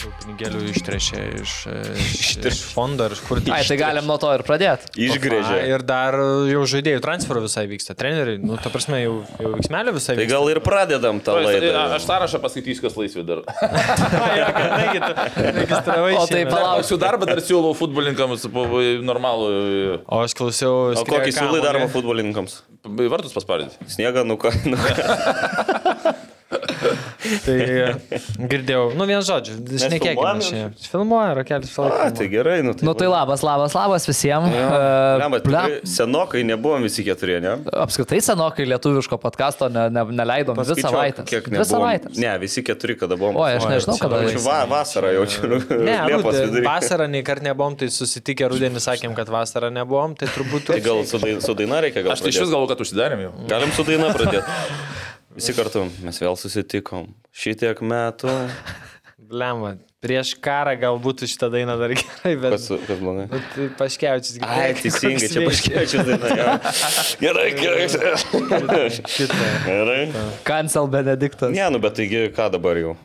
Tų pinigėlių ištrešė iš, iš, iš fondo ar iš kur Ai, tai galim nuo to ir pradėti. Ai, Išgrėžė. Ir dar jau žaidėjų transferų visai vyksta. Treneriai, nu, ta prasme, jau, jau veiksmelio visai Tai vyksta. gal ir pradedam tą laidą. e, Aš sąrašą paskaitysiu, kas laisvė dar. Registravai O tai šiemet. palauksiu. Lauksiu darbą, dar siūlau futbolininkams po- normalų O aš klausiau. O kokį siūlai darbą futbolininkams? e, vartus paspardyti. Sniegą nukainų. Tai girdėjau. Nu, vien žodžiu, filmuojam šnekėkime. jau? čia. Filmuoja, rakelis A, filmuoja. tai gerai, nu tai. Nu tai labas, labas, labas E, visiems. Ja. Lemba, tikrai senokai nebuvom visi keturi, ne? Apskritai senokai lietuviško podkasto ne, ne, neleidom. Dvi Skaičiuok, savaitės. Kiek Dvi nebuvom. savaitės. Ne, visi keturi, kada buvom. Oi, aš Oi, nežinau, čia kada. labai Čia va, vasarą jaučiu. nu, Ne, nu Liepos tai rudenį. vidury. Vasarą nei kart nebuvom, tai susitikę rudenį sakėm, kad vasarą nebuvom, tai turbūt... Tai gal su, dai, su daina reikia gal. Aš tai iš vis pradėt? galvoju, kad užsidarėm jau. Galim su daina pradėti. Visi kartu mes vėl susitikom. Šitiek metų. Lemba, prieš karą galbūt šitą dainą dar gerai, bet... Kas, kas blogai? bet Tai paškiaučius Ai, teisingai, čia paškėčiau dainą. jo. Gerai, gerai. paškiaučius. Gerai. Cancel Benediktas. Ne, nu bet taigi ką dabar jau?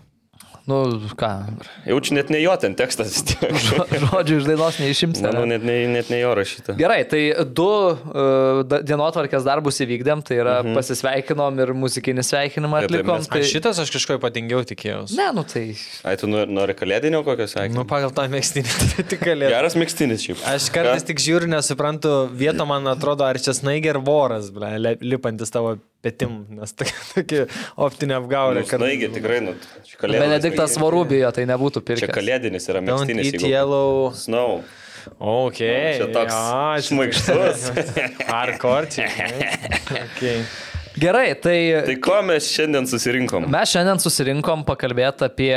Nu ką, Jaučiu net ne jo ten tekstas vis tiek. žo- žodžių iš dainos neišimsime. Manau, net ne, net ne jo rašyta. Gerai, tai du uh, dienotvarkės darbus įvykdėm, tai yra mhm. pasisveikinom ir muzikinį sveikinimą Taip, taip, atlikom. mes- Tai, Šitas aš kažko ypatingiau tikėjausi. Ne, nu tai Ai, tu nori nori kalėdinio kokio Nu, sakinio? pagal tą mėgstinį tai tik galėtų. Geras mėgstinis šiaip. Aš kartais Ką? tik žiūriu, nesuprantu, vieto man atrodo, ar čia snaigė ar voras, ble, le- lipantis tavo petim, nes tokia, tokia optinė apgaulė. Nu, Snaigė tikrai, nu, čia kalėdinis. Benediktas Varubijo, tai nebūtų Čia pirkęs. kalėdinis yra Don't mėgstinis. eat jeigu- yellow. Snow. Ok. Čia toks jo, čia šmaikštus. Ar korčiai? Okay. Gerai, tai, Tai ko mes šiandien susirinkom? Mes šiandien susirinkom pakalbėti apie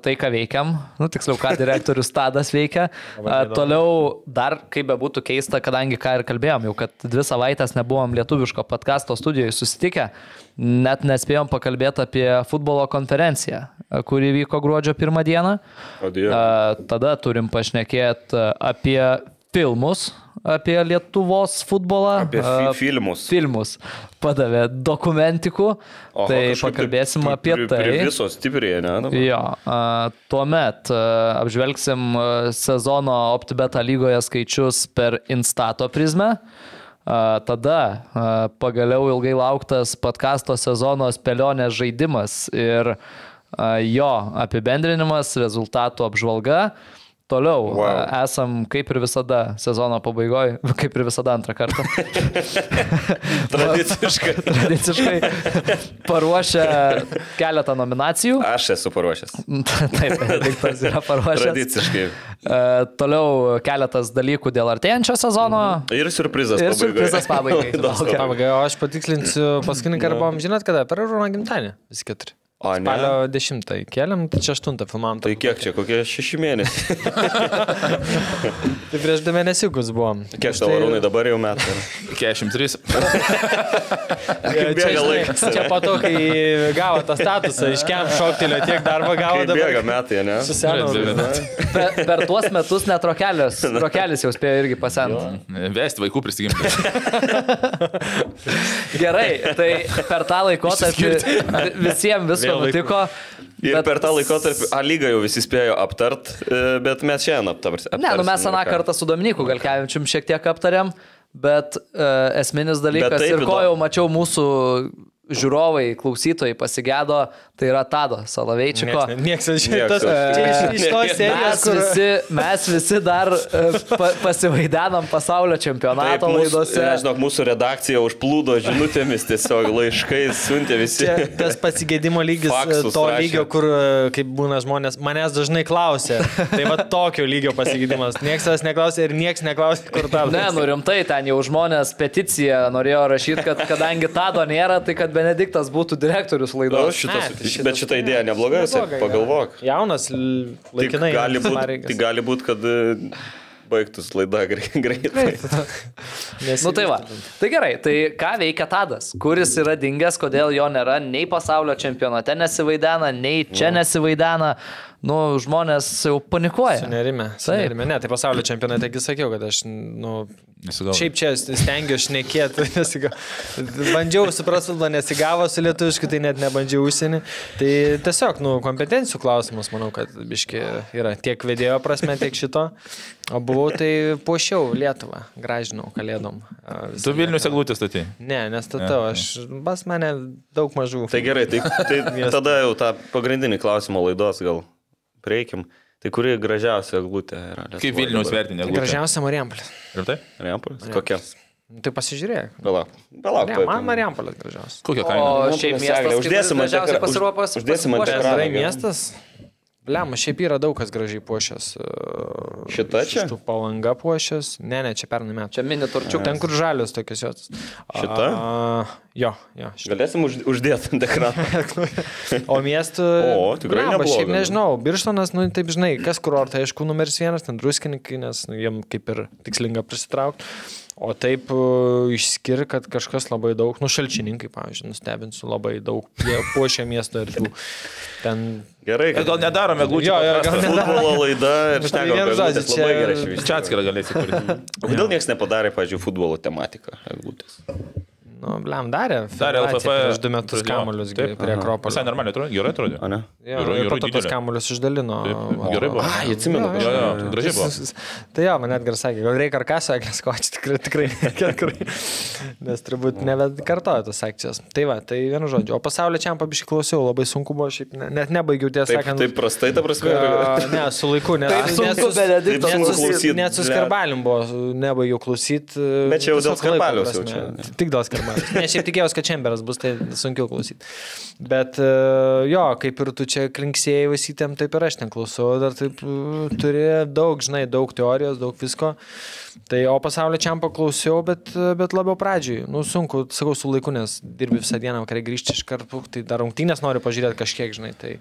tai, ką veikiam, nu, tiksliau, ką direktorius Tadas veikia. A, Toliau dar, kaip bebūtų keista, kadangi ką ir kalbėjom, jau kad dvi savaitės nebuvom lietuviško podkasto studijoje susitikę, net nespėjom pakalbėti apie futbolo konferenciją, a, kuri vyko gruodžio pirmą dieną. O Dieve. A, Tada turim pašnekėti apie filmus, apie Lietuvos futbolą. Apie a, fi filmus. filmus padavė dokumentikų, Oho, Oho, tai kažkaip pakalbėsim pri- apie pri- tai. Pri viso stipriai, ne? nu, dabar? Jo, a, tuomet a, apžvelgsim a, sezono OptiBeta lygoje skaičius per Instato prizmę. A, Tada a, pagaliau ilgai lauktas podkasto sezono spėlionės žaidimas ir a, jo apibendrinimas, rezultatų apžvalga. Toliau wow. esam kaip ir visada sezono pabaigoje, kaip ir visada antrą kartą. Tradiciškai. tradiciškai paruošę keletą nominacijų. Aš esu paruošęs. Taip, Benediktas yra paruošęs. Tradiciškai. E, Toliau keletas dalykų dėl artėjančio sezono. Ir surprizas Ir pabaigoje. surprizas pabaigai. Laidos Laukia. pabaiga. Pabaigai, o aš patikslinsiu, paskutinį kartą buvom, žinot, kada? Per Rūną gimtadienį. Visi keturi. Nu. O, ne? Spalio 10 keliam, tai čia 8 filmavom. Tai kiek čia, kokie šeši mėnesiai? Tai prieš du mėnesiukus buvom. Tai Kiek Tai- tavo rūnai dabar jau metai? yra? 43. Kaip Čia, bėga žinai, laikas. čia po to, Mhm. kai gavo tą statusą, iškiam šoktelio, tiek darbo gavo Kaip bėga dabar. metai, ne? Susenom. Per, per tuos metus net rokelis, rokelis jau spėjo irgi pasent. Vesti vaikų prisigimti. Gerai, tai per tą laikotarpį visiems visko Vėl vaikų. nutiko. Ir bet per tą laikotarpį A lygą jau visi spėjo aptart, e, bet mes šiandien aptars. Ne, nu mes aptarsim, aną ką. kartą su Dominiku Galkevičium šiek tiek aptarėm, bet uh, esminis dalykas taip ir ko įdomu. jau mačiau mūsų žiūrovai, klausytojai pasigėdo, tai yra Tado Salaveičiko. Niekas nežino. Nieks tas- nežino. Čia iš- iš tos serijos, Mes kur... visi, mes visi dar e, pa, pasivaidenam pasaulio Taip, čempionato mūsų, laidose. nežinau, mūsų redakcija užplūdo žinutėmis, tiesiog laiškais siuntė visi. Čia tas pasigėdimo lygis, Faksus Faksus to rašė. rašė. lygio, kur, e, kaip būna žmonės, manęs dažnai klausia. Tai va tokio lygio pasigėdimas. Niekas tas neklausė ir niekas neklausė, kur tam. Ne, nu rimtai, ten jau žmonės peticiją norėjo rašyti, kad kadangi Tado nėra, tai kad Benediktas būtų direktorius O, laidos. šitas, Ne, tai šitas- Nu, bet šita idėja nebloga, visai, nebloga yra. pagalvok. Jaunas, l- Tik laikinai. gali einantis būt, pareigas. tik gali būt, kad e, baigtus laidą greitai. Nes... Nu tai va. Tai gerai, tai ką veikia Tadas? Kuris yra dingęs, kodėl jo nėra nei pasaulio čempionate nesivaidena, nei čia nesivaidena. Nu, žmonės jau panikuoja. Sunerime, sunerime. Ne, tai pasaulio čempionate, taigi sakiau, kad aš, nu, Nesigavo. šiaip čia stengiuosi šnekėti, nesigavo. Bandžiau su prasulda, nesigavo su lietuviškai, tai net nebandžiau užsienį. Tai tiesiog, nu, kompetencijų klausimas, manau, kad biški yra tiek vedėjo prasme, tiek šito. O buvau, tai puošiau Lietuvą, gražinau kalėdom. a, visą Tu Vilnius Lietuvą. eglutės statai. Ne, nestatau, aš, pas mane daug mažų. Tai gerai, tai, tai tada jau tą pagrindinį klausimą laidos gal prieikim. Tai kuri gražiausia glūtė yra? Lietuvoj Kaip Vilnius dabar? vertinė eglutė? Gražiausia Mariampolė. Rimtai? Marijampolės? Kokia? Tai pasižiūrėk. Palauk. tai Palauk. Ne, man Mariampolės gražiausia. Kokia O kaina? šiaip Eglė, miestas, kaip uždėsim ant dažniausiai ekra- už- pasiruopas- uždėsim ant pasipuošęs. ekrano. Bendrai Prabanga. miestas. Lem, šiaip yra daug kas gražiai puošęs. e, Šita iš čia? tų Palanga puošęs. Ne, ne, čia pernai metų. Čia mini turčiukas. Ten, kur žalios tokios jos. Šita? A, jo, jo. Šita. Galėsim už, uždėti ant ekrano. O miestų. O, tikrai Blemba, Šiaip nebloga. nu. nežinau, Birštonas, nu taip žinai, kas kurortai, aišku, numeris vienas, ten druskininkai, nes nu, jiem kaip ir tikslinga prisitraukti. O taip e, išskir, kad kažkas labai daug, nu šalčininkai, pavyzdžiui, nustebinsiu labai daug, jie puošia miesto erdvių. Ten Gerai, Gal nedarome eglutės? Jo, jo, gal ne- futbolo laida ir Tai šnekam vien apie eglutės. žodžiu, Labai čia- gerai šį Čia atskirą galėsi kurti. Kodėl niekas nepadarė, pažiūrėjau, futbolo tematiką eglutės? Nu, blem, darė. Darė federacija LFF. Prieš du metus kamuolius prie Visai Akropolio. normaliai atrodo, gerai atrodo. A, ne? Jo, Jūrų- ir jūrų po to tos didelė. kamuolius išdalino. Taip, va. gerai buvo. Ai, atsimenu, Jo, kad- Jo, jo. jo, gražiai buvo. Tai jo, man Edgar sakė, gal reikia karkaso akės, ko čia tikrai, tikrai, tikrai. Nes turbūt nebekartoja tos akcijos. Tai va, tai vienu žodžiu. O pasaulio čia pabiškai klausiau, labai sunku buvo, šiaip ne, net nebaigiau tiesą Taip, sakant. taip prastai, ta prasme. Ka- Ne, su laiku, nes Taip sunku, Benediktas, Taip sunku klausyt, Net su blet. skarbalim buvo, nebaigiau klausyt. Bet čia jau dėl tiesiog laiko Skarbaliaus prasme. jau čia, ne? Tik dėl skarbalius. Ne, šiaip tikėjausi, kad čemberas bus, tai sunkiau klausyt. Bet e, jo, kaip ir tu čia klinksėjai visytėm, taip ir aš ten klausau, dar taip e, turi daug, žinai, daug teorijos, daug visko. Tai o pasaulio čia paklausiau, bet, e, bet labiau pradžiui. Nu, sunku, sakau, su laiku, nes dirbi visą dieną, vakare grįžti iš karto, tai dar rungtynės noriu pažiūrėti kažkiek, žinai. Tai,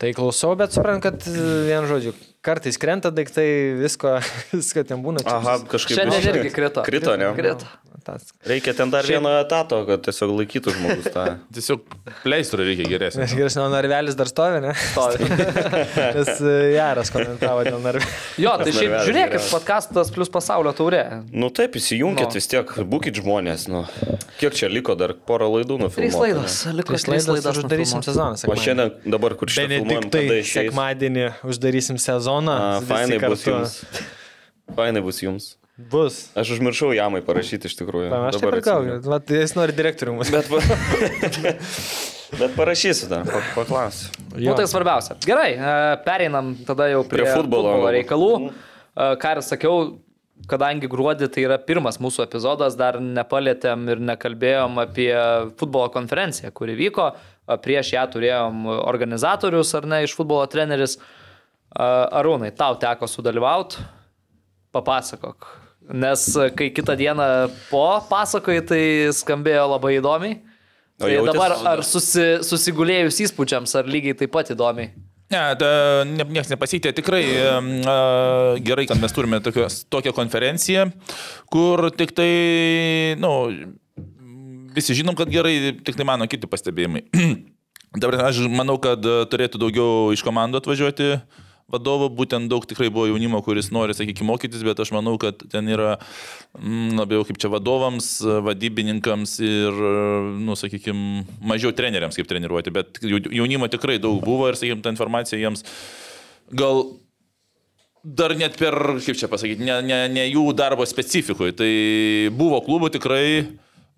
tai klausau, bet suprantu, kad e, vien žodžiu, kartais krenta daiktai, visko, visko ten būna. Čia Aha, bus- kažkaip. Šiandien biškį- irgi krito. Krito, ne? Krito. tas- Reikia ten dar Šiaip- vieno etato, kad tiesiog laikytų žmogus tą. Tiesiog pleistro reikia geresnio. Aš geresnio narvelis dar stovi, ne? Stovi. Nes e, Jaras komentavo dėl narvelio. Jo, tai Tas šiaip narvelis žiūrėkit, geras. podkastas plus pasaulio taurė. Nu taip, įsijunkit Nu. vis tiek, būkit žmonės. Nu. Kiek čia liko dar porą laidų Trys nufilmuoti? laidos, liko trys laidos. Tai uždarysim nufilmuot. sezoną. O šiandien dabar, kur šitą filmuojam, Benediktai, tada išėjai. tai sekmadienį uždarysim sezoną. visi Fainai bus kartu. jums. Fainai bus jums. Bus. Aš užmiršau jamai parašyti iš tikrųjų. Aš taip Dabar ir gavau. atsiminiau. Vat, Jis nori direktorių mūsų. Bet, pa- bet parašysiu dar, pa- paklausiu. Nu, tai svarbiausia. Gerai, e, pereinam tada jau prie, Prie futbolo. futbolo reikalų. E, Ką ir sakiau, kadangi gruodį tai yra pirmas mūsų epizodas, dar nepalėtėm ir nekalbėjom apie futbolo konferenciją, kuri vyko. E, Prieš ją turėjom organizatorius ar ne iš futbolo treneris. E, Arūnai, tau teko sudalyvauti, papasakok. Nes e, kai kitą dieną po pasakoji, tai skambėjo labai įdomiai. O Tai jautės- dabar ar susi, susigulėjus įspūdžiams, ar lygiai taip pat įdomiai? Ne, ta, ne, niekas nepasitė. Tikrai em, a, gerai, kad mes turime tokios, tokią konferenciją, kur tik tai, na, nu, visi žinom, kad gerai, tik tai mano kiti pastebėjimai. Dabar aš manau, kad e, turėtų daugiau iš komandų atvažiuoti vadovų, būtent daug tikrai buvo jaunimo, kuris nori, sakykime, mokytis, bet aš manau, kad ten yra mm, labiau kaip čia vadovams, e, vadybininkams ir, e, nu, sakykime, mažiau treneriams kaip treniruoti, bet jau- jaunimo tikrai daug buvo ir, sakykime, ta informacija jiems gal dar net per, kaip čia pasakyti, ne, ne, ne jų darbo specifikui. Tai buvo klubų tikrai,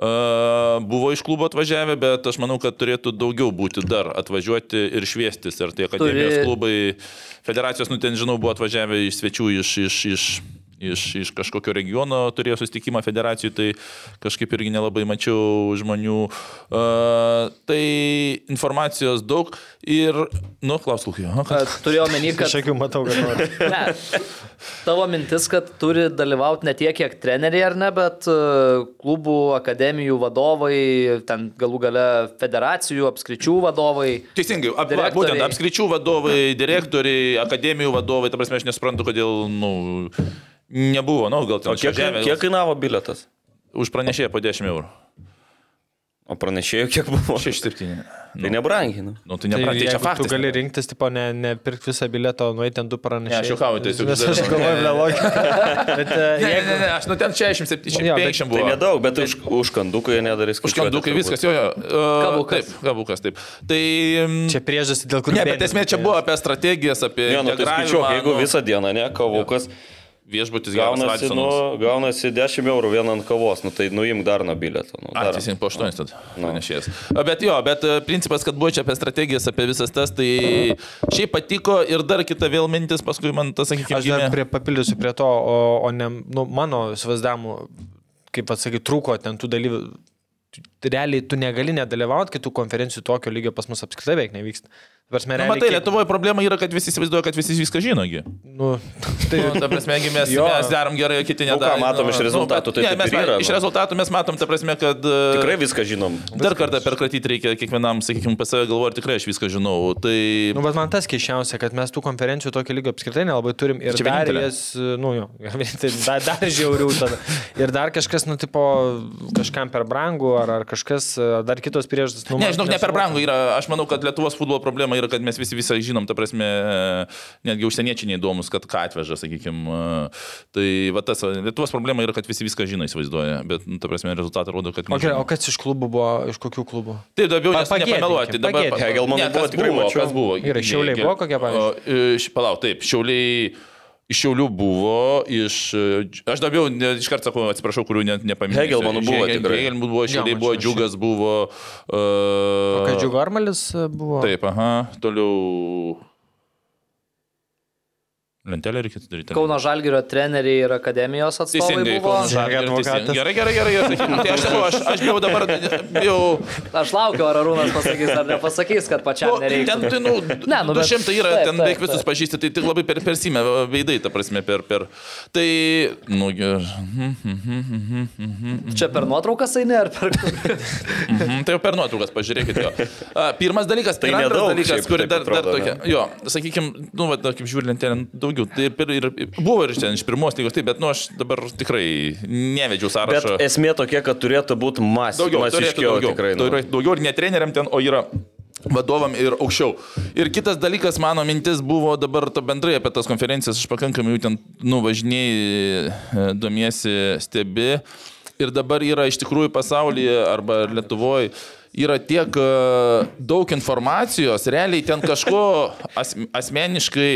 uh, buvo iš klubo atvažiavę, bet aš manau, kad turėtų daugiau būti dar atvažiuoti ir šviestis. Ir tie akademijos Turi- klubai, federacijos, nu ten žinau, buvo atvažiavę iš svečių iš... iš, iš Iš, iš kažkokio regiono turėjo susitikimą federacijų, tai kažkaip irgi nelabai mačiau žmonių. Uh, tai informacijos daug ir, nu, klausk, Lukai. aha, ką- E, Turiu omeny, kad... Aš akių matau, kad nori. Ne, tavo mintis, kad turi dalyvauti ne tiek, kiek treneriai ar ne, bet e, klubų, akademijų vadovai, ten galų gale federacijų, apskričių vadovai. Teisingai, ap, va, Direktoriai. būtent apskričių vadovai, direktoriai, akademijų vadovai, ta prasme aš nesuprantu, kodėl, na, nu, Nebuvo, nu, O gal ten kiek, žemė- kiek kainavo biletas? Už pranešėją po 10 eurų. O pranešėjų kiek buvo? 6-7. Tai nebrangiai, nu. Nu, tai Tai nepranešė, tai čia jeigu faktas. Tu gali rinktis, tipo, ne, ne pirkti visą bilietą, o nueiti ten du Ne, pranešėjai. aš juokauju, tiesiog Nes aš žinai. galvoju, nelogika. Bet e, Ne, ne, jeigu... ne, ne, aš nu ten 67, Jo, bet 50 Tai buvo. nedaug, bet už, už kanduką jie nedarys. Už kandukai viskas, jo, jo. Uh, Kabukas. Taip, kabukas, taip. Tai... mm, Čia priežastis, dėl kurių... Ne, bet esmė čia buvo apie strategijas, apie... Ne, nu tai integravimą, skaičiuok, jeigu nu, visą dieną, ne, kavukas, Viešbutis gaunas gaunasi, nu, gaunasi 10 eurų vien ant kavos, nu tai nuimk dar nuo bileto. Nu, dar. Nu. Atsisin po 8 tad pranešėjas. Bet jo, bet e, principas, kad buvo čia apie strategijas, apie visas tas, tai šiaip patiko ir dar kita vėl mintis, paskui man tas, sakykime, Aš dar prie, papildysiu prie to, o, o ne nu, mano įsivaizdavimu, kaip atsakai, trūko ten tų dalyvių. Tu- Realiai tu negali nedalyvauti kitų konferencijų tokio lygio pas mus apskritai beveik nevyksta. Ta Prasme, Na, realiai, Nu, matai, kiek- Lietuvoje problema yra, kad visi įsivaizduoja, kad visi viską žinogi. Nu, tai, Nu, ta prasme, jeigu mes, Jo. mes darom gerai, o kiti Nu, ką nedaro. matom iš rezultatų, tai ne, taip mes, ir yra, Iš nu. rezultatų mes matom, ta prasme, kad... e, Tikrai viską žinom. Dar kartą perkratyti reikia kiekvienam, sakykime, pas save galvoju, ar tikrai aš viską žinau. Tai... nu, bet man tas keišiausia, kad mes tų konferencijų tokio lygio apskritai nelabai turim ir Čia dar vienintelė. jas, nu jo, tai dar, dar žiauriau tada. Ir dar kažkas, nu, tipo, kažkam per brangu, ar, ar kažkas, e, dar kitos priežastys. Nu, Ne, man žinok, ne per nesuvokiama. brangu yra. Aš manau, kad Lietuvos futbolo problema yra, kad mes visi visą žinom, ta prasme, e, netgi užsieniečiai neįdomus, kad ką atveža, sakykime. Tai va tas, va, Lietuvos problema yra, kad visi viską žino, įsivaizduoja, bet, nu, ta prasme, rezultatą rodo, kad... O, gerai, nežino. o kas iš klubų buvo, iš kokių klubų? Taip, daugiau Pa- nes pagėdinkim, nepameluoti. Dabar pagėdinkim. Hegelmanų Ne, buvo kas tikrai mačiau. Kas buvo? Gerai, Šiauliai Ne, buvo kokie, pavyzdžiui? O, iš- Palauk, taip, šiauliai. Iš šiaulių buvo, iš... e, Aš daugiau, ne- iškart sakau, atsiprašau, kurių net nepaminėjau. Hegelmanų buvo tikrai. Hegelmanų buvo, šiauliai mačiau, buvo, aš- džiugas buvo. e, O Uh, kas Džiugarmalis buvo? Taip, aha, toliau. Lentelę reikia daryti. Kauno Žalgirio treneriai ir akademijos atstovai Teisingai, buvo. Kauno Žalgiris, advokatas. teisingai. Gerai, gerai, gerai. gerai. Tai aš, sakau, aš, aš bijau dabar, bijau Aš laukiu, ar Arūnas pasakys, ar nepasakys, kad pačiam Nu, nereikia. Ten, tai, Ne, nu, ne, nu, nu, bet- bet, šimtai yra, taip, taip, ten taip, beveik visus taip. pažįsti, tai tik labai per, persime veidai, ta prasme, per... per. Tai, nu, ger- mhm, mhm, mhm, mhm, Čia per nuotraukas eini, ar per... mhm. tai jau per nuotraukas, pažiūrėkit jo. A, Pirmas dalykas, Tai tai antras nedaug dalykas, šiaip kur taip dar, dar atrodo, tokia. Jo, sakykime, nu, va, kaip žiūrint, ten daugiau. Tai ir, ir, buvo ir iš ten, iš pirmos lygos, taip, bet, nu, aš dabar tikrai nevedžiau Bet sąrašo. esmė tokia, kad turėtų būti mas, Daugiau, turėtų masiškiau daugiau. tikrai. Nu. Daugiau, daugiau ir ne treneriam ten, o yra vadovam ir aukščiau. Ir kitas dalykas, mano mintis buvo dabar to bendrai apie tas konferencijas, aš pakankamai jų ten nuvažinėjai, domiesi, stebi. Ir dabar yra iš tikrųjų pasaulyje arba Lietuvoje yra tiek e, daug informacijos, realiai ten kažko as, asmeniškai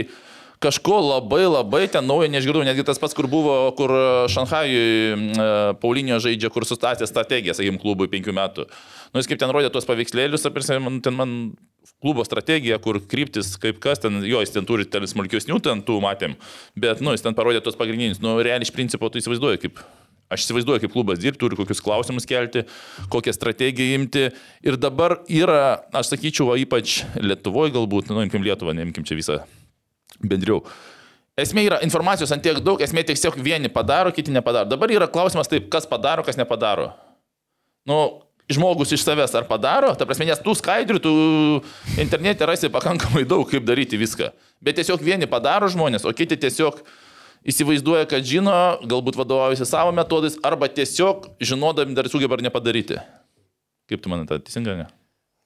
kažko labai labai ten naujo neišgirdau, netgi tas pats, kur buvo, kur e, Šanhajui e, Paulinio žaidžia, kur sustatė strategiją, sakykim, klubui penkių metų. Nu, jis kaip ten rodė tuos paveikslėlius, apie man, ten man klubo strategija, kur kryptis, kaip kas, ten jo, jis ten turi ten smulkiusnių, ten tų matėm, bet, nu, jis ten parodė tuos pagrindinius, nu, realiai iš principo tu įsivaizduoji, kaip Aš įsivaizduoju, kaip klubas dirbti, turi kokius klausimus kelti, kokią strategiją imti. Ir dabar yra, aš sakyčiau, va, ypač Lietuvoje galbūt, nu, imkim Lietuvą, neimkim čia visą bendriau. Esmė yra informacijos ant tiek daug, esmė tiesiog vieni padaro, kiti nepadaro. Dabar yra klausimas taip, kas padaro, kas nepadaro. Nu, žmogus iš savęs ar padaro, ta prasme, nes tų skaidrių, tų internete rasi pakankamai daug, kaip daryti viską. Bet tiesiog vieni padaro žmonės, o kiti tiesiog įsivaizduoja, kad žino, galbūt vadovaujasi savo metodais, arba tiesiog žinodami dar sugeba ar nepadaryti. Kaip tu manai, tai teisinga, ne?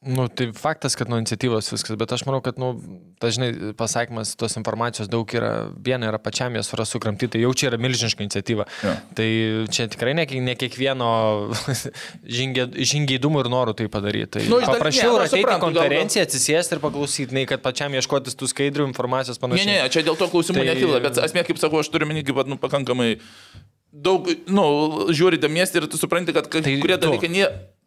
Nu, tai faktas, kad nuo iniciatyvos viskas, bet aš manau, kad, nu, dažnai pasakymas tos informacijos daug yra, viena yra pačiam jos yra sukramti, tai jau čia yra milžiniška iniciatyva. Jo. Tai čia tikrai ne, kiek- ne kiekvieno žingė- žingeidumo ir norų tai padaryti. Tai Nu, nu, iš dal- ne, paprašiau nu, ir aš ateiti į suprantu, gal- konferenciją, atsisėsti ir paklausyti, nei kad pačiam ieškotis tų skaidrių informacijos Ne, panašiai. ne, čia dėl to klausimų Tai- tai... nekyla, bet esmė, kaip sakau, aš turiu minį, kad nu, pakankamai daug, nu, žiūri tą miestą ir tu supranti, kad kai Tai kurie tu. dalykai, nie,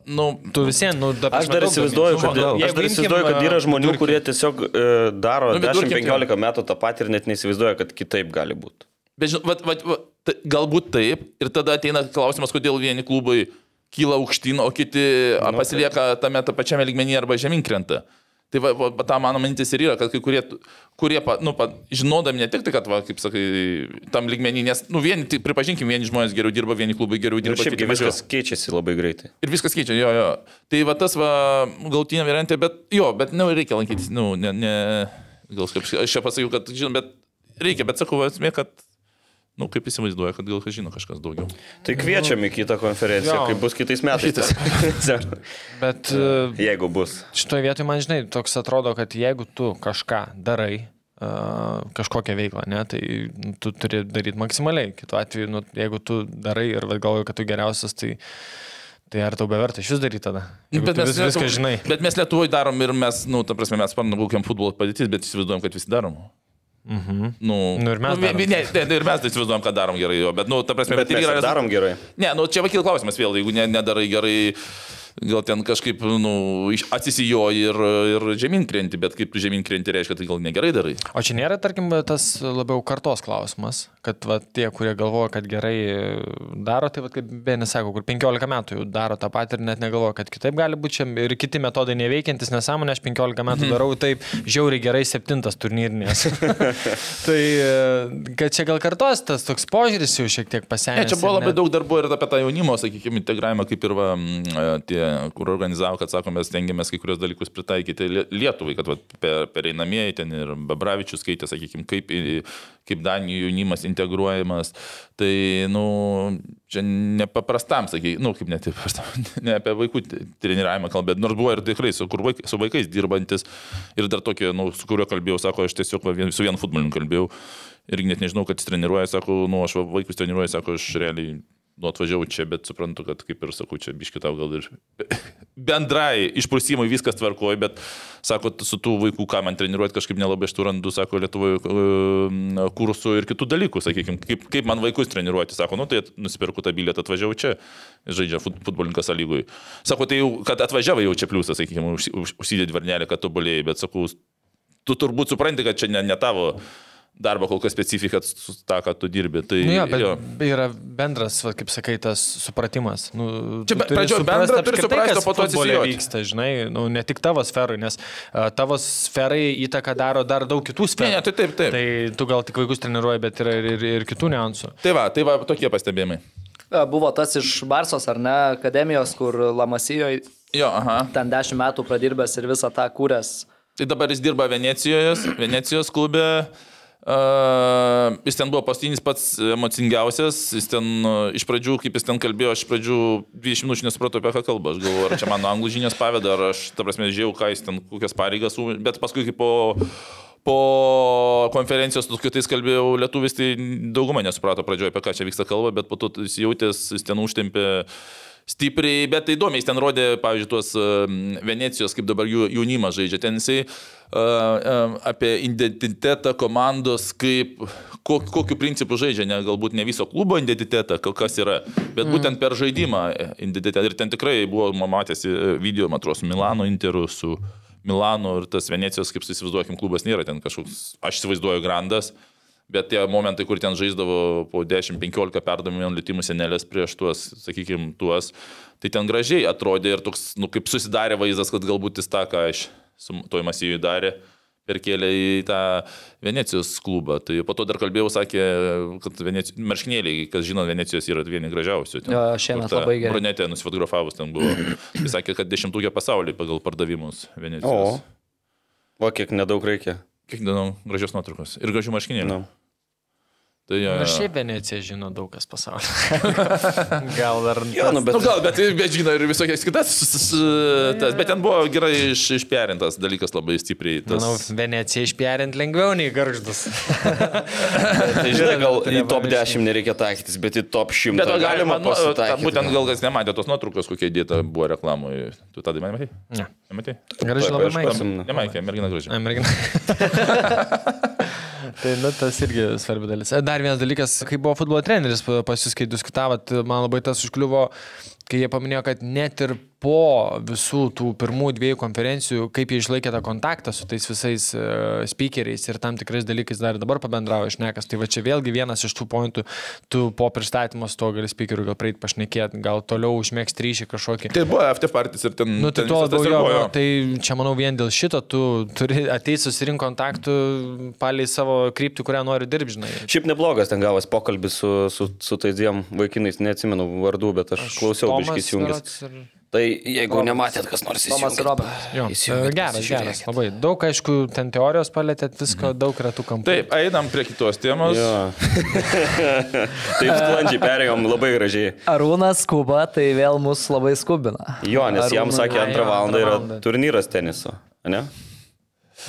nu, Tu visiems, nu, dabar. Aš dar įsivaizduoju, kad, žinau, aš dar įsivaizduoju, kad uh, yra žmonių, kurie tiesiog e, daro Nu, vidurkį, 10-15 metų tą patį ir net neįsivaizduoja, kad kitaip gali būti. bet, žin- vat, vat, vat, ta- galbūt taip, ir tada ateina klausimas, kodėl vieni klubai kyla aukštyn, o kiti nu, pasilieka tame ta pačiame lygmenyje arba žemyn krenta. Tai va, va, va, ta mano mintis ir yra, kad kai kurie, tu- kurie pa, nu, pa, žinodami ne tik tai, kad, va, kaip sakai, tam lygmenį, nes, nu, vieni, tai pripažinkim, vieni žmonės geriau dirba, vieni klubai geriau Ir dirba. Nu, šiaip kiti gi mažiau. viskas keičiasi labai greitai. Ir viskas keičia, jo, jo. Tai va tas va, galtinė variantė, bet jo, bet nu, reikia lankytis, nu, ne, ne, gal kaip aš čia pasakiau, kad, žinau, bet reikia, bet sakau, va, esmė, kad nu, kaip įsivaizduoja, kad gal žino kažkas daugiau. Tai kviečiam į kitą konferenciją, Jo. kai bus kitais metais. ta konferencija. Bet e, Jeigu bus. Šitoje vietoje man, žinai, toks atrodo, kad jeigu tu kažką darai, a, kažkokią veiklą, ne, tai tu turi daryti maksimaliai. Kitu atveju, nu, jeigu tu darai ir vat galvoji, kad tu geriausias, tai, tai ar tau beverta iš vis daryti tada? Jeigu tu vis, viską Lietuv- žinai. bet mes Lietuvoje darom ir mes, nu, ta prasme, mes sparnam, kokiam futbolo padėtis, bet įsivaizduojam, kad visi darom. Mhm. Nu, Nu, ir mes vi- darom. vi- Ne, ne, ir mes tai įsivaizduojam, kad darom gerai, jo, bet, nu, ta prasme, Bet irgi mes yra ir rezultatas. darom gerai. Ne, nu čia vakil klausimas vėl, jeigu ne, nedarai gerai, gal ten kažkaip, nu, iš- atsisijoji ir, ir žemyn krenti, bet kaip tu žemyn krenti reiškia, tai gal negerai darai. O čia nėra, tarkim, tas labiau kartos klausimas, kad va, tie, kurie galvoja, kad gerai daro, tai va, kaip Benis sako, kur 15 metų jau daro tą patį ir net negalvoja, kad kitaip gali būti čia ir kiti metodai neveikiantis, nesąmonė, aš 15 Mhm. metų darau taip, žiauriai gerai septintas turnyrinės. tai e, kad čia gal kartos tas toks požiūris jau šiek tiek Ne, pasenęs. čia buvo ir labai net- daug darbų ir apie tą jaunimo, sakykime, integravimą, kaip ir va, mm, e, tie, kur organizavo, kad sako, mes tengiamės kai kurios dalykus pritaikyti Lie- Lietuvai, kad va, per, pereinamieji ten ir Bebravičius skaitė, sakykime, kaip, į- kaip Danijų jaunimas integruojamas. Tai, nu, čia nepaprastam, sakykime, nu, kaip net paprastam, ne apie vaikų t- treniravimą kalbėt, nors buvo ir tikrai su, kur vaik, su vaikais dirbantis ir dar tokio, nu, su kuriuo kalbėjau, sako, aš tiesiog va, vien, su vienu futbolininku kalbėjau. Irgi net nežinau, kad jis treniruoja, sako, nu, aš va- vaikus treniruoju, sako, aš realiai, nu, atvažiavau čia, bet suprantu, kad kaip ir sakau, čia biškitau gal ir bendrai išprusimui viskas tvarkoja, bet, sako, su tų vaikų, ką man treniruoti, kažkaip nelabai aš tų randu, sako, Lietuvoje e, kursų ir kitų dalykų, sakykime, kaip, kaip man vaikus treniruoti, sako, nu, tai nusipirku tą bilietą, atvažiavau čia, žaidžia fut- futbolininkas lygui. Sako, tai jau, kad atvažiavai jau čia pliusas, sakykime, užsi- už- užsidėti varnelį, kad tobulėjai, bet, sakau, tu turbūt supranti, kad čia ne, ne tavo darbo kol kas specifika su tą, ką tu dirbi. Tai, Nu, jo, bet jo. yra bendras, va, kaip sakai, tas supratimas. Nu, Čia tu be- turi pradžioj suprast bendrą turi apskritai, suprast, kas o po to futbole atsisijot. vyksta, žinai, nu, ne tik tavo sferai, nes uh, tavo sferai įtaką daro dar daug kitų sferų. Ne, ne, tai taip, taip. Tai tu gal tik vaikus treniruoji, bet yra ir, ir, ir kitų niuansų. Tai va, tai va, tokie pastebėjimai. E, Buvo tas iš Barsos, ar ne, akademijos, kur Lamasijoje Jo, aha. ten 10 metų pradirbęs ir visą tą kūręs. Tai dabar jis dirba Venecijoje, Venecijos klube. Uh, jis ten buvo pastinis pats emocingiausias, jis ten uh, iš pradžių, kaip jis ten kalbėjo, aš iš pradžių 20 minučių nesupratau, apie ką kalba, aš galvoju, ar čia mano anglų žinias paveda, ar aš, ta prasme, žiūrėjau, ką jis ten, kokias pareigas, u- bet paskui kaip po, po konferencijos su kitais kalbėjau lietuvis, tai dauguma nesuprato pradžioje, apie ką čia vyksta kalba, bet po to jis jautės, jis ten užtempė stipriai, bet tai įdomiai, jis ten rodė, pavyzdžiui, tuos em, Venecijos, kaip dabar jų jaunimas žaidžia, ten jisai em, em, apie identitetą komandos, kaip, ko- kokiu principu žaidžia, ne, galbūt ne viso klubo identitetą, ka- kas yra, bet būtent per žaidimą e, identitetą. Ir ten tikrai buvo, ma- matėsi e, video, man atrodo, su Milano interu, su Milano ir tas Venecijos, kaip įsivaizduokim, klubas nėra ten kažkoks, aš įsivaizduoju, grandas. Bet tie momentai, kur ten žaisdavo po 10-15 perdavimų litimų senelės prieš tuos, sakykime, tuos, tai ten gražiai atrodė ir toks, nu, kaip susidarė vaizdas, kad galbūt jis tą, ką aš su toj masyviu darė, perkėlė į tą Venecijos klubą. Tai po to dar kalbėjau, sakė, kad Veneci... marškinėliai, kas žino, Venecijos yra vieni gražiausių. Ten, Jo, šiemet kur ta labai geri. Brunetė nusifotografavus ten buvo. Jis sakė, kad dešimtukė pasaulyje pagal pardavimus O. Venecijos. O. O kiek nedaug reikia. Kiek dienų gražios nuotraukos ir gražių marškinėlių. Nu. Tai, jo, Ir jo. šiaip Venecija žino daug kas pasaulyje. gal dar... Jo, nu, bet... Nu, gal, bet, bet žinai, ir visokias kitas. s- s- Tas, bet ten buvo gerai iš, išperintas dalykas labai stipriai. Tas, Manau, Venecija išperint nu, lengviau nei garždas. Tai žinai, gal į top 10 nereikia taikytis, bet į top 100 bet va, galima galima, nu, pasitaikyti. būtent gal kas nematė tos nuotraukos, kokia įdėta buvo reklamoje. Tu tada mane matai? Ne. Nematai? Gražiai labai maišau. Pasim- Nemaikė, mergina gražiai. Mergina. tai, nu, tas irgi svarbi dalis. E, Dar vienas dalykas, kai buvo futbolo treneris pa- pas jūs, kai diskutavot, man labai tas užkliuvo, kai jie paminėjo, kad net ir po visų tų pirmų dviejų konferencijų, kaip jie išlaikė tą kontaktą su tais visais uh, speakeriais ir tam tikrais dalykais dar ir dabar pabendrauja išnekas. Tai va čia vėlgi vienas iš tų pointų, tu po pristatymo su to gali speakeriu gal prieiti pašnekėti, gal toliau užmėgsti ryšį kažkokį. Tai buvo FT partijas ir ten. Nu, tai ten tuo visas tas labiau ir jo, buvo, jo. jo. Tai čia manau vien dėl šito tu turi ateiti susirinkti kontaktų palei savo kryptį, kurią nori dirbti, žinai. Šiaip neblogas ten gavas pokalbis su, su, su tais dviem vaikinais, neatsimenu vardų, bet aš, aš klausiau biškis jungis. Ir... Tai jeigu nematėt, kas nors Tomas įsijungė. Robertas. Jo, Įsijungit, geras, geras, pasižiūrėkit. labai. Daug, aišku, ten teorijos palėtėt, visko, daug retų kampų. Taip, einam prie kitos temos. Jo. Taip sklandžiai perėjom labai gražiai. Arūnas skuba, tai vėl mus labai skubina. Jo, nes jam Arūnui- sakė Ai, antrą jo, valandą antrą yra valandą. turnyras teniso, ne?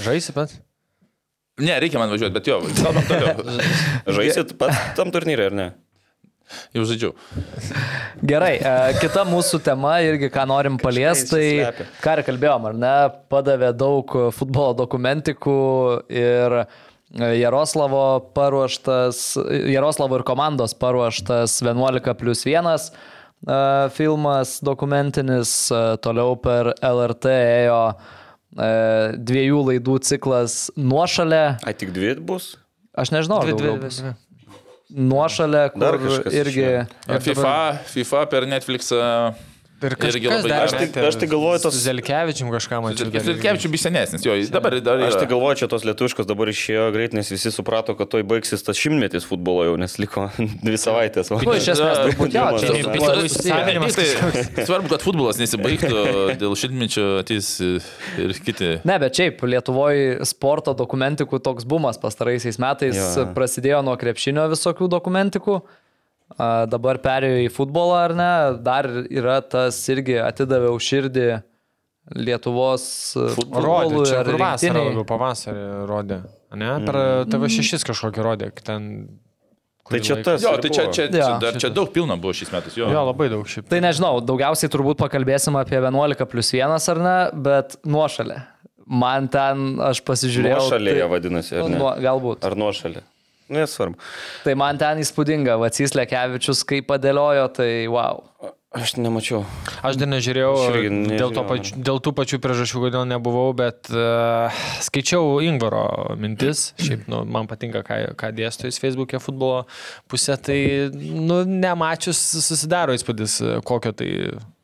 Žaisi, bet? Ne, reikia man važiuoti, bet jo, kalbam toliau. Žaisit pats tam turnyrai, ar ne? Jau žaidžiu. Gerai, e, kita mūsų tema irgi, ką norim paliesti, tai suslepia. ką ir kalbėjom, ar ne, padavė daug e, futbolo dokumentikų ir e, Jaroslavo paruoštas, Jaroslavo ir komandos paruoštas 11 plus 1 e, filmas dokumentinis, e, toliau per LRT ėjo e, dviejų laidų ciklas nuošalė, A, tik dvi bus? aš nežinau, ar daugiau bus. Nuošalė, Dar kur kažkas irgi... išėjo. ir dabar- FIFA, FIFA per e, Netflixą. Ir Irgi kažkas labai dar Aš tik, metė aš tik galvoju, Su tos, Zelkevičium kažką mačiau. dar irgi. Zilkevičius bus senesnis, jo, jis dabar dar. Tai aš yra. tik galvoju, čia tos lietuviškos dabar išėjo greit, nes visi suprato, kad toj baigsis tas šimtmetis futbolo jau, nes liko dvi savaitės. Tai Nu, iš esmės, turbūt jo, čia Taip, Dvi mažos taip, buvo taip. susiję. Savinimas Tai Svarbu, kad futbolas nesibaigtų, dėl šimtmečio ateis e, ir kiti. Ne, bet šiaip Lietuvoje sporto dokumentikų toks bumas pastaraisiais metais Jo. jo. prasidėjo nuo krepšinio visokių dokumentikų, a, dabar perėjo į futbolą ar ne, dar yra tas irgi atidaviau širdį Lietuvos e, Rodė, futbolui čia ar kur vasarą rinktinei. labiau, pavasarį rodė. Ne, per TV6 kažkokį rodė, kad ten... kurį Tai čia laiką. tas. Jo, ir tai čia, buvo. čia, čia, Jo. dar, čia daug pilna buvo šis metas. Jo. Jo, labai daug šiaip. Tai nežinau, daugiausiai turbūt pakalbėsim apie 11 plus 1 ar ne, bet nuošalė. Man ten, aš pasižiūrėjau. Nuošalė jie tai- vadinasi, ar Nu, ne? nuo- Galbūt. Ar nuošalė? Nu, Nesvarbu. Tai man ten įspūdinga, Vacys Lekevičius, kaip padėliojo, tai wow. Aš nemačiau. Aš dar nežiūrėjau, Aš irgi dėl, to nežiūrėjau, pač, dėl tų pačių priežasčių, kodėl nebuvau, bet uh, skaičiau Ingvaro mintis, šiaip nu, man patinka, ką, ką dėsto jis Facebook'e futbolo pusė, tai nu, nemačius susidaro įspūdis, e, kokio tai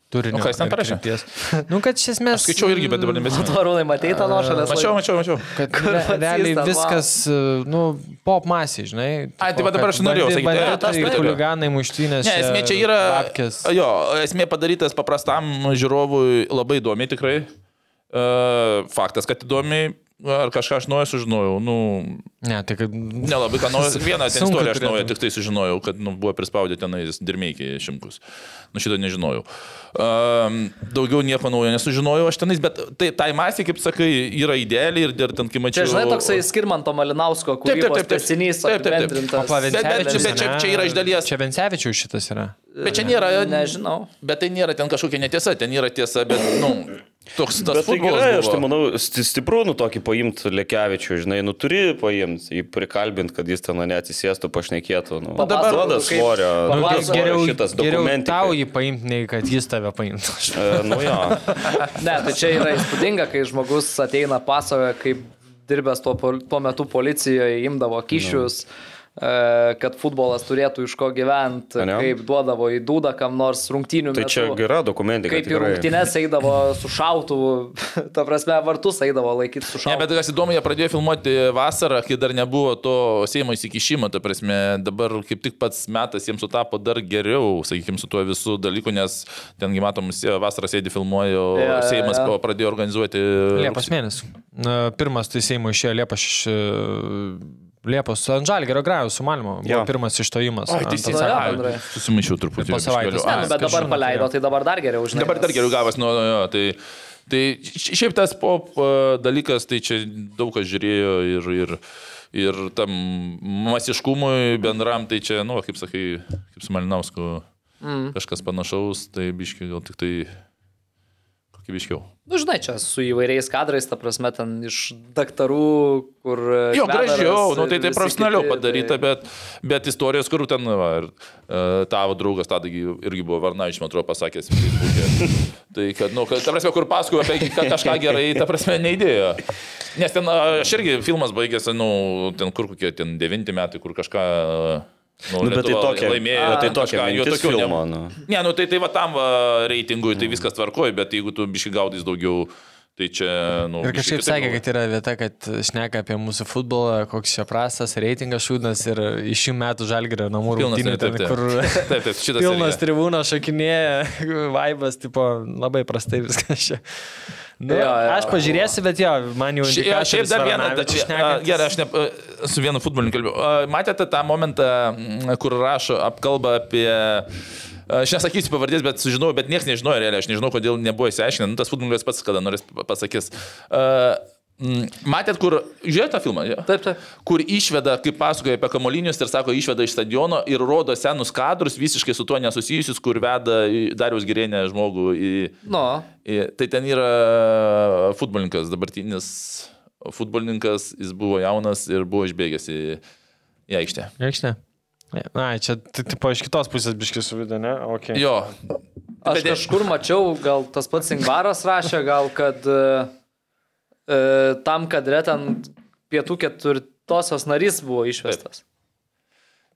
turinio. O ką jis ten ir parašė? krypties. Nu, kad iš esmės... Skaičiau irgi, bet dabar nebesimenu. Tvarūnai, matei tą nuošalę? Mačiau, mačiau, mačiau. Kad Kur re, pats realiai jis ten, viskas, e, nu, pop masiai, žinai. Ai, tai tipo, va dabar kad aš norėjau bandi- sakyti, e, tas banditai, taip. Chuliganai muštynės. e, Ne, esmė čia yra. Apkės. Jo, esmė padarytas paprastam žiūrovui labai įdomiai tikrai. E, Faktas, kad įdomiai. Ar kažką aš naujo sužinojau? Nu, Ne, tai kad... nelabai ką naujo. Vieną ten Sunku istoriją aš turėtų. naujo tik tai sužinojau, kad nu, buvo prispaudę tenais dirmeikiai šimkus. Nu, šito nežinojau. Um, daugiau nieko naujo nesužinojau aš tenais, bet tai, tai masė, kaip sakai, yra idealiai ir, ir ten, kai mačiau... Čia, žinai, toksai Skirmanto Malinausko taip, taip, kūrybos taip. tesinys, Taip, taip, taip. apibendrintas. O Pavencevičius, bet čia- ane? čia yra iš dalies- Čia Vencevičius šitas yra. Bet čia nėra... Nežinau. Bet tai nėra ten kažkokia netiesa, ten yra tiesa, bet, nu, toks tas Bet tai futbolas. gerai, aš buvo. tai manau, sti- stipru, nu tokį paimti Lekevičių, žinai, nu turi paimti, jį prikalbinti, kad jis ten neatsisėstų, pašnekėtų. Nu, O dabar- duoda kaip- svorio. Nu, duoda ge- svorio šitas geriau tau dokumentikai. jį paimti, nei kad jis tave paimtų. E, Nu jo, Ne, tai čia yra įspūdinga, kai žmogus ateina pasakoja, kaip dirbęs tuo, pol- tuo metu policijoje imdavo kišius, e, kad futbolas turėtų iš ko gyventi, Ane? kaip duodavo į dūdą kam nors rungtynių tai metu. čia gera dokumentika. Kaip į tikrai. rungtynes eidavo su šautuvu, ta prasme, vartus eidavo laikyti su Ne, šautuvu. bet kas įdomu, jie pradėjo filmuoti vasarą, kai dar nebuvo to Seimo įsikišimo, ta prasme, dabar kaip tik pats metas jiems sutapo dar geriau, sakykime, su tuo visų dalyku, nes tengi matom, se- vasarą sėdi filmuojo, Jo, jo, yeah, Seimas jo. yeah. pradėjo organizuoti. Liepos mėnesį. Na, Pirmas tai Seimo išėjo Liepos, iš, e, Liepos su Andžalgerio grajų su Malmo. Buvo Jo. pirmas išstojimas. Ai, Ant teisingai. Tada Ai, bendrai. Susimaišiau truputį. Po savaitės. biškeliu. Ne, Ai, nu, Bet Kažin, dabar tai paleido, jo. tai dabar dar geriau, žinai. Dabar dar nes- geriau gavęs, nu, nu, jo, tai, tai ši- šiaip tas pop e, dalykas, tai čia daug kas žiūrėjo ir, ir, ir tam masiškumui bendram, tai čia, nu, kaip sakai, kaip su Malinausku, mm. kažkas panašaus, tai biški gal tik tai kokybiškiau. Nu, žinai, čia su įvairiais kadrais, ta prasme, ten iš daktarų, kur... Jo, Kvedaras gražiau, nu, ir tai tai visi profesionaliau kiti, tai- tai- padaryta, bet, bet istorijos, kur ten, va, ir, e, tavo draugas, tada irgi buvo Varnavičius, man atrodo, pasakęs, feisbuke. tai kad, nu, kad, ta prasme, kur pasakojo apie ka- kažką gerai, ta prasme, neįdėjo. Nes ten, e, aš irgi filmas baigėsi, nu, ten kur kokie, ten devinti metai, kur kažką... e, Nu, Nu, bet tai Lietuva tokia, laimėjo, bet tai ten tokia kažką, jo mintis tokių ne- filmo. Nu. Ne, nu tai tai va tam va, reitingui tai viskas tvarkoji, bet jeigu tu biški gaudys daugiau Tai čia, nu, Ir biškį kažkaip kitaip sakė, galvoju. kad yra vieta, kad šneka apie mūsų futbolą, koks čia prastas, reitingas šūdnas ir iš šių metų žalgerio namų Pilnas rungtynių, yra, ten, taip, taip. kur Taip, taip, šitas pilnas irgi. tribūno šakinėja, vaibas, tipo, labai prastai viskas čia. Nu, Jo, jo. aš pažiūrėsiu, bet jo, man jau... Šia- Šiaip dar vieną, bet čia gerai, aš ne, a, su vienu futbolininku kalbėjau. A, Matėte tą momentą, m, kur rašo apkalbą apie... a, Aš nesakysiu pavardės, bet sužinojau, bet niekas nežinojo realiai, aš nežinau, kodėl nebuvo įsiaiškinę. Nu, tas futbolininkas pats kada nors pasakys. A, m, Matėt, kur... Žiūrėjote tą filmą? jo? Taip, taip. Kur išveda, kaip pasakoja apie kamolinius ir sako, išveda iš stadiono ir rodo senus kadrus, visiškai su tuo nesusijusius, kur veda į- Dariaus Girėnė žmogų į... Nu, I- Tai ten yra futbolininkas, dabartinis futbolininkas, jis buvo jaunas ir buvo išbėgęs į, į aikštę. Reikšne. Na, čia, t- tipo, iš kitos pusės biškis suvidė, ne? Okay. Jo, nu, aš Bet- kažkur mačiau, gal tas pats Ingvaras rašė, gal kad e, e, tam kadre ten pietų ketvirtosios narys buvo išvestas.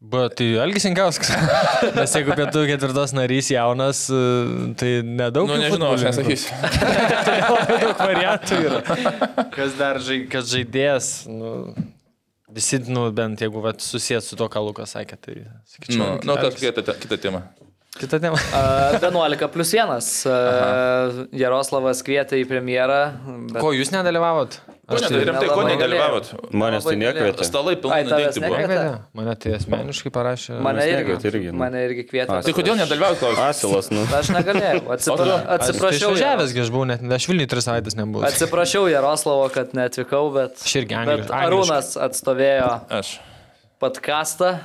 Bet tai Algis Inkauskas. Nes jeigu pietų ketvirtos narys jaunas, e, tai nedaug. nu jų nežinau, aš futbolininkų. nesakysiu. daug variantų yra. Kas dar žai, kas žaidėjas, nu, visi, nu, bent jeigu vat, susijęs su to, ką Lukas sakė, tai sakyčiau. Nu, nu Algis. kažkokia kita tema. Kita tema. E, 11 plus 1. E, Jaroslavas kvietė į premjerą. Bet... Ko jūs nedalyvavot? Ko tai... ne- rimtai, ko nelabai nedalyvavot? Manęs tai Labai nekvietė. Stalai Ai, pilnai tavęs nedaikti buvo. nekvietė? Nekvietė. Mane tai asmeniškai parašė. Mane Manęs irgi, nekvietė irgi, nu. mane irgi kvietė. A, Tai kodėl nu, nedalyvavot, klausimas? Asilas, nu. Aš negalėjau. Atsipra... Atsiprašiau. Tai Aš Jaro- žavęs, aš buvau net, aš Vilniui tris savaitės nebuvau. Atsiprašiau Jaroslavo, kad neatvykau, bet... Aš irgi Bet angliškai. Arūnas atstovėjo Aš. podcastą.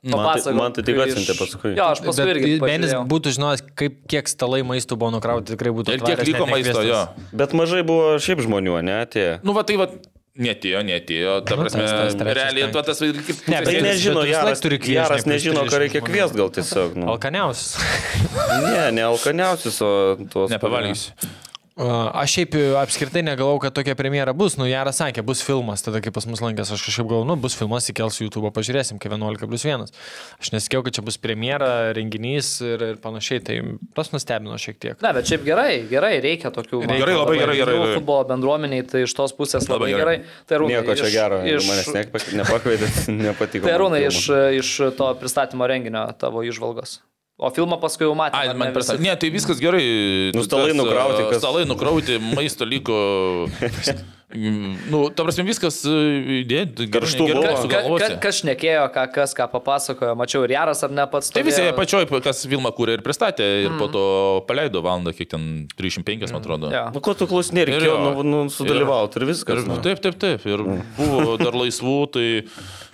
Man tai, papasakok, man tai tik kaip atsiuntė iš- paskui. Jo, aš paskui irgi. Benis pažiūrėjau. būtų žinojęs, kaip, kiek stalai maistų buvo nukrauti, tikrai būtų. Ir kiek atvaręs, liko net maisto, jo. nekviestas. Bet mažai buvo šiaip žmonių, ne, tie. Nu, va tai va, netėjo, netėjo. Ta Nu, prasme, tas trečias, realiai, penktas. va tas ir kaip... Ne, Tai bet- nežino, bet vis laik Jaras, turi kviest, Jaras ne, nežino, ką prieš reikia žmonių. kvies gal tiesiog. Nu. Alkaniausias. Ne, ne alkaniausius, o tuos. Nepavalgysiu. Uh, Aš šiaip e, apskritai negalvau, kad tokia premjera bus. Nu, Jaras sakė, bus filmas. Tada, kai pas mus lankės, aš kažkaip galvoju, nu, bus filmas, įkels į YouTube, pažiūrėsim, kai 11 plus 1. Aš nesikėjau, kad čia bus premjera, renginys ir, ir panašiai. Tai tas nustebino šiek tiek. Ne, bet šiaip gerai, gerai, reikia tokių. man Gerai, labai gerai, gerai, erdvių gerai. Futbolo bendruomeniai, tai iš tos pusės labai, Labai gerai. gerai. Tai Arūnai, Nieko čia iš- gero, jeigu iš- manęs nepak- nepakvietė, nepatiko. Tai man Arūnai, filmas. iš, iš to pristatymo renginio tavo išvalgos. O filmą paskui jau matėme. Ai, ar man ne prasa. visi? Ne, tai viskas gerai. Nu, stalai Tas, nukrauti, a, kas- Stalai nukrauti, maisto liko. Mm, Nu, ta prasme, viskas e, įdėti. Karštų buvo. Ka- ka- Kas šnekėjo, ką, kas ką papasakojo, mačiau ir Jaras ar ne pats. Tai visi stovėjo. jie pačioj, kas filmą kūrė ir pristatė, ir po to paleido valandą, kiek ten 305, man atrodo. Mm, Jo. Nu, ko tu klausinė, Ir reikėjo, jo. nu, nu, sudalyvauti ir Ir, viskas. nu. taip, taip, taip. Ir buvo dar laisvų, tai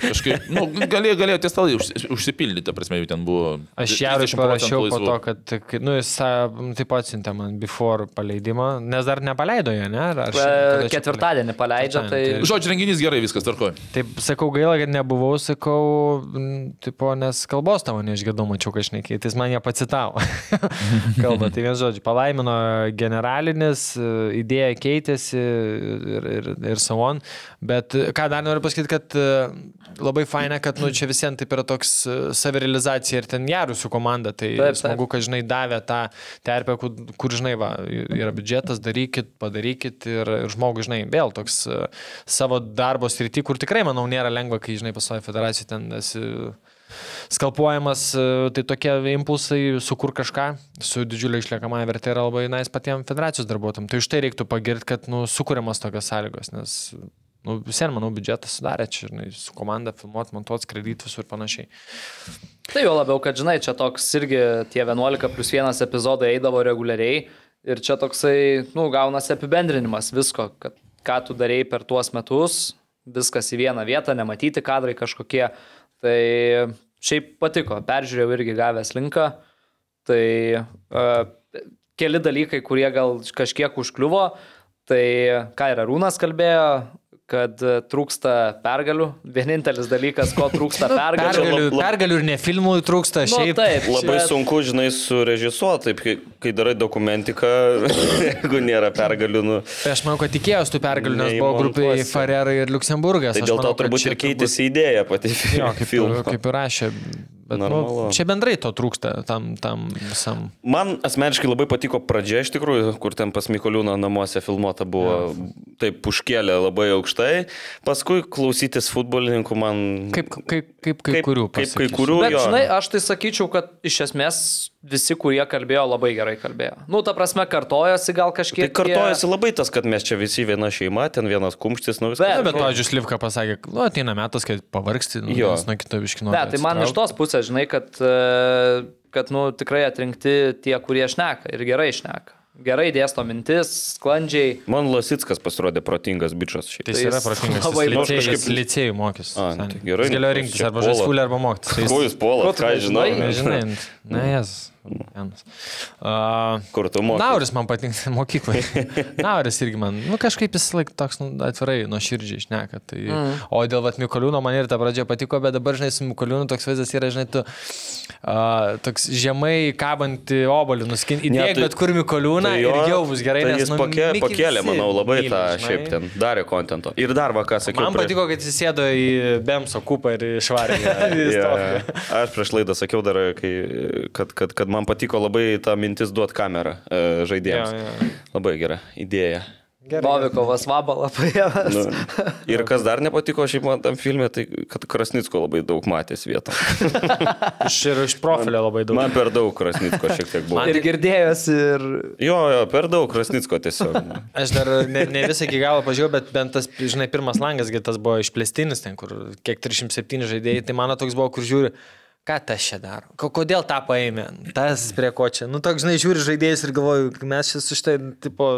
kažkaip, nu, galėjo, galėjo tie stalai užsi- užsipildyti, ta prasme, jų ten buvo. Aš Jarui 30 procentų parašiau po laisvų. to, kad, kai- nu, jis a, taip pat siuntė man before paleidimą, nes dar nepaleido jo, ne? Ar aš- E, kada čia Ketvirtadienį paleidžia, tai... Ketvirtadienį, Žodžiu, renginys gerai, viskas tvarkoja. Taip, sakau, gaila, kad nebuvau, sakau, m, tipo, nes kalbos tavo neišgirdau, mačiau, kad šnekiai, tai jis man ją pacitavo. Kalba, tai vien žodžiu, palaimino generalinis, e, idėja keitėsi ir, ir, ir so on. Bet e, ką dar noriu pasakyti, kad e, labai faina, kad nu, čia visiems taip yra toks e, savirealizacija ir ten jarų su komanda, tai Taip, taip. taip, smagu, kad, žinai, davė tą terpę, kur, kur žinai, va, yra biudžetas, darykit, padarykit ir, ir žmogui, žinai, vėl toks e, savo darbo srity, kur tikrai, manau, nėra lengva, kai, žinai, pasaulio federacija ten esi skalpuojamas, e, tai tokie impulsai, sukur kažką, su didžiulė išliekamąją vertė yra labai nais patiems federacijos darbuotojams. Tai už tai reiktų pagirti, kad, nu, sukūriamas tokios sąlygos, nes... Nu, visiems, manau, biudžetą sudarė čia, žinai, su komanda filmuoti, montuoti, skraidyti visur ir panašiai. Tai jau labiau, kad žinai, čia toks irgi tie 11 plus 1 epizodai eidavo reguliariai ir čia toksai, nu, gaunasi apibendrinimas visko, kad ką tu darėjai per tuos metus, viskas į vieną vietą, nematyti kadrai kažkokie. Tai šiaip patiko, peržiūrėjau irgi gavęs linką. Tai e, keli dalykai, kurie gal kažkiek užkliuvo, tai ką ir Arūnas kalbėjo, kad e, trūksta pergalių. Vienintelis dalykas, ko trūksta pergalių. Pergalių, lab- lab- pergalių ir ne filmui trūksta, Nu, šiaip. taip, Labai čia- sunku, žinai, surežisuoti, taip, kai, kai darai dokumentiką, jeigu nėra pergalių, nu. Tai aš manau, kad tikėjausi tų pergalių, nes buvo grupiai Neįmontuosi. Farerai ir Liuksemburgas. Tai Aš dėl to manau, kad turbūt čia ir keitėsi idėja pati turbūt- Jo, kaip, filmo. kaip ir rašė Bet, nu, Normalu. čia bendrai to trūksta tam, tam visam. Man asmeniškai labai patiko pradžia iš tikrųjų, kur ten pas Mikoliūną namuose filmuota buvo, taip užkėlė labai aukštai, paskui klausytis futbolininkų man... Kaip, kaip, kaip kai kurių. Kaip kai pasakysiu. kurių, Bet jo. žinai, aš tai sakyčiau, kad iš esmės visi, kurie kalbėjo, labai gerai kalbėjo. Nu, ta prasme, kartojasi gal tai kažkiek. kartojasi labai tas, kad mes čia visi viena šeima, ten vienas kumštis, nu Bet- viskas. Na, bet, pavyzdžiui, Slivka pasakė, nu, ateina metas, kai pavargsti, nu, Jo. vienas nuo kito viškino. Ne, tai man iš tos pusės, žinai, kad, e, kad nu, tikrai atrinkti tie, kurie šneka ir gerai šneka. Gerai dėsto mintis, sklandžiai. Man Lasitskas pasirodė protingas bičias šiaip. Tai jis yra jis protingas. labai- Nu, aš Jis kažkaip- licėjų mokys. A, nu, tai gerai, nu, Galėjo tai rinktis čia arba puola. žaisvulį, arba mokytis. Tai jis- Ko jūs puolat, Ko tu ką žinau? nežinai? Nežinau. Nežinai, ne jas. Vienas. A, Kur tu moki? Nauris man patinka mokyklai. Nauris irgi man, nu kažkaip jis laik toks nu, atvirai, nuo širdžiai išneka. Tai... Mm. O dėl vat Mikoliūno man ir ta pradžia patiko, bet dabar, žinai, su Mikoliūnu toks vaizdas yra, žinai, tu a, toks žemai kabantį obolį nuskinti. Ne, Įdėk tai- tai, bet kur Mikoliūną tai ir jau bus gerai. Tai nes, jis pakė, Mikį pakėlė, visi manau, labai myli, tą žinai. šiaip ten darė kontento. Ir dar vaką sakiau. Man patiko, kad jis sėdo į Bemso kupą ir išvarė. prieš... Jis toks. yeah. Aš prieš laidą sakiau dar, kai, kad, kad, kad man patiko labai ta mintis duoti kamerą e, žaidėjams. Jo, Yeah, yeah. Labai gera idėja. Bovikovas vabalą paėmė. Nu, ir kas dar nepatiko šiaip man tam filmė, tai kad Krasnicko labai daug matės vietą. Iš, ir iš profilio labai daug. Man per daug Krasnicko šiek tiek buvo. Ir girdėjosi, ir Jo, jo, per daug Krasnicko tiesiog. Aš dar ne, ne visą iki galo pažiūrėjau, bet bent tas, žinai, pirmas langas, gi tas buvo išplėstinis ten, kur kiek 307 žaidėjai, tai mano toks buvo, kur žiūri, ką tas čia daro, Ko- kodėl tą paėmė, tas prie ko čia. Nu, toks, žinai, žiūri žaidėjus ir galvoju, mes čia su šitai, tipo,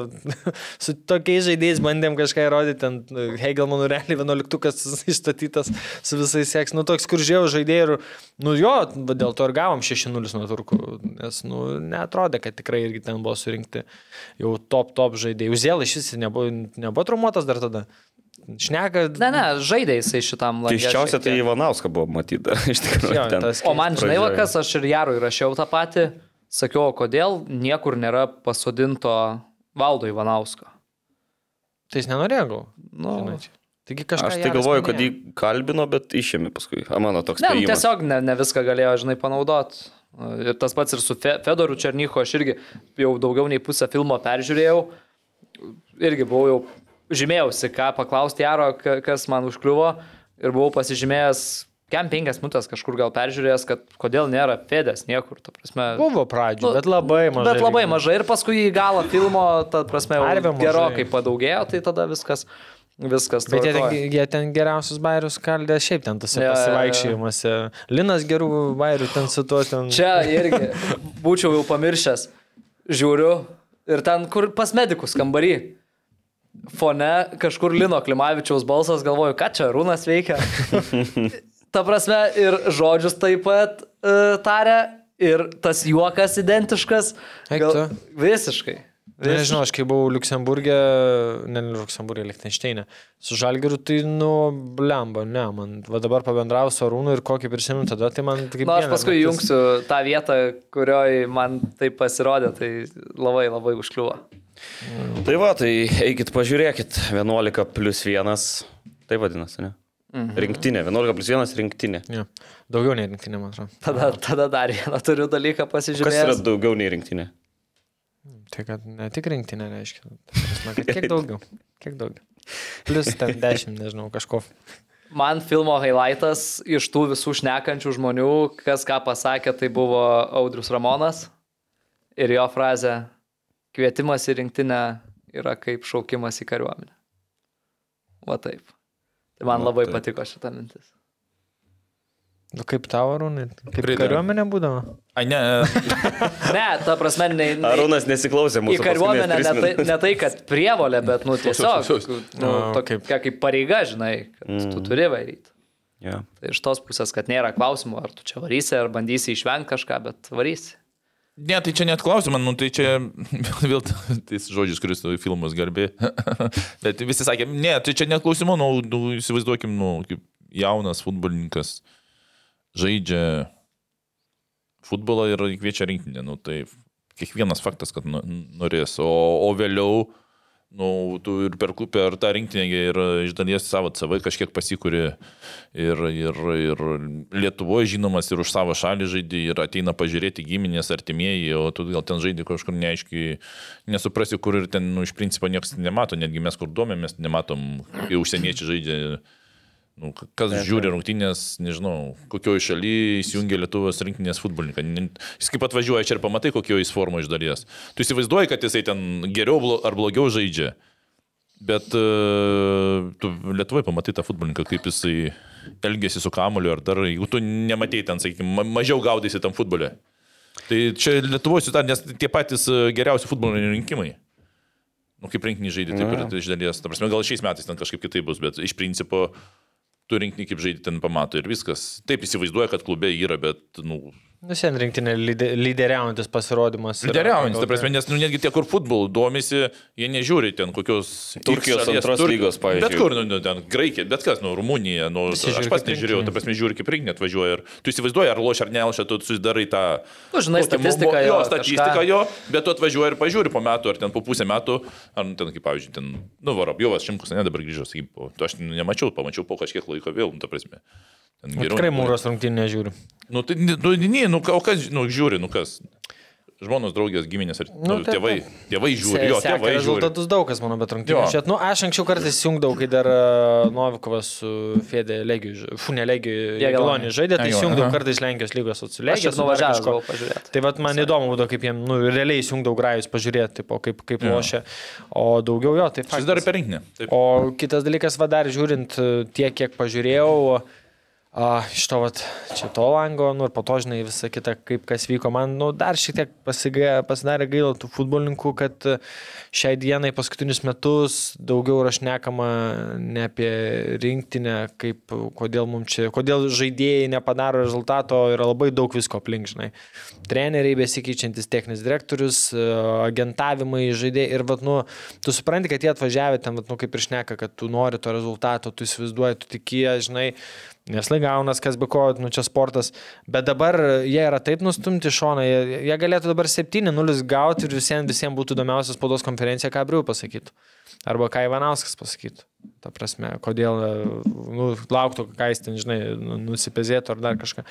su tokiais žaidėjais bandėm kažką įrodyti, ten Hegelmanų realiai 11-ukas išstatytas su visais seks, nu, toks, kur žiūrėjau žaidėjai ir, nu, jo, va dėl to ir gavom 6-0 nuo turkų, nes, nu, netrodė, kad tikrai irgi ten buvo surinkti jau top, top žaidėjai. Uzėl iš vis nebuvo, nebuvo traumuotas dar tada. Šneka. Ne, ne, žaidė jisai šitam lange. Keiščiausia šiek tai tiek. Ivanauską buvo matyti iš tikrųjų. Jo, ten. tas- O man žinai, va, pradžioj. kas aš ir Jarui rašiau tą patį, sakiau, o kodėl niekur nėra pasodinto valdo Ivanausko. Tai jis nenorėjo gal. Nu, žinai, čia. Taigi kažkas. Aš tai galvoju, kad jį kalbino, bet išėmė paskui. A, mano toks ne, nu, spėjimas. tiesiog ne, ne viską galėjo, žinai, panaudot. Ir tas pats ir su Fe, Fedoru Černycho, aš irgi jau daugiau nei pusę filmo peržiūrėjau. Irgi buvau jau žymėjausi, ką paklausti Jaro, ka- kas man užkliuvo. Ir buvau pasižymėjęs, kem penkias minutės kažkur gal peržiūrėjęs, kad kodėl nėra Fedės niekur. ta Prasme, Buvo pradžio, Nu, bet labai mažai. Bet labai mažai ir paskui į galą filmo, ta prasme, Arvė jau mažai. gerokai padaugėjo, tai tada viskas, viskas. Bet jie tvarkoj. ten, jie ten geriausius bairius kaldė šiaip ten tose Jo, jo, jo. pasivaikščiojimuose. Linas gerų bairių ten su tuo ten. Čia irgi būčiau jau pamiršęs. Žiūriu ir ten, kur pas medikus kambarį. Fone kažkur Lino Klimavičiaus balsas, galvoju, ką čia Rūnas veikia. Ta prasme, ir žodžius taip pat uh, taria, ir tas juokas identiškas. Eik tu. visiškai. Na, Nežinau, aš kai buvau Luksemburgė, ne ne Luksemburgė, Lichtensteinė, su Žalgiriu, tai nu, blemba, ne, man, va dabar pabendrau su Arūnu ir kokį prisimenu tada, tai man kaip... Na, Nu, aš vienas paskui naktis- jungsiu tą vietą, kurioje man tai pasirodė, tai labai labai užkliuvo. Tai va, tai eikit pažiūrėkit. 11 plus 1. Tai vadinasi, ne? Mhm. Rinktinė. 11 plus 1 rinktinė. Jo. Daugiau nei rinktinė, man atrodo. Tada, tada dar vieną turiu dalyką Kas yra pasižiūrėti. daugiau nei rinktinė? Tai kad ne tik rinktinė reiškia. ta prasme, kad Kiek daugiau? Kiek daugiau? Plus ten 10, nežinau, kažko. Man filmo highlightas iš tų visų šnekančių žmonių, kas ką pasakė, tai buvo Audrius Ramonas ir jo frazė kvietimas į rinktinę yra kaip šaukimas į kariuomenę. Va taip. Tai man Va labai taip. patiko šitą mintis. Nu, kaip tavo Arūnai? Kaip Pridariu. kariuomenė būdavo? Ai, ne, Ne, ta prasme, ne. Arūnas nesiklausė į mūsų. kariuomenę paskutinės ne tris tai, minutės. ne tai, kad prievolė, bet, nu, tiesiog, klausiau, klausiau. nu, A, tokia kaip. kaip pareiga, žinai, kad mm. tu turi varyti. Jo. Tai iš tos pusės, kad nėra klausimų, ar tu čia varysi, ar bandysi išvengti kažką, bet varysi. Ne, tai čia net klausimas, nu, tai čia vėl tais žodžiais, kuris tu filmus garbi. Bet visi sakė, ne, tai čia net klausimų, nu, nu, įsivaizduokim, nu, kaip jaunas futbolininkas žaidžia futbolą ir kviečia rinktinę. Nu, tai kiekvienas faktas, kad nu, norės, o, o vėliau Nu, tu ir per, klu- per tą rinktinę gi ir iš dalies savo CV kažkiek pasikūri ir, ir, ir Lietuvoje žinomas, ir už savo šalį žaidži, ir ateina pažiūrėti giminės, artimieji, o tu gal ten žaidži kažkur neaiškiai, nesuprasi, kur ir ten nu, iš principo niekas nemato, netgi mes kur domėmės, nematom, kai užsieniečiai žaidžia Nu, k- kas žiūri rungtynės, nežinau, kokioje šalyje įsijungia Lietuvos rinktinės futbolininką. Nin- Jis kaip atvažiuoja čia ir pamatai, kokio jis formo iš dalies. Tu įsivaizduoji, kad jisai ten geriau blo- ar blogiau žaidžia. Bet e, tu Lietuvoje pamatai tą futbolininką, kaip jisai elgesi su kamoliu ar dar, jeigu tu nematei ten, sakykime, mažiau gaudysi tam futbole. Tai čia Lietuvoje situacija, nes tie patys e, geriausi futboliniai rinkimai. Nu, kaip rinkiniai žaidė, taip ir iš dalies. Ta prasme, gal šiais metais ten kažkaip kitaip bus, bet iš principo tu rinkinį kaip žaidži ten pamato ir viskas. Taip įsivaizduoja, kad klube yra, bet, nu, Nu, sen rinktinė lyde- lyderiaujantis pasirodymas. yra. lyderiaujantis, Tai ta prasme, nes nu, netgi tie, kur futbol domisi, jie nežiūri ten kokios... Turkijos X šalies, antros lygos, pavyzdžiui. Bet kur, nu, nu, ten Graikija, bet kas, nu, Rumunija, nu, Visi žiūri aš pats kaip nežiūrėjau, rinktinė. ta prasme, žiūri kaip rinkinį atvažiuoja ir tu įsivaizduoji, ar lošia ar nelšia, tu susidarai tą... Nu, žinai, tokį mo- statistiką mo- jo, Jo, statistiką kažką. jo, bet tu atvažiuoji ir pažiūri po metų, ar ten po pusę metų, ar nu, ten, kaip pavyzdžiui, ten, nu, Varapjovas, Šimkus, ne, dabar grįžęs, sakykim, po- tu aš nu nemačiau, pamačiau po kažkiek laiko vėl, nu, ta prasme. Ten Nu, geriau Tikrai negu- mūros rungtinė žiūri. Nu, tai, nu, ne, nu, ką- o kas, nu, žiūri, nu, kas. Žmonos, draugės, giminės, ar, nu, Nu, taip, tėvai. Tėvai žiūri, jo, Seka tėvai žiūri. rezultatus daug kas, manau, bet rungtynių. Jo. Čia, nu, aš anksčiau kartais jungdavau, kai dar e, Novikovas su Fede Legiju, Funė Legiju, Jie Jelonį Gelonį. žaidė, tai Jo, jungdavau aha. kartais Lenkijos lygos Aš atsileidžiu. jau nuvažiavęs buvau pažiūrėti. Tai vad man įdomu būdavo, kaip jiem, nu, realiai įsijungdavau grajus pažiūrėti, tipo, kaip, kaip lošia. O daugiau jo, tai Jis faktas. dar per rinkinį. Taip. O kitas dalykas, va dar žiūrint e, tiek, kiek pažiūrėjau, a, iš to vat, čia to lango, nu ir po to, žinai, visą kitą, kaip kas vyko, man nu, dar šiek tiek pasiga, pasidarė gaila tų futbolininkų, kad e, šiai dienai paskutinius metus daugiau yra šnekama ne apie rinktinę, kaip, e, kodėl mums čia, kodėl žaidėjai nepadaro rezultato, yra labai daug visko aplink, žinai. Treneriai besikeičiantis, techninis direktorius, e, agentavimai, žaidėjai ir, vat, nu, tu supranti, kad jie atvažiavė ten, vat, nu, kaip ir šneka, kad tu nori to rezultato, tu įsivaizduoji, tu tikie, žinai, nes laigaunas, kas be ko, nu, čia sportas, bet dabar jie yra taip nustumti į šoną, jie, jie galėtų dabar 7-0 gauti ir visiems, visiems būtų įdomiausias spaudos konferencija, ką Briu pasakytų. Arba ką Ivanauskas pasakytų. Ta prasme, kodėl e, nu, lauktų, ką jis ten, žinai, nu- nusipezėtų ar dar kažką.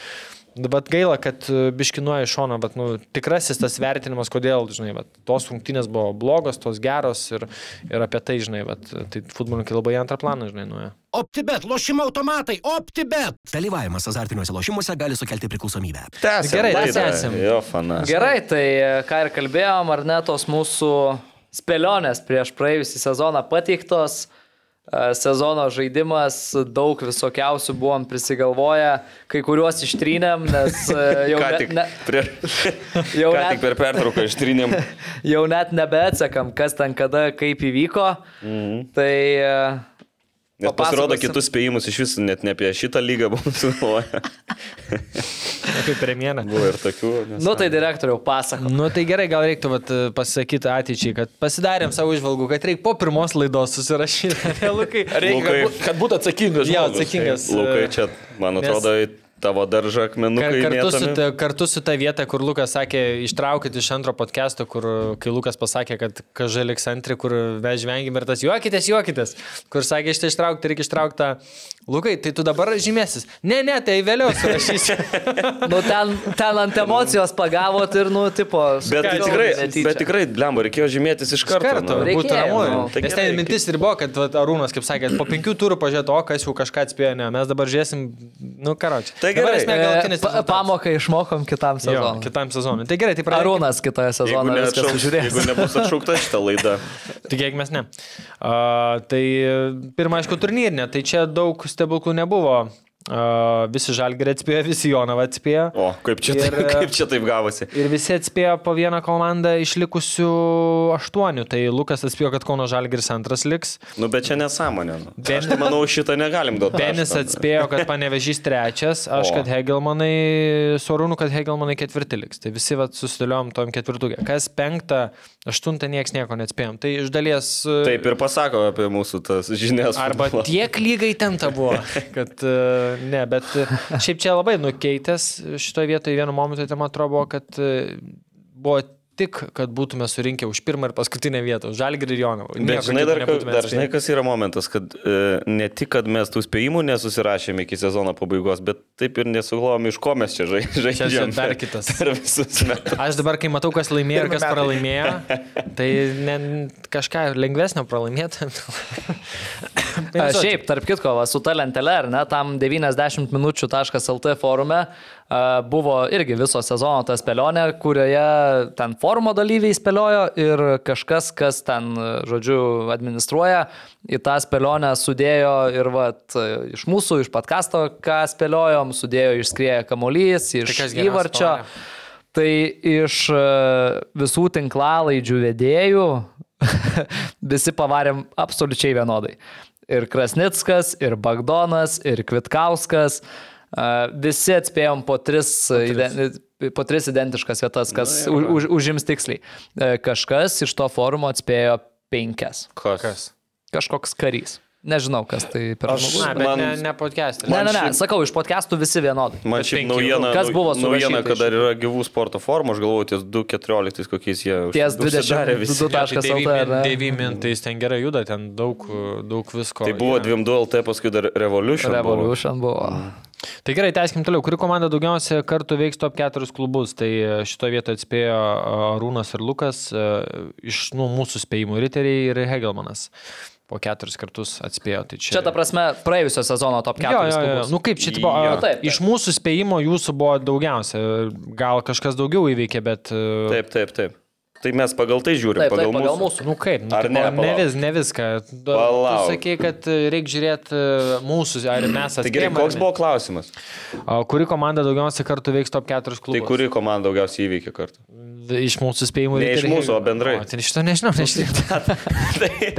Nu, Bet gaila, kad biškinuoja iš šono, bet nu, tikrasis tas vertinimas, kodėl, žinai, vat, tos rungtynės buvo blogos, tos geros ir, ir apie tai, žinai, vat, tai futbolininkai labai į antrą planą, žinai, nuėjo. OptiBet, lošimo automatai, OptiBet. Dalyvavimas azartiniuose lošimuose gali sukelti priklausomybę. Tęsiam Gerai, laidą. tęsiam. Jo, fanas. Gerai, tai e, ką ir kalbėjom, ar ne tos mūsų spėlionės prieš praėjusią sezoną pateiktos, E, sezono žaidimas, daug visokiausių buvom prisigalvoję, kai kuriuos ištrynėm, nes e, jau Ką net tik, ne, prie, jau ką net- tik per pertrauką ištrynėm. jau net nebeatsekam, kas ten kada, kaip įvyko. Mhm. Tai e, Nes pasirodo, papasakosim. kitus spėjimus iš viso net ne apie šitą lygą buvom sugalvoję. Kaip premjera. Buvo ir tokių. Nes... Nu tai direktoriau, pasako. Nu tai gerai, gal reiktų vat, pasakyti ateičiai, kad pasidarėm savo išvalgų, kad reikia po pirmos laidos susirašyti. Lukai, Lukai, Kad būtų atsakingas. jau žmogus. atsakingas. Lukai, e, čia, man nes- atrodo, į tavo daržą akmenukai. Kar, kartu, su mėtomi. ta, kartu su ta vieta, kur Lukas sakė, ištraukit iš antro podcast'o, kur kai Lukas pasakė, kad kaželiks antri, kur mes žvengim ir tas juokitės, juokitės, kur sakė, šitą ištraukti reikia ištraukti. Lukai, tai tu dabar žymėsis. Ne, ne, tai vėliau surašysiu. Nu ten, ten ant emocijos pagavot ir, nu, tipo. Bet tai sugalvojot tikrai, netyčia. bet tikrai, blemba, reikėjo žymėtis iš karto. Kartu, nu. Reik- būtų Reikėjo, ramu. nu. Tai Nes gerai, ten mintis ir buvo, kad vat, Arūnas, kaip sakė, po penkių turų pažiūrėtų, o kas jau kažką atspėjo, ne, mes dabar žiūrėsim, nu, karoči. Tai gerai. esmė E, galutinis. pa- rezultatas. Pamoką išmokom kitam Jo, sezonui. kitam sezonui. Tai gerai, tai pradėkime. Arūnas kitoje Jeigu, sezonoje viską neatšauks- sužiūrės. jeigu nebus atšaukta šitą laidą. Tikėkime, Tai ne. Uh, tai pirmą, aišku, turnyrinė, tai čia daug stebuklų nebuvo. Uh, visi žalgerį atspėjo, visi Jonavą atspėjo. O, kaip čia, Ir, taip, kaip čia taip gavosi? Ir visi atspėjo po vieną komandą išlikusių aštuonių. Tai Lukas atspėjo, kad Kauno žalgeris antras liks. Nu, bet čia nesąmonė. Nu. Ben- Aš tai manau, šitą negalim duoti. Penis taško. atspėjo, kad panevežys trečias, aš, O. kad Hegelmanai, Sorūnų, kad Hegelmanai ketvirti liks. Tai visi vat, susidėliom tom ketvirtukė. Kas penktą, aštuntą nieks nieko neatspėjom. Tai iš dalies... e, Taip ir pasako apie mūsų tas žinias. Arba futbolo. tiek lygai tenta buvo, kad e, ne, bet e, šiaip čia labai nukeitęs šitoje vietoje vienu momentu, tai man atrodo, buvo, kad e, buvo tik, kad būtume surinkę už pirmą ir paskutinę vietą, už žalgirį ir jonavą. Bet žinai, dar, ka- dar žinai, kas yra momentas, kad e, ne tik, kad mes tų spėjimų nesusirašėme iki sezono pabaigos, bet taip ir nesugalvojom, iš ko mes čia žai- čia žaidžiam. dar kitas. Per visus metus. Aš dabar, kai matau, kas laimėjo ir kas pralaimėjo, tai ne, kažką lengvesnio pralaimėti. A, Šiaip, tarp kitko, va, su ta lentele, ar ne, tam 90 minučių.lt forume a, buvo irgi viso sezono ta spėlionė, kurioje ten forumo dalyviai spėliojo ir kažkas, kas ten, a, žodžiu, administruoja, į tą spėlionę sudėjo ir va, iš mūsų, iš podkasto, ką spėliojom, sudėjo išskrieja kamolys, iš kas geriausia įvarčio. spalva? Tai iš e, visų tinklalaidžių vedėjų visi pavarėm absoliučiai vienodai. Ir Krasnickas, ir Bagdonas, ir Kvitkauskas. e, Visi atspėjom po tris, po tris. Po tris identiškas vietas, kas u, už, užims tiksliai. E, Kažkas iš to forumo atspėjo penkias. Kas? Kažkoks karys. Nežinau, kas tai per Aš- žmogus. Na, bet man... ne, Man- ne podcast'e. Ne, man ne, ne, šiaip- sakau, iš podcastų visi vienodai. Man Bet šiaip penki. naujiena, Kas buvo su naujiena kad dar yra gyvų sporto formų, aš galvoju, ties 2.14 kokiais jie už- Ties užsidarė visi. tai 22.lt. Devymin, tai jis ten gerai juda, ten daug, daug visko. Tai buvo yra. 2.2LT, paskui dar Revolution. buvo. Revolution buvo. Tai gerai, tęskim toliau. Kuri komanda daugiausia kartų veiks top 4 klubus? Tai e, šitoje vietoje atspėjo Rūnas ir Lukas, e, iš nu, mūsų spėjimų Riteriai ir Hegelmanas. Po keturis kartus atspėjo. Tai čia... Čia ta prasme, praėjusio sezono top 4. Jo, jo, jo. Nu kaip čia, tipo, Jo. a, Taip, taip. iš mūsų spėjimo jūsų buvo daugiausia. Gal kažkas daugiau įveikė, bet... e, Taip, taip, taip. Tai mes pagal tai žiūrim, Taip, pagal, taip, pagal mūsų. mūsų. Nu kaip, nu, Ar tipo, ne, ne, palauk. vis, ne viską. Palauk. Sakė, kad e, reikia žiūrėti e, mūsų, ar mes Tai gerai, atspėjome. koks buvo klausimas? Kuri komanda daugiausia kartų veiks top 4 klubus? Tai kuri komanda daugiausiai įveikė kartu? Tai Iš mūsų spėjimų Ne iš Riteriai- mūsų, o bendrai. O, tai šito nežinau, nežinau.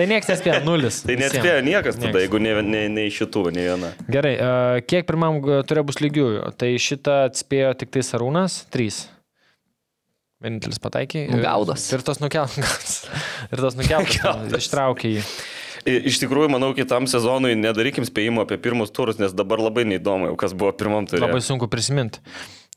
tai niekas nespėjo, nulis. Tai visiem. nespėjo niekas tada, Nieks. jeigu ne, ne, ne iš šitų, ne viena. Gerai, e, kiek pirmam turėjo bus lygiųjų? Tai šitą atspėjo tik tai Sarūnas, trys. Vienintelis pataikė. ir- Gaudas. Ir tas nukeltas. Ir tas nukeltas. Ištraukė jį. I- Iš tikrųjų, manau, kitam sezonui nedarykim spėjimo apie pirmus turus, nes dabar labai neįdomu, jau, kas buvo pirmam turė. Labai sunku prisiminti.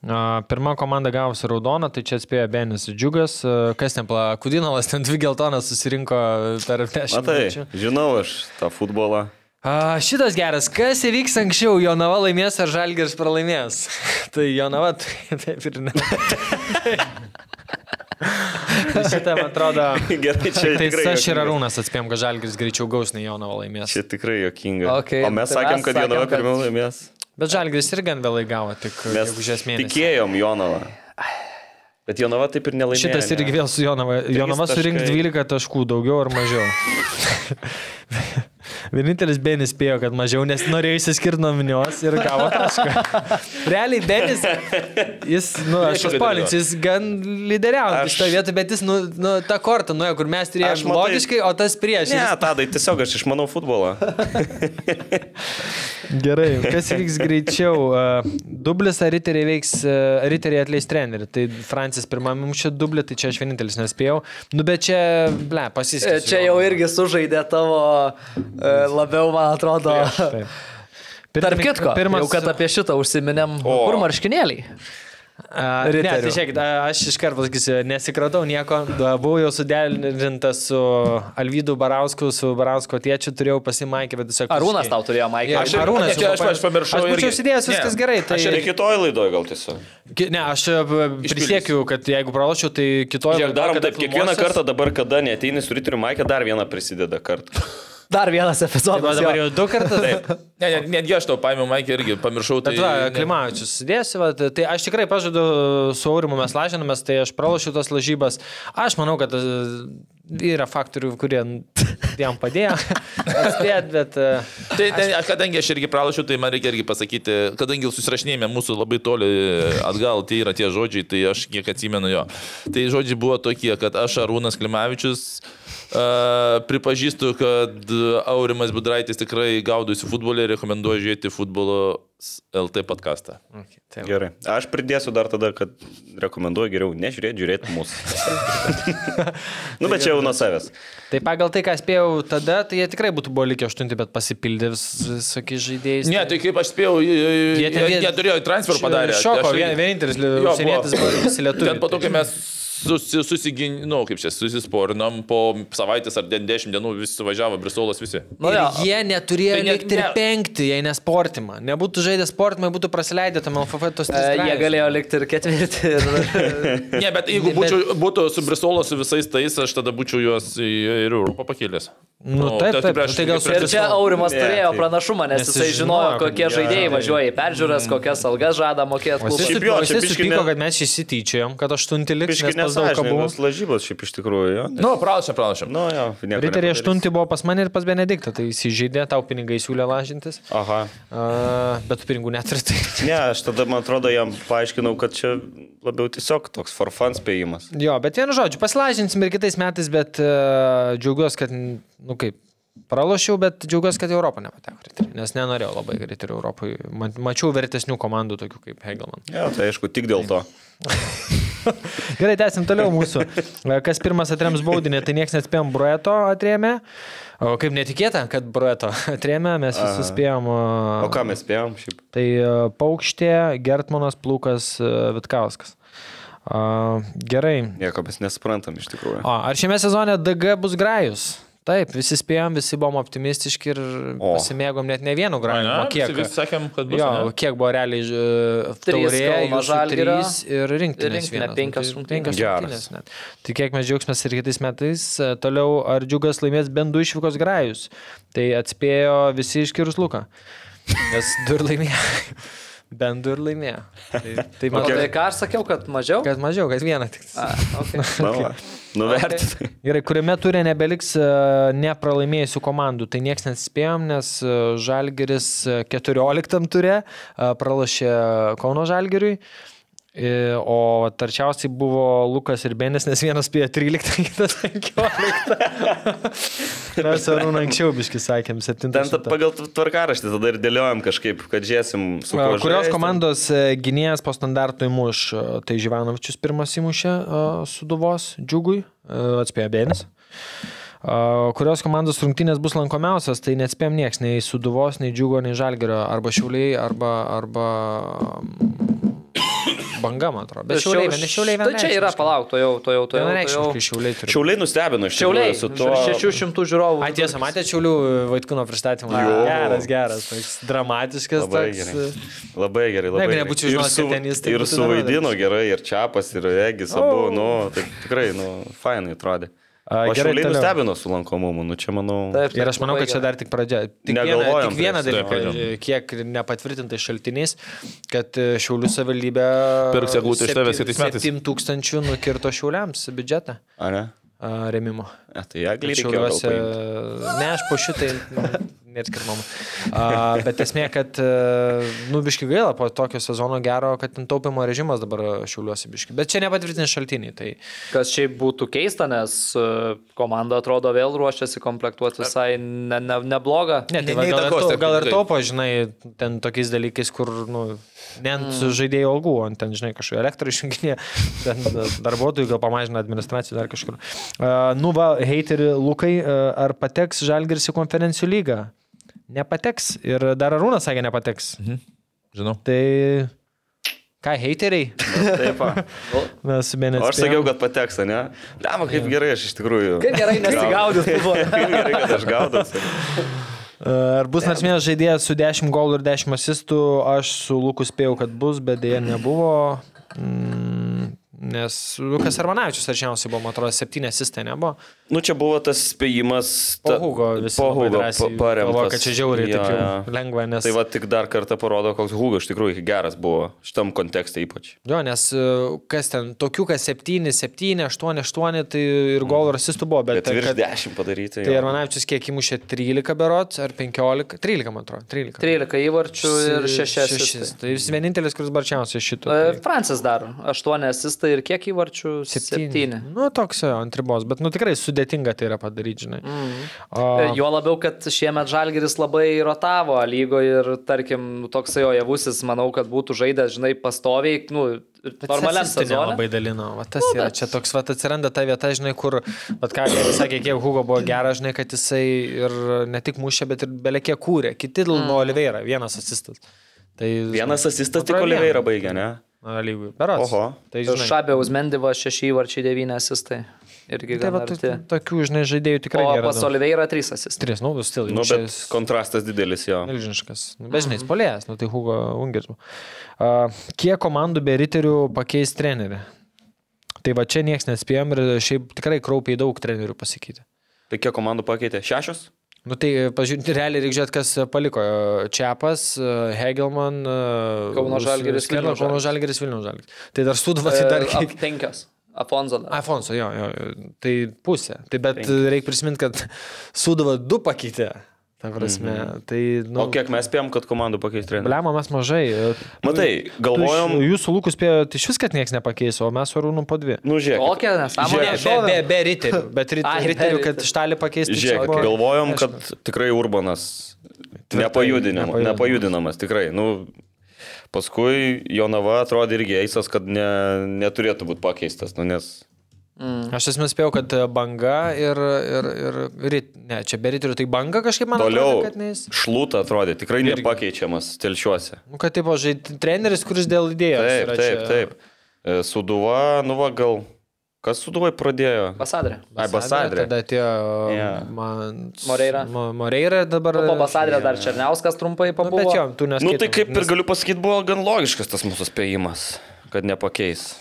Pirma komanda gavusi raudoną, tai čia atspėjo Benis Džiugas. E, Kas ten, pala, Kudinalas ten dvi geltonas susirinko per 10 Matai, minučių. žinau aš tą futbolą. A, šitas geras, kas įvyks anksčiau, Jonava laimės ar Žalgiris pralaimės? tai Jonava, tai taip ir ne. Šitą, man atrodo, Gerai, čia tai tikrai. aš ir juokinga. Arūnas atspėjom, kad Žalgiris greičiau gaus nei Jonava laimės. Čia tikrai jokinga. Okei, o mes tai sakėm, mes kad Jonava sakėm, kad- pirmiau laimės. Bet Žalgiris ir gan vėlai gavo, tik Mes gegužės mėnesį. tikėjom Jonava. Bet Jonava taip ir nelaimėjo. Šitas ne? irgi vėl su Jonava. Jonava taškai. surinks 12 taškų, daugiau ar mažiau. Vienintelis Benis spėjo, kad mažiau, nes norėjo įsiskirti nuo minios ir gavo tašką. Realiai Benis, jis, nu, aš Nieko paspalinsiu, jis gan lyderiauja Aš- aš... šitoje vietoje, bet jis, nu, nu tą kortą nuėjo, kur mes Aš turėjome matai- logiškai, o tas prieš. Ne, Ne. tadai, tiesiog aš išmanau futbolą. Gerai, kas vyks greičiau? Uh, Dublis ar riteriai veiks, uh, riteriai atleis trenerių. Tai Francis pirmam mums čia dublį, tai čia aš vienintelis nespėjau. Nu, bet čia, ble, pasisekė. E, Čia jau irgi sužaidė tavo e, labiau, man atrodo. Tarp kitko, pirmas... jau kad apie šitą užsiminėm, o. kur marškinėliai? A, Ne, Riterių. tai žiūrėkit, a, aš iš karto pasakysiu, nesikratau nieko, da, buvau jau suderintas su Alvydu Barausku, su Barausko tėčiu, turėjau pasimaikę, bet tiesiog... Arūnas tau turėjo, Maikai. Aš ir Arūnas. Aš- aš- aš pamiršau Aš būčiau irgi. užsidėjęs Ne. viskas gerai. Tai... Aš ir kitoj laidoj gal tiesiog. Ki- Ne, aš e, prisiekiu, kad jeigu pralošiu, tai kitoje... Žiūrėk, darom taip, kiekvieną kartą dabar, kada neteini su Riteriu Maikė, dar vieną prisideda kartą. Dar vienas epizodas. Tai Dabar jo. jau du kartus. Taip. Ne, ne, netgi aš tau paėmiau Maikį irgi, pamiršau tai. Bet va, ne. Klimavičius sudėsi, va, tai tai aš tikrai pažadu, su Aurimu mes lažinamės, tai aš pralašiu tas lažybas. Aš manau, kad e, yra faktorių, kurie jam padėjo atspėt, bet... e, Tai ten, aš, kadangi aš irgi pralašiau, tai man reikia irgi pasakyti, kadangi susirašinėjame mūsų labai toli atgal, tai yra tie žodžiai, tai aš kiek atsimenu jo. Tai žodžiai buvo tokie, kad aš Arūnas Klimavičius uh, pripažįstu, kad Aurimas Budraitis tikrai gaudosi futbolį ir rekomenduoju žiūrėti futbolo LT podcastą. tai Gerai. Aš pridėsiu dar tada, kad rekomenduoju geriau nežiūrėti, žiūrėti mūsų. nu, bet čia jau nuo savęs. Tai pagal tai, ką spėjau tada, tai jie tikrai būtų buvo likę aštunti, bet pasipildė visokiais žaidėjais. Ne, tai kaip aš spėjau, jie, ten jie, vie- jie turėjo transfer padarę. Šoko, Aš irgi- vien- vienintelis Jo, lietuvis, buvo. visi lietuviai. Ten po to, kai mes susi, susigin, nu, kaip čia, susisporinom, po savaitės ar de- dešimt dienų visi suvažiavo, Brisolas visi. Nu, jo. Ir jie neturėjo Tai tai ne- ne, likti ir ne- penkti, jei nesportimą. Nebūtų žaidę sportimą, jie būtų praleidę tam LFF tos E, tris Jie grajus. galėjo likti ir ketvirti. Ir... Ne, bet jeigu Ne, bet- būčiau, būtų su Brisolo su visais tais, aš tada būčiau juos į ir Europą pakėlęs. Nu, taip, taip, aš tai gal su- Ir čia Aurimas Ne, turėjo taip. pranašumą, nes Nes jisai jis žinojo, žinojo, tai kad- Mm. kokie žaidėjai važiuoja į peržiūras, kokias algas žada mokėti Visi klubas. Šiaip su- jo, čia Visi biškį supyko, ne- kad mes įsityčiojom, kad aštunti liks, Piškai nes pas daug ką buvo. nesąžiningos lažybos šiaip iš tikrųjų. Jo. Nu, pralašėm, pralašėm. Nu, jo, Riteriai nieko nepadarysi. aštunti buvo pas mane ir pas Benediktą, tai įsižeidė, tau pinigai siūlė lažintis, Aha. uh, bet tu pinigų neturi. Tai. Ne, aš tada, man atrodo, jam paaiškinau, kad čia labiau tiesiog toks for fun spėjimas. Jo, bet vienu žodžiu, pasilažinsim ir kitais metais, bet uh, džiaugiuosi, kad, nu kaip, pralošiau, bet džiaugiuosi, kad į Europą nepateko riteriai, nes nenorėjau labai riterių Europai. Ma- Mačiau vertesnių komandų, tokių kaip Hegelman. Ja, tai aišku, tik dėl to. Gerai, tęsim toliau mūsų. Kas pirmas atrems baudinį, tai niekas nespėjom Brueto atrėmė. O kaip netikėta, kad Brueto atrėmė, mes visi spėjom. O ką mes spėjom šiaip? Tai e, Paukštė, Gertmanas, Plūkas, e, Vitkauskas. A, Gerai. Nieko mes nesuprantam iš tikrųjų. O, ar šiame sezone DG bus grajus? Taip, visi spėjom, visi buvom optimistiški ir O. pasimėgom net ne vienu Ai, grajum. ne? o kiek? Visi sakėm, kad bus. Jo, ane? kiek buvo realiai ž- Trys taurė, Kauno jūsų Žalgirio trys ir rinktinės rinktinė, vienas. penkios Nu, tai rungtynės. Geras. rungtynės net. Tai kiek mes džiaugsmės ir kitais metais. E, Toliau, ar džiugas laimės bent du išvykos grajus? Tai atspėjo visi išskyrus Luką. Nes du ir laimėjo. Bent du ir laimėjo. Tai, tai O man tai atrodo, ką aš sakiau, kad mažiau? kad mažiau, kad vieną tik. A, okay. Na, va. Nuvertinai. Gerai, kuriame turė nebeliks e, nepralaimėjusių komandų. Tai niekas nespėjom, nes e, Žalgiris e, 14 turė e, pralašė Kauno Žalgiriui. I- O tarčiausiai buvo Lukas ir Benis, nes vienas spėjo 13, kitas 15. Mes Arūną anksčiau biškai sakėm, 7. Ten tad pagal tvarkaraštį tada ir dėliojam kažkaip, kad žiūrėsim su kuo. Kurios žaist. komandos e, gynėjas po standartų įmuš? E, Tai Živanovičius pirmas įmušė e, suduvos džiugui, e, atspėjo Benis. E, Kurios komandos rungtynės bus lankomiausias, tai neatspėm nieks, nei suduvos, nei džiugo, nei žalgerio, arba šiuliai, arba, arba mm, banga, man atrodo. Bet šiuliai, ne šiuliai, Tai čia yra, palauk, to jau, to jau, to jau. to jau. Vienareikšmiškai šiuliai turi. Šiauliai nustebino iš Šiauliai, tikrųjų su tuo... tuo. 600 žiūrovų. Ai tiesa, matėte Šiulių Vaitkūno pristatymą. Jo. Geras, geras, toks dramatiškas. Labai toks, gerai. e, Labai gerai. Labai Jeigu gerai. nebūčiau Ir žinojęs, su- kad ten jis tai Ir būtų suvaidino numeris. gerai, ir Čiapas, ir Regis, abu, nu, tai tikrai, nu, fainai atrodė. A, O gerai, šiauliai toliau. nustebino su lankomumu, nu čia manau. Taip, Ir aš manau, kad labai čia gerai. dar tik pradžia. Tik vieną, Negalvojom tik vieną prieš tai, dalyką, e, jo. kiek nepatvirtintai šaltiniais, kad e, Šiaulių savivaldybė Pirks eglutę iš tavęs kitais metais. 7 tūkstančių nukirto Šiauliams biudžetą Ar ne? a, remimo. A, tai Eglį reikėjo. gal Šiauliuose. paimt. Ne, aš po šitai neatskirmama. Bet esmė, kad, e, nu, biški gaila po tokio sezono gero, kad ten taupimo režimas dabar šiauliuosi biški. Bet čia nepatvirtinti šaltiniai. Tai Kas šiaip būtų keista, nes e, komanda atrodo vėl ruošiasi komplektuoti visai ne, ne, neblogą. Ne, tai Ne- va, gal, ir neįtakos to, taip, gal ir taip. to, pažinai, ten tokiais dalykais, kur, nu, ne ant mm. žaidėjų algų, ant ten, žinai, kažkokio elektrą išjunginė, ten darbuotojų gal pamažina administracijų dar kažkur. Uh, nu, va, heiteri Lukai, uh, ar pateks Žalgiris į konferencijų lygą? Nepateks. Ir dar Arūnas sakė, nepateks. Mhm. Žinau. Tai ką, heiteriai? Taip, a. Mes su Benediktą. O aš sakiau, kad pateks, ne? Lama, kaip tai gerai aš iš tikrųjų. Kaip gerai nesigaudys buvo. Kaip gerai, kad aš gaudau. Ar bus nors vienas žaidėjas su 10 golų ir 10 asistų, aš su Luku spėjau, kad bus, bet dėja nebuvo. Mm, Nes Lukas Armanavičius arčiausiai buvo, man atrodo, 7 asistai nebuvo. Nu, čia buvo tas spėjimas. Po ta- Hugo visi po labai Hugo drąsiai pa- paremtas. galvojo, kad čia žiauriai Jo, taip jau jo. lengva, nes- Tai va tik dar kartą parodo, koks Hugo iš tikrųjų geras buvo šitam kontekste ypač. Jo, nes e, kas ten, tokių, kas 7, 7, 8, 8, tai ir golų ir asistų buvo, bet... tai, Bet virš kad- 10 padaryti. Tai jo. Armanavičius kiek įmušė 13 berot, ar 15, 13 man atrodo, 13. 13 įvarčių ir 6 asistai. Tai jis vienintelis, kuris barčiausiai šito. tai- E, Francis dar 8 asistai ir kiek įvarčių? 7. Nu, toks jo, ant ribos, bet nu tikrai sudėtinga tai yra padaryti, žinai. Mm. O, E, Jo labiau, kad šiemet Žalgeris labai rotavo lygoje ir, tarkim, toksai jo javusis, manau, kad būtų žaidęs, žinai, pastoviai, nu, normaliam sezonui. Labai dalino, va Nu, tas yra. Čia toks, va atsiranda ta vieta, žinai, kur, va ką jis sakė, kiek Hugo buvo geras, žinai, kad jisai ir ne tik mušė, bet ir belekė kūrė. Kiti dėl mm. Oliveira, vienas asistas. Tai, Vienas asistas tik Atrodo, Oliveira baigė, ne? lygui. Berods. Oho. Tai žinai. Šabė Uzmendiva 6 varčiai 9 asistai. Irgi Tai va, gana tu- arti. tokių, žinai, žaidėjų tikrai O nėra. pas daug. Oliveira 3 asistai. Tris, nu, stil. Nu, jau čia bet kontrastas didelis jo. Milžiniškas. Nu, Bet žinai, Mhm. spolėjas, nu tai Hugo Ungeris. buvo. A, Kiek komandų be riterių pakeis trenerių? Tai va čia niekas nespėjom ir šiaip tikrai kraupiai daug trenerių pasikeitė. Tai kiek komandų pakeitė? Šešios? Nu tai, pažiūrėjau, realiai reikia žiūrėti, kas paliko. E, Čiapas, e, Hegelman, Kauno Žalgiris, Vilnius. E, Vilniaus Kauno Žalgeris, Vilnius Žalgeris. Tai dar suduvas į dar kiek. 5. Afonso dar. Afonso, jo, jo, jo, tai pusė. Tai bet reikia prisiminti, kad Sudova du pakeitė. Ta prasme, mm Mhm. -hmm. tai, nu, O kiek mes spėjom, kad komandų pakeis trenerių? Blemo mes mažai. e. Matai, galvojom, Galvojom, jūsų lūkus spėjote iš vis, kad niekas nepakeis, o mes varūnų po dvi. nu žiūrėk, Kokia nesąmonė? šovė. be riterių, bet rit- Ai, be riterių, riterių. kad štalį tai pakeisti. Žiūrėk, galvojom, kad tikrai Urbanas nepajudinam- nepajudinamas. nepajudinamas, tikrai. Nu, paskui Jonava atrodė irgi eisas, kad ne, neturėtų būti pakeistas, nu, nes Aš esmė spėjau, kad e, banga ir... ir, ir rit... Ne, čia be riterių, tai banga kažkaip man toliau atrodo, kad neis. šlūta atrodė tikrai nepakeičiamas telšiuose. Nu, kad tipo, žai, treneris, kuris dėl idėjos. Taip, yra taip, čia. taip. E, Suduva, nu va gal. Kas suduvai pradėjo? Basadrė. Ai, Basadrė. Tada atėjo Jo. yeah. man... Moreira. Mo, Moreira dabar. Po Basadrė dar Černiauskas trumpai Nu, bet jo, pabuvo. tu Nu neskaitai. tai kaip ir galiu pasakyti, buvo gan logiškas tas mūsų spėjimas, kad nepakeis.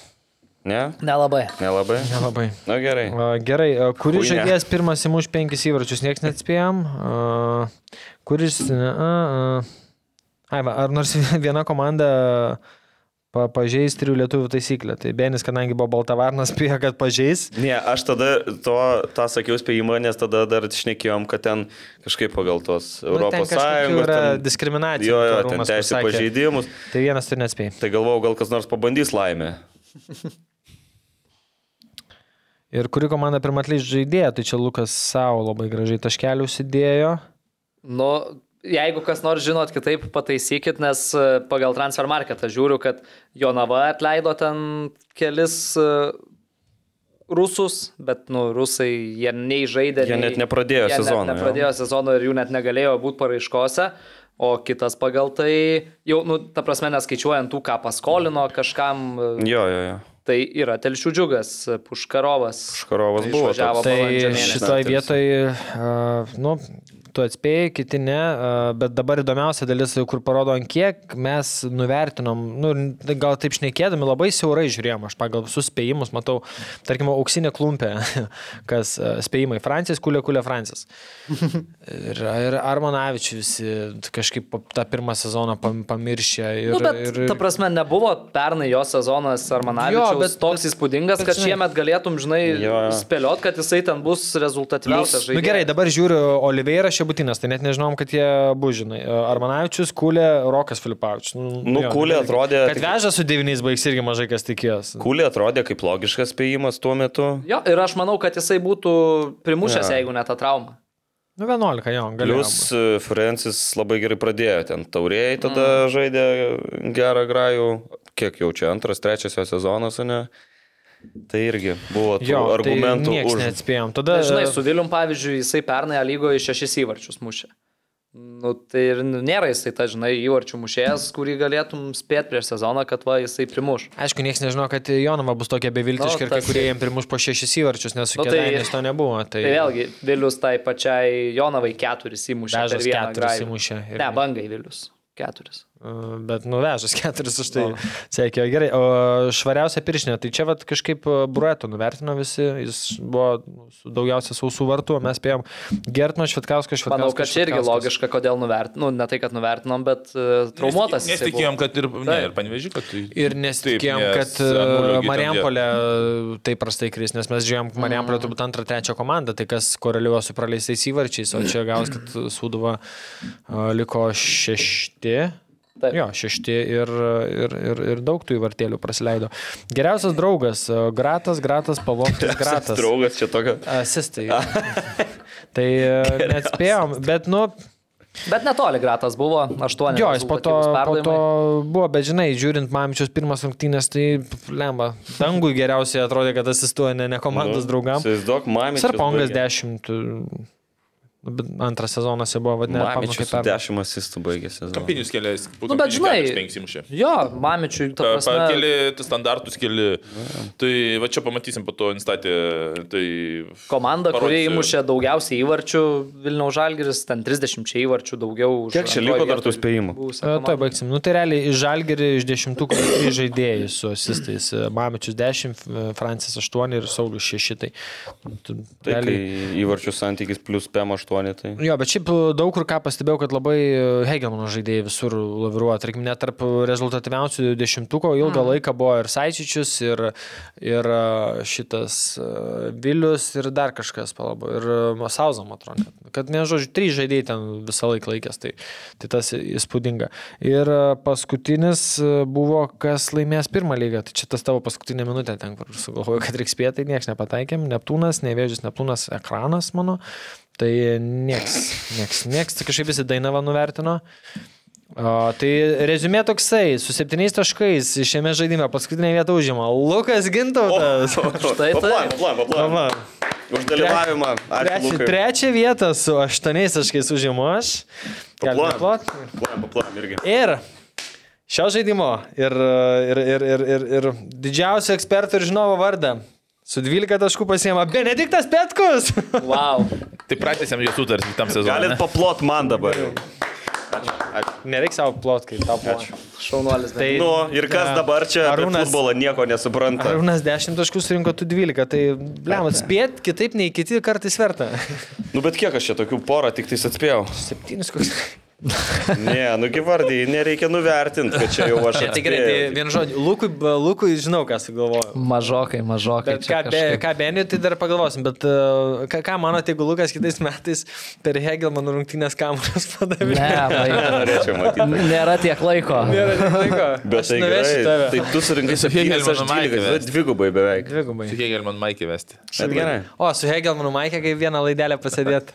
Ne? Nelabai. Nelabai? Labai. Na gerai. A, Gerai, a, kuris Chuj, ne. žaidėjas pirmas įmuš penkis įvarčius, niekas neatspėjom. A, Kuris... ne, a, a. Ai, va, ar nors viena komanda pa- pažeis trijų lietuvių taisyklę. Tai Benis, kadangi buvo Baltavarnas, spėjo, kad pažeis. Ne, aš tada to, tą sakiau spėjimą, nes tada dar šnekėjom, kad ten kažkaip pagal tos Nu, ten Europos kažkokių Sąjungos. yra ten- diskriminacija, Jo, jo, to ten Romas teisė pasakė. pažeidimus. Tai vienas tu neatspėjai. Tai galvojau, gal kas nors pabandys laimę. Ir kuri komanda pirmą atleis žaidėją, tai čia Lukas savo labai gražiai taškelių įdėjo. Nu, jeigu kas nors žinot kitaip, pataisykit, nes e, pagal transfer marketą žiūriu, kad Jonava atleido ten kelis e, rusus, bet, nu, rusai jie nei žaidė. Jie nei- net nepradėjo jie sezono, Net jo. nepradėjo sezono ir jų net negalėjo būti paraiškose. O kitas pagal tai, jau, nu, ta prasme, neskaičiuojant tų, ką paskolino kažkam, e, Jo, jo, jo. tai yra Telšių džiugas, e, Puškarovas. Škarovas Tai buvo. išvažiavo toks. po- Tai balandžio mėnesį. šitoje Metais. vietoje, nu, tu atspėjai, kiti ne, a, bet dabar įdomiausia dalis, kur parodo, ant kiek mes nuvertinom, nu, ir gal taip šnekėdami labai siaurai žiūrėjom, aš pagal visus spėjimus matau, tarkim, auksinė klumpė, kas a, spėjimai, Francis, kulė, kulė, Francis. Ir, ir Armanavičius kažkaip pa- tą pirmą sezoną pam- pamiršė. Ir, Na, nu, bet, ir, ir... ta prasme, nebuvo pernai jo sezonas Jo, Armanavičius bet- toks bet- įspūdingas, bet kad žinai- šiemet galėtum, žinai, Jo, jo. spėliot, kad jisai ten bus Na nu rezultatyviausias žaidėjas. gerai, dabar žiūriu Oliveira Šebutinas, tai net nežinom, kad jie buvo, žinai. Armanavičius, Kulė, Rokas Filipavičius. Nu, Kulė nebelieka. atrodė Kad tik- veža su devyniais baigs irgi mažai kas tikėjos. Kulė atrodė kaip logiškas spėjimas tuo metu. Jo, ir aš manau, kad jisai būtų primušęs, Jo. ja. jeigu ne tą traumą. Nu, 11, jo, galiu. Plius e, Francis labai gerai pradėjo ten. Taurėjai tada mm. žaidė gerą grajų. Kiek jau čia antras, trečias jo sezonas, o ne? Tai irgi buvo tų jo, argumentų tai tai už. už... Neats... neatspėjom. Na, Tada, žinai, su Vilium, pavyzdžiui, jisai pernai A lygoje šešis įvarčius mušė. Nu, tai ir nėra jisai, ta, žinai, įvarčių mušėjas, kurį galėtum spėti prieš sezoną, kad va, jisai primuš. Aišku, niekas nežino, kad Jonava bus tokia beviltiška Nu, ir kai tas- kurie jam primuš po šešis įvarčius, nes su Nu, nu, tai- kėdainės tai... to nebuvo. Tai, Tai vėlgi, Vilius tai pačiai Jonavai keturis įmušė. per Vežas vieną keturis grajų. įmušė ir- Ne, bangai Vilius. Keturis. Bet nuvežęs keturis už tai sekė. Gerai, o švariausia piršinė, tai čia vat kažkaip Brueto nuvertino visi, jis buvo su daugiausia sausų vartų, o mes spėjom Gertno Švitkausko švariausią. Manau, kad čia irgi logiška, kodėl nuvertinom, nu, ne tai, kad nuvertinom, bet uh, traumuotas. Nes jisai buvo. tikėjom, kad ir, ne, Taip. ir panevežiu, kad tai... Ir nesitikėjom, Taip, nes Anulio kad e, gi ten Mariampolė taip prastai kris, nes mes žiūrėjom Mariampolė turbūt antrą, trečią komandą, tai kas koreliuoja su praleistais įvarčiais, o čia gaus, kad Sūduva a, liko šešti. Taip. Jo, šešti ir, ir, ir, ir daug tų įvartėlių praleido. Geriausias draugas - Gratas, Gratas, Pavlovskis, Gratas. Draugas čia tokia. Asistai. jo. tai e, neatspėjom, bet nu, Bet netoli gratas buvo, aštuoni. jo, jis po to, po to buvo, bet žinai, žiūrint Mamičiaus pirmas rungtynės, tai lemba. Dangui geriausiai Nu, atrodė, kad asistuoja ne, ne komandos draugams. Įsivaizduok, mamė. Sarpongas 10. Nu, bet Antras sezonas jau buvo, vadinasi, Mamičius su 10 asistų baigėsi. sezoną. Kampinius kelias. Nu, bet žinai- Penksimšė. Jo, mamičiui, ta prasme. Keli tu standartus, keli. Tai va čia pamatysim po to instatė. Tai... Komanda, kuri Parodysiu. įmušė daugiausiai įvarčių, Vilniaus Žalgiris, ten 30 įvarčių daugiau. už Kiek čia antroj liko dar tų vietoj spėjimų? E, buvusią Tuoj komandą. baigsim. Nu tai realiai iš žalgerį iš dešimtuko trys žaidėjai su asistais. E, Mamičius 10, e, Francis 8 ir Saulius 6. Tai, tu- Tai kai realiai- įvarčių santykis plus PM8, tai... Jo, bet šiaip e, daug kur ką pastebėjau, kad labai e, Hegelmano žaidėjai visur laviruoja. Tarkim, net tarp rezultatyviausių dešimtuko ilgą laiką buvo ir Saičičius, ir, ir e, šitas e, Vilius, ir dar kažkas palabo. Ir Masauzam atrodo. kad- Kad, nežodžiu, trys žaidėjai ten visą laiką laikęs. Tai, tai tas įspūdinga. Ir e, paskutinis e, buvo, kas laimės pirmą lygą. Tai čia tas tavo paskutinė minutė, ten, kur sugalvojau, kad reiks pietai, niekas nepataikėm. Neptūnas, nevėžys Neptūnas, ekranas mano. Tai nieks, nieks, nieks, tai kažkaip visi Dainavą nuvertino. O, tai rezumė toksai, su septyniais taškais šiame žaidime paskutinę vietą užima Lukas Gintautas. Štai taip. Paplam, paplam. Va, Už dalyvavimą. Ačiū. Trečią, Lukai. trečią vietą su aštuoniais taškais užimu aš. Galima Paplojam. plot. Paplam, paplam irgi. Ir šio žaidimo ir, ir, ir, ir, ir, ir didžiausio eksperto ir žinovo vardą. Su 12 taškų pasiema Benediktas Petkus. Wow. Tai pratęsėm jų sutartį tam sezonui. Galit paplot man dabar jau. Nereiks savo plot, kai tau plot. Šaunuolis. Tai Nu, ir kas dabar čia apie Arūnas- futbolą nieko nesupranta? Arūnas 10 taškų surinko, tu 12. Tai, blem, atspėt kitaip nei kiti kartais verta. Nu, bet kiek aš čia tokių porą tik tais atspėjau? 7 koks. Ne, nu, gyvardai, nereikia nuvertinti, kad čia jau aš. Tai gerai, tai atspėjau. vienu žodžiu, Lukui, Lukui žinau, ką sugalvojau. Mažokai, mažokai. Bet čia ką, be, kažkaip. ką Benio, tai dar pagalvosim, bet uh, ką, ką manote, jeigu Lukas kitais metais per Hegelmanų rungtynės kamuolės padavė? Ne, vaikai. Norėčiau matyti. Nėra tiek laiko. Nėra tiek laiko. Bet Aš tai nuvešiu gerai. tave. Tai tu surinkai Su 7, Hegelmanu aš 12, Maikė. dvigubai beveik. Dvigubai. Su Hegelman Maikį vesti. Bet gerai. O, su Hegelmanu Maikė, kai vieną laidelę pasėdėt.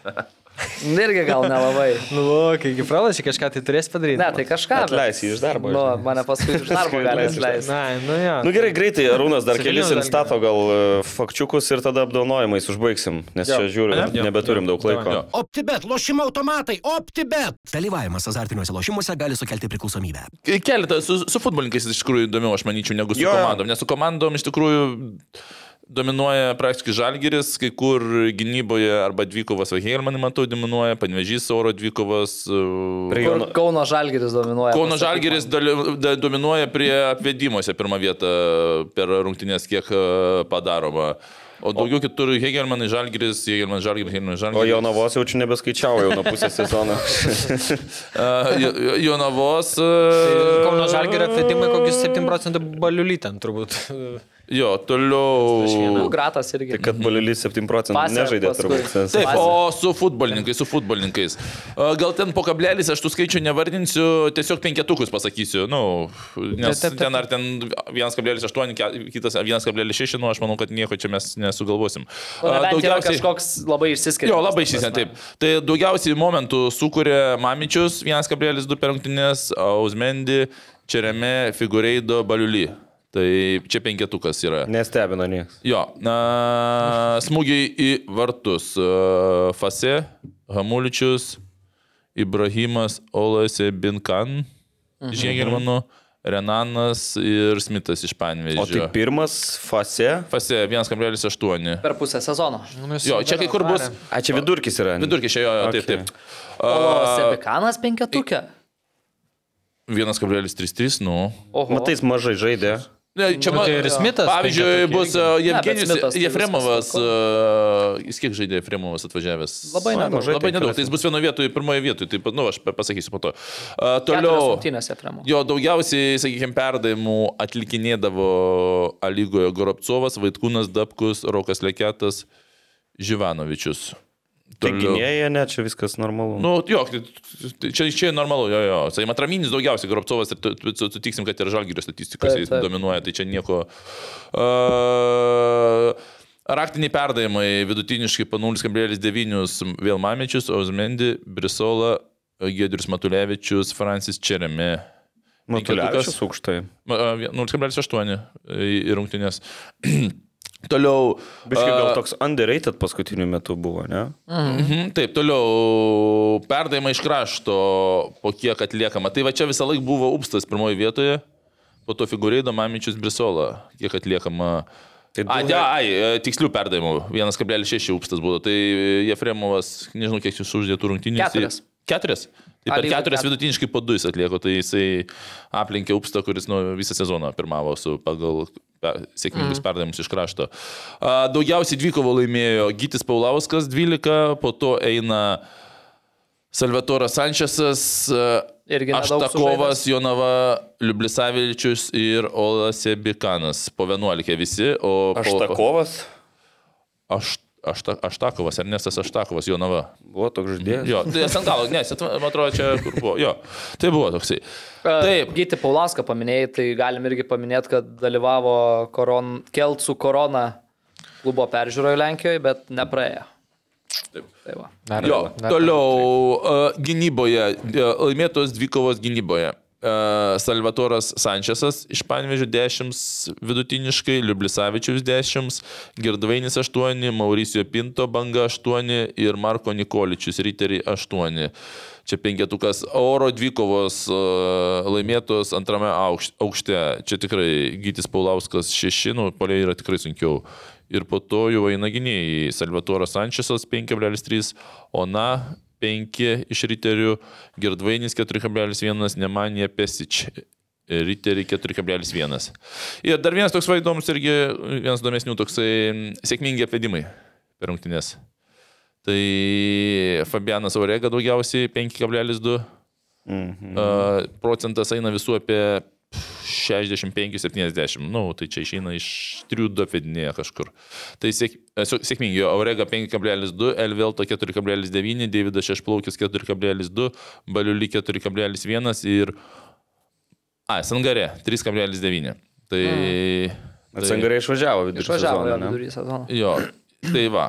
Irgi gal nelabai. nu, o, kai iki pralašė kažką, tai turės padaryti. Ne, tai kažką. bet- Atleis jį iš darbo, Nu, žinai. mane paskui iš darbo Paskui gali atleis iš atleisti. Na, nu jo. Nu gerai, greitai, Arūnas dar Su kelis Vilniaus instato gal e, fakčiukus ir tada apdovanojimais užbaigsim, nes čia žiūriu, nebeturim daug laiko. Jo. OptiBet, lošimo automatai, OptiBet. Dalyvavimas azartiniuose lošimuose gali sukelti priklausomybę. Keletą su, su futbolininkais iš tikrųjų įdomiau, aš manyčiau, negu su Jo, jo. jo. komandom. Nes su komandom iš tikrųjų dominuoja praktiškai žalgeris, kai kur gynyboje arba dvikovas, o Hegelmanai matau, dominuoja, panvežys oro dvikovas. Prie Kur Kauno Žalgiris dominuoja. Kauno pasakyk Žalgeris man. daly- da- dominuoja prie apvedimuose pirmą vietą per rungtynės, kiek e, padaroma. O daugiau kitur Hegelmanai Žalgeris, Hegelmanai Žalgeris, Hegelmanai O Žalgeris. jo navos jau čia nebeskaičiau jau nuo pusės sezono. E, Jonavos. e, Tai Kauno žalgerio atvedimai kokius 7 procentų baliulį ten turbūt. Jo, toliau. Nu, Gratas irgi. Tai kad Balilys 7 procentų Pasė nežaidė paskui. turbūt. nes- Taip, Bazė. o su futbolininkais, su futbolininkais. A, Gal ten po kablelis aš tų skaičių nevardinsiu, tiesiog penketukus pasakysiu. Nu, nes Taip, taip, taip. ten ar ten 1,8, ke- kitas 1,6, nu aš manau, kad nieko čia mes nesugalvosim. Nu, A, Nebent yra daugiausiai- kažkoks labai išsiskiria. Jo, labai šis, taip. Tai daugiausiai momentų sukūrė Mamičius, 1,2 per rungtynės, Ausmendi, Čereme, Figureido, Baliulį. Tai čia penketukas yra. Nestebino niekas. Jo, a, smūgiai į vartus. A, Fase, Hamuličius, Ibrahimas Olase Binkan, Žiegermanu, Renanas ir Smitas iš O tai Panvežio. pirmas fase. Fase 1,8. Per pusę sezono. Jo, čia kai kur bus. A, čia vidurkis yra. Vidurkiai čia, jo, jo, taip, Okay. taip. O A, Nu, Sebekanas penketukė. 1,33, nu. Oho. Matais mažai žaidė. Ne, Nu, čia man. tai ir Smithas Pavyzdžiui, penketuke bus e, Jevgenijus Smithas tai Jefremovas. viskas e, Jis kiek žaidė Jefremovas atvažiavęs? Labai nedaug. mažai Labai tai nedaug. klasės. Tai jis bus vienoje vietoje, pirmoje vietoje. Tai, nu, aš pasakysiu po to. E, Keturios Toliau. rungtynės Efremo. Jo daugiausiai, sakykime, perdavimų atlikinėdavo Alygoje Goropcovas, Vaitkūnas Dabkus, Rokas Leketas, Živanovičius. Tai Toliau. gynėja, ne, čia viskas normalu. Nu, jo, tai- tai čia, čia normalu, jo, jo. Sakykime, atraminis daugiausiai, Grobcovas ir tu- tu- sutiksim, kad ir Žalgirio statistikos Taip, jis taip. dominuoja, tai čia nieko. Uh, raktiniai perdavimai vidutiniškai po 0,9 vėl Mamičius, Ozmendi, Brisola, Gedrius Matulevičius, Francis Čeremi. Matulevičius aukštai. Ma- a, vie- 0,8 į į rungtynes. Toliau. Biškai a, gal toks underrated paskutiniu metu buvo, ne? Mhm, taip, toliau perdavimai iš krašto, po kiek atliekama. Tai va čia visą laiką buvo Upstas pirmoje vietoje, po to figūrėdo Mamičius Brisola, kiek atliekama. Tai A, du- ne, ai, e, tikslių perdavimų. 1,6 upstas buvo. Tai Jefremovas, nežinau, kiek jis uždėtų rungtynės. Keturias. Keturias. Tai A, per lygiai keturias keturis. vidutiniškai po du jis atlieko. Tai jisai aplenkė upstą, kuris nu, visą sezoną pirmavo su pagal pe- sėkmingus mm. perdavimus iš krašto. A, Daugiausiai dvikovo laimėjo Gytis Paulauskas 12, po to eina Salvatoras Sančesas, Irgi nedaug Aštakovas, Jonava, Liublisavičius ir Olasė Bikanas. Po 11 visi, o po- Aštakovas Aš, ašta, Aštakovas, Ernestas Aštakovas, Jonava. buvo toks žaidėjas. Jo, tai ant galo, ne, jis atva- man atrodo, čia kur buvo. Jo, tai buvo toksai. Taip. Taip. E, Gyti Paulaską paminėjai, tai galim irgi paminėti, kad dalyvavo koron, Keltsų korona klubo peržiūroje Lenkijoje, bet nepraėjo. Taip. Tai va. Dar, Jo, toliau e, gynyboje, e, laimėtos dvikovos gynyboje. E, Salvatoras Sančesas iš Panvežių 10 vidutiniškai, Liublisavičius 10, Girdvainis 8, Mauricijo Pinto banga 8 ir Marko Nikoličius Riteriai 8. Čia penketukas oro dvikovos e, laimėtos antrame aukš- aukšte. Čia tikrai Gytis Paulauskas 6, nu, poliai yra tikrai sunkiau. Ir po to jau eina gynėjai. Salvatoras Sančesas 5,3, Ona 5 iš riterių, Girdvainis 4,1, Nemanija Pesič. Riterį 4,1. Ir dar vienas toks vaidomus irgi, vienas domesnių toksai mm, sėkmingi apvedimai per rungtynės. Tai Fabianas Aurega daugiausiai 5,2 mhm. procentas eina visų apie 65-70. Nu, tai čia išeina iš 3-2 vedinėje kažkur. Tai sėk, esu- sėkmingi. jo, Aurega 5,2, Elvelto 4,9, Davidas Šešplaukis 4,2, Baliuli 4,1 ir... A, Sangarė 3,9. Tai... Hmm. tai- Atsangarai išvažiavo vidurį. Išvažiavo sezono, jo ne? vidurį sezono. Jo, tai va.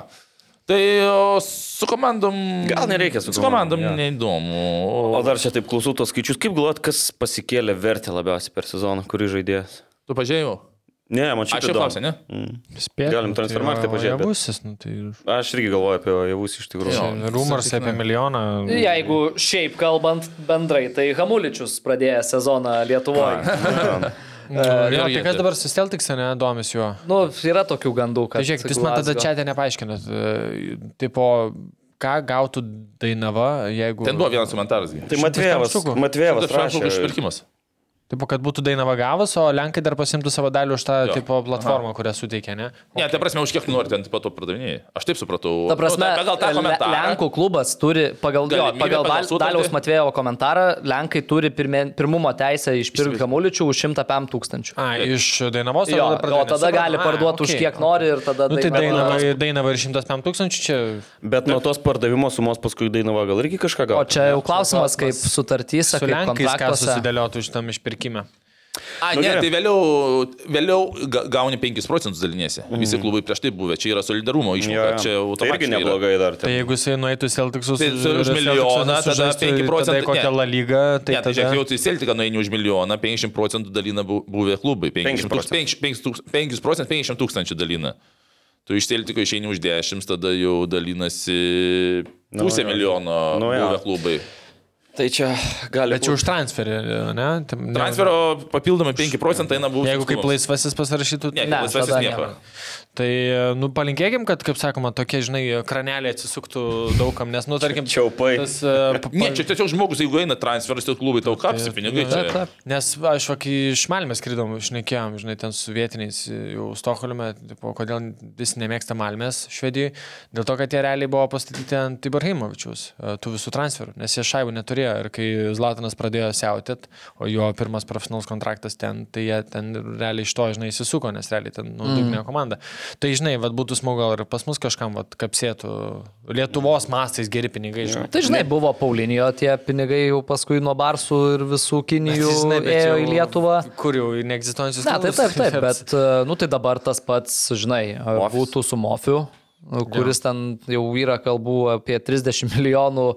Tai o, su komandom. Gal nereikia su Su komandom komandom, jo. neįdomu. O O, dar čia taip klausau tos skaičius. Kaip galvojat, kas pasikėlė vertę labiausiai per sezoną, kurį žaidėjas? tu pažiūrėjau. Ne, man čia Aš jau klausiau, ne? Spėt, nu, Galim transfer marketą pažiūrėt, bet- Busis, nu, tai Aš irgi galvoju apie javus iš tikrųjų. Jo. rumors apie milijoną. Jeigu šiaip kalbant bendrai, tai Hamuličius pradėjo sezoną Lietuvoje. Nu, jo, irgi tai kas taip. dabar susteltiks, ne, domis juo. Nu, yra tokių gandų, kad... Tai žiūrėk, jūs man tada Glasgow- čia ten nepaaiškinat. e, Tipo, ką gautų Dainava, jeigu... Ten buvo vienas komentaras. gi. Tai Matvėjavas, štukų. Matvėjavas Šimtas frankų rašė. išpirkimas. Tipo, kad būtų Dainava gavus, o Lenkai dar pasimtų savo dalį už tą Jo. tipo, platformą, kurią suteikė, ne? Ne, tai prasme, už kiek nori ten po to pardavinėjai. Aš taip supratau. Ta prasme, Nu, tai pagal tą Le- komentarą. Lenkų klubas turi, pagal, jo, Galimybę pagal pagal Val- sutartį. Daliaus Matvėjo komentarą, Lenkai turi pirmien, pirmumo teisę išpirkti Hamuličių už 105 tūkstančių. A, iš Dainavos. Jo, tada pardavė, o tada nesupratau. gali A, parduoti už okei, kiek nori ir tada Nu, tai Dainava- Dainava, Dainava ir 105 tūkstančių čia. Bet nuo tos pardavimo sumos paskui Dainava gal irgi kažką O gavo. čia jau klausimas, kaip sutartys, Su kaip Lenkais ką kontraktuose. susidėliotų iš tam išpirkime. A, Nu, ne, gerai. tai vėliau, vėliau ga- gauni 5 procentus dalinėsi. Visi klubai prieš tai buvę. Čia yra solidarumo Jo, išmoka. Mhm. jo. Čia Tai irgi automatiškai yra. neblogai dar. Tai ten. jeigu jisai nueitų į Celticsus, Tai su- už milijoną, tada 5% Tai kokią ne. La lygą, Tai tai ne, tai tada... žiūrėk, jau tai Celtica nueini už milijoną, 50 procentų dalina bu- buvę klubai. 50 procentų, 5 procentų, 50 tūkstančių dalina. Tu iš Celtico išeini už 10, tada jau dalinasi pusę jo. milijono Nu, jo. buvę klubai. Tai čia gali. Bet čia už transferį, ne? Tai ne- Transfero papildomai 5 procentai eina buvę. Jeigu kaip laisvasis pasirašytų, Ne, tai... Ne, ne laisvasis tada nieko. Tai, nu, palinkėkim, kad, kaip sakoma, tokie, žinai, kraneliai atsisuktų daugam, nes, nu, tarkim, Čiaupai. Tas, e, pa- Ne, čia tiesiog žmogus, jeigu eina transferas, tai klubai tau kapsi pinigai. Taip, Čia. taip. Nes va, aš vakį iš Malmės skridom, išnekėjom, žinai, ten su vietiniais jau Stokholme, tipo, kodėl jis nemėgsta Malmės Švedijoje, dėl to, kad jie realiai buvo pastatyti ant Ibrahimovičius, e, tų visų transferų, nes jie šaibų neturėjo ir kai Zlatanas pradėjo siautėt, o jo pirmas profesionalus kontraktas ten, tai jie ten realiai iš to, žinai, įsisuko, nes realiai ten nu, dugnė komanda. Tai, žinai, vad būtų smagu gal ir pas mus kažkam, vad kapsėtų Lietuvos mastais geri pinigai, žinai. Tai žinai, buvo Paulinio tie pinigai jau paskui nuo Barsų ir visų Kinijų Žinai, bet ėjo jau- į Lietuvą. Kur jau į neegzistuojančius Ne, taip, taip, taip, klubus. bet, e, nu tai dabar tas pats, žinai, e, būtų su Mofiu, nu, kuris ten jau yra kalbų apie 30 milijonų e,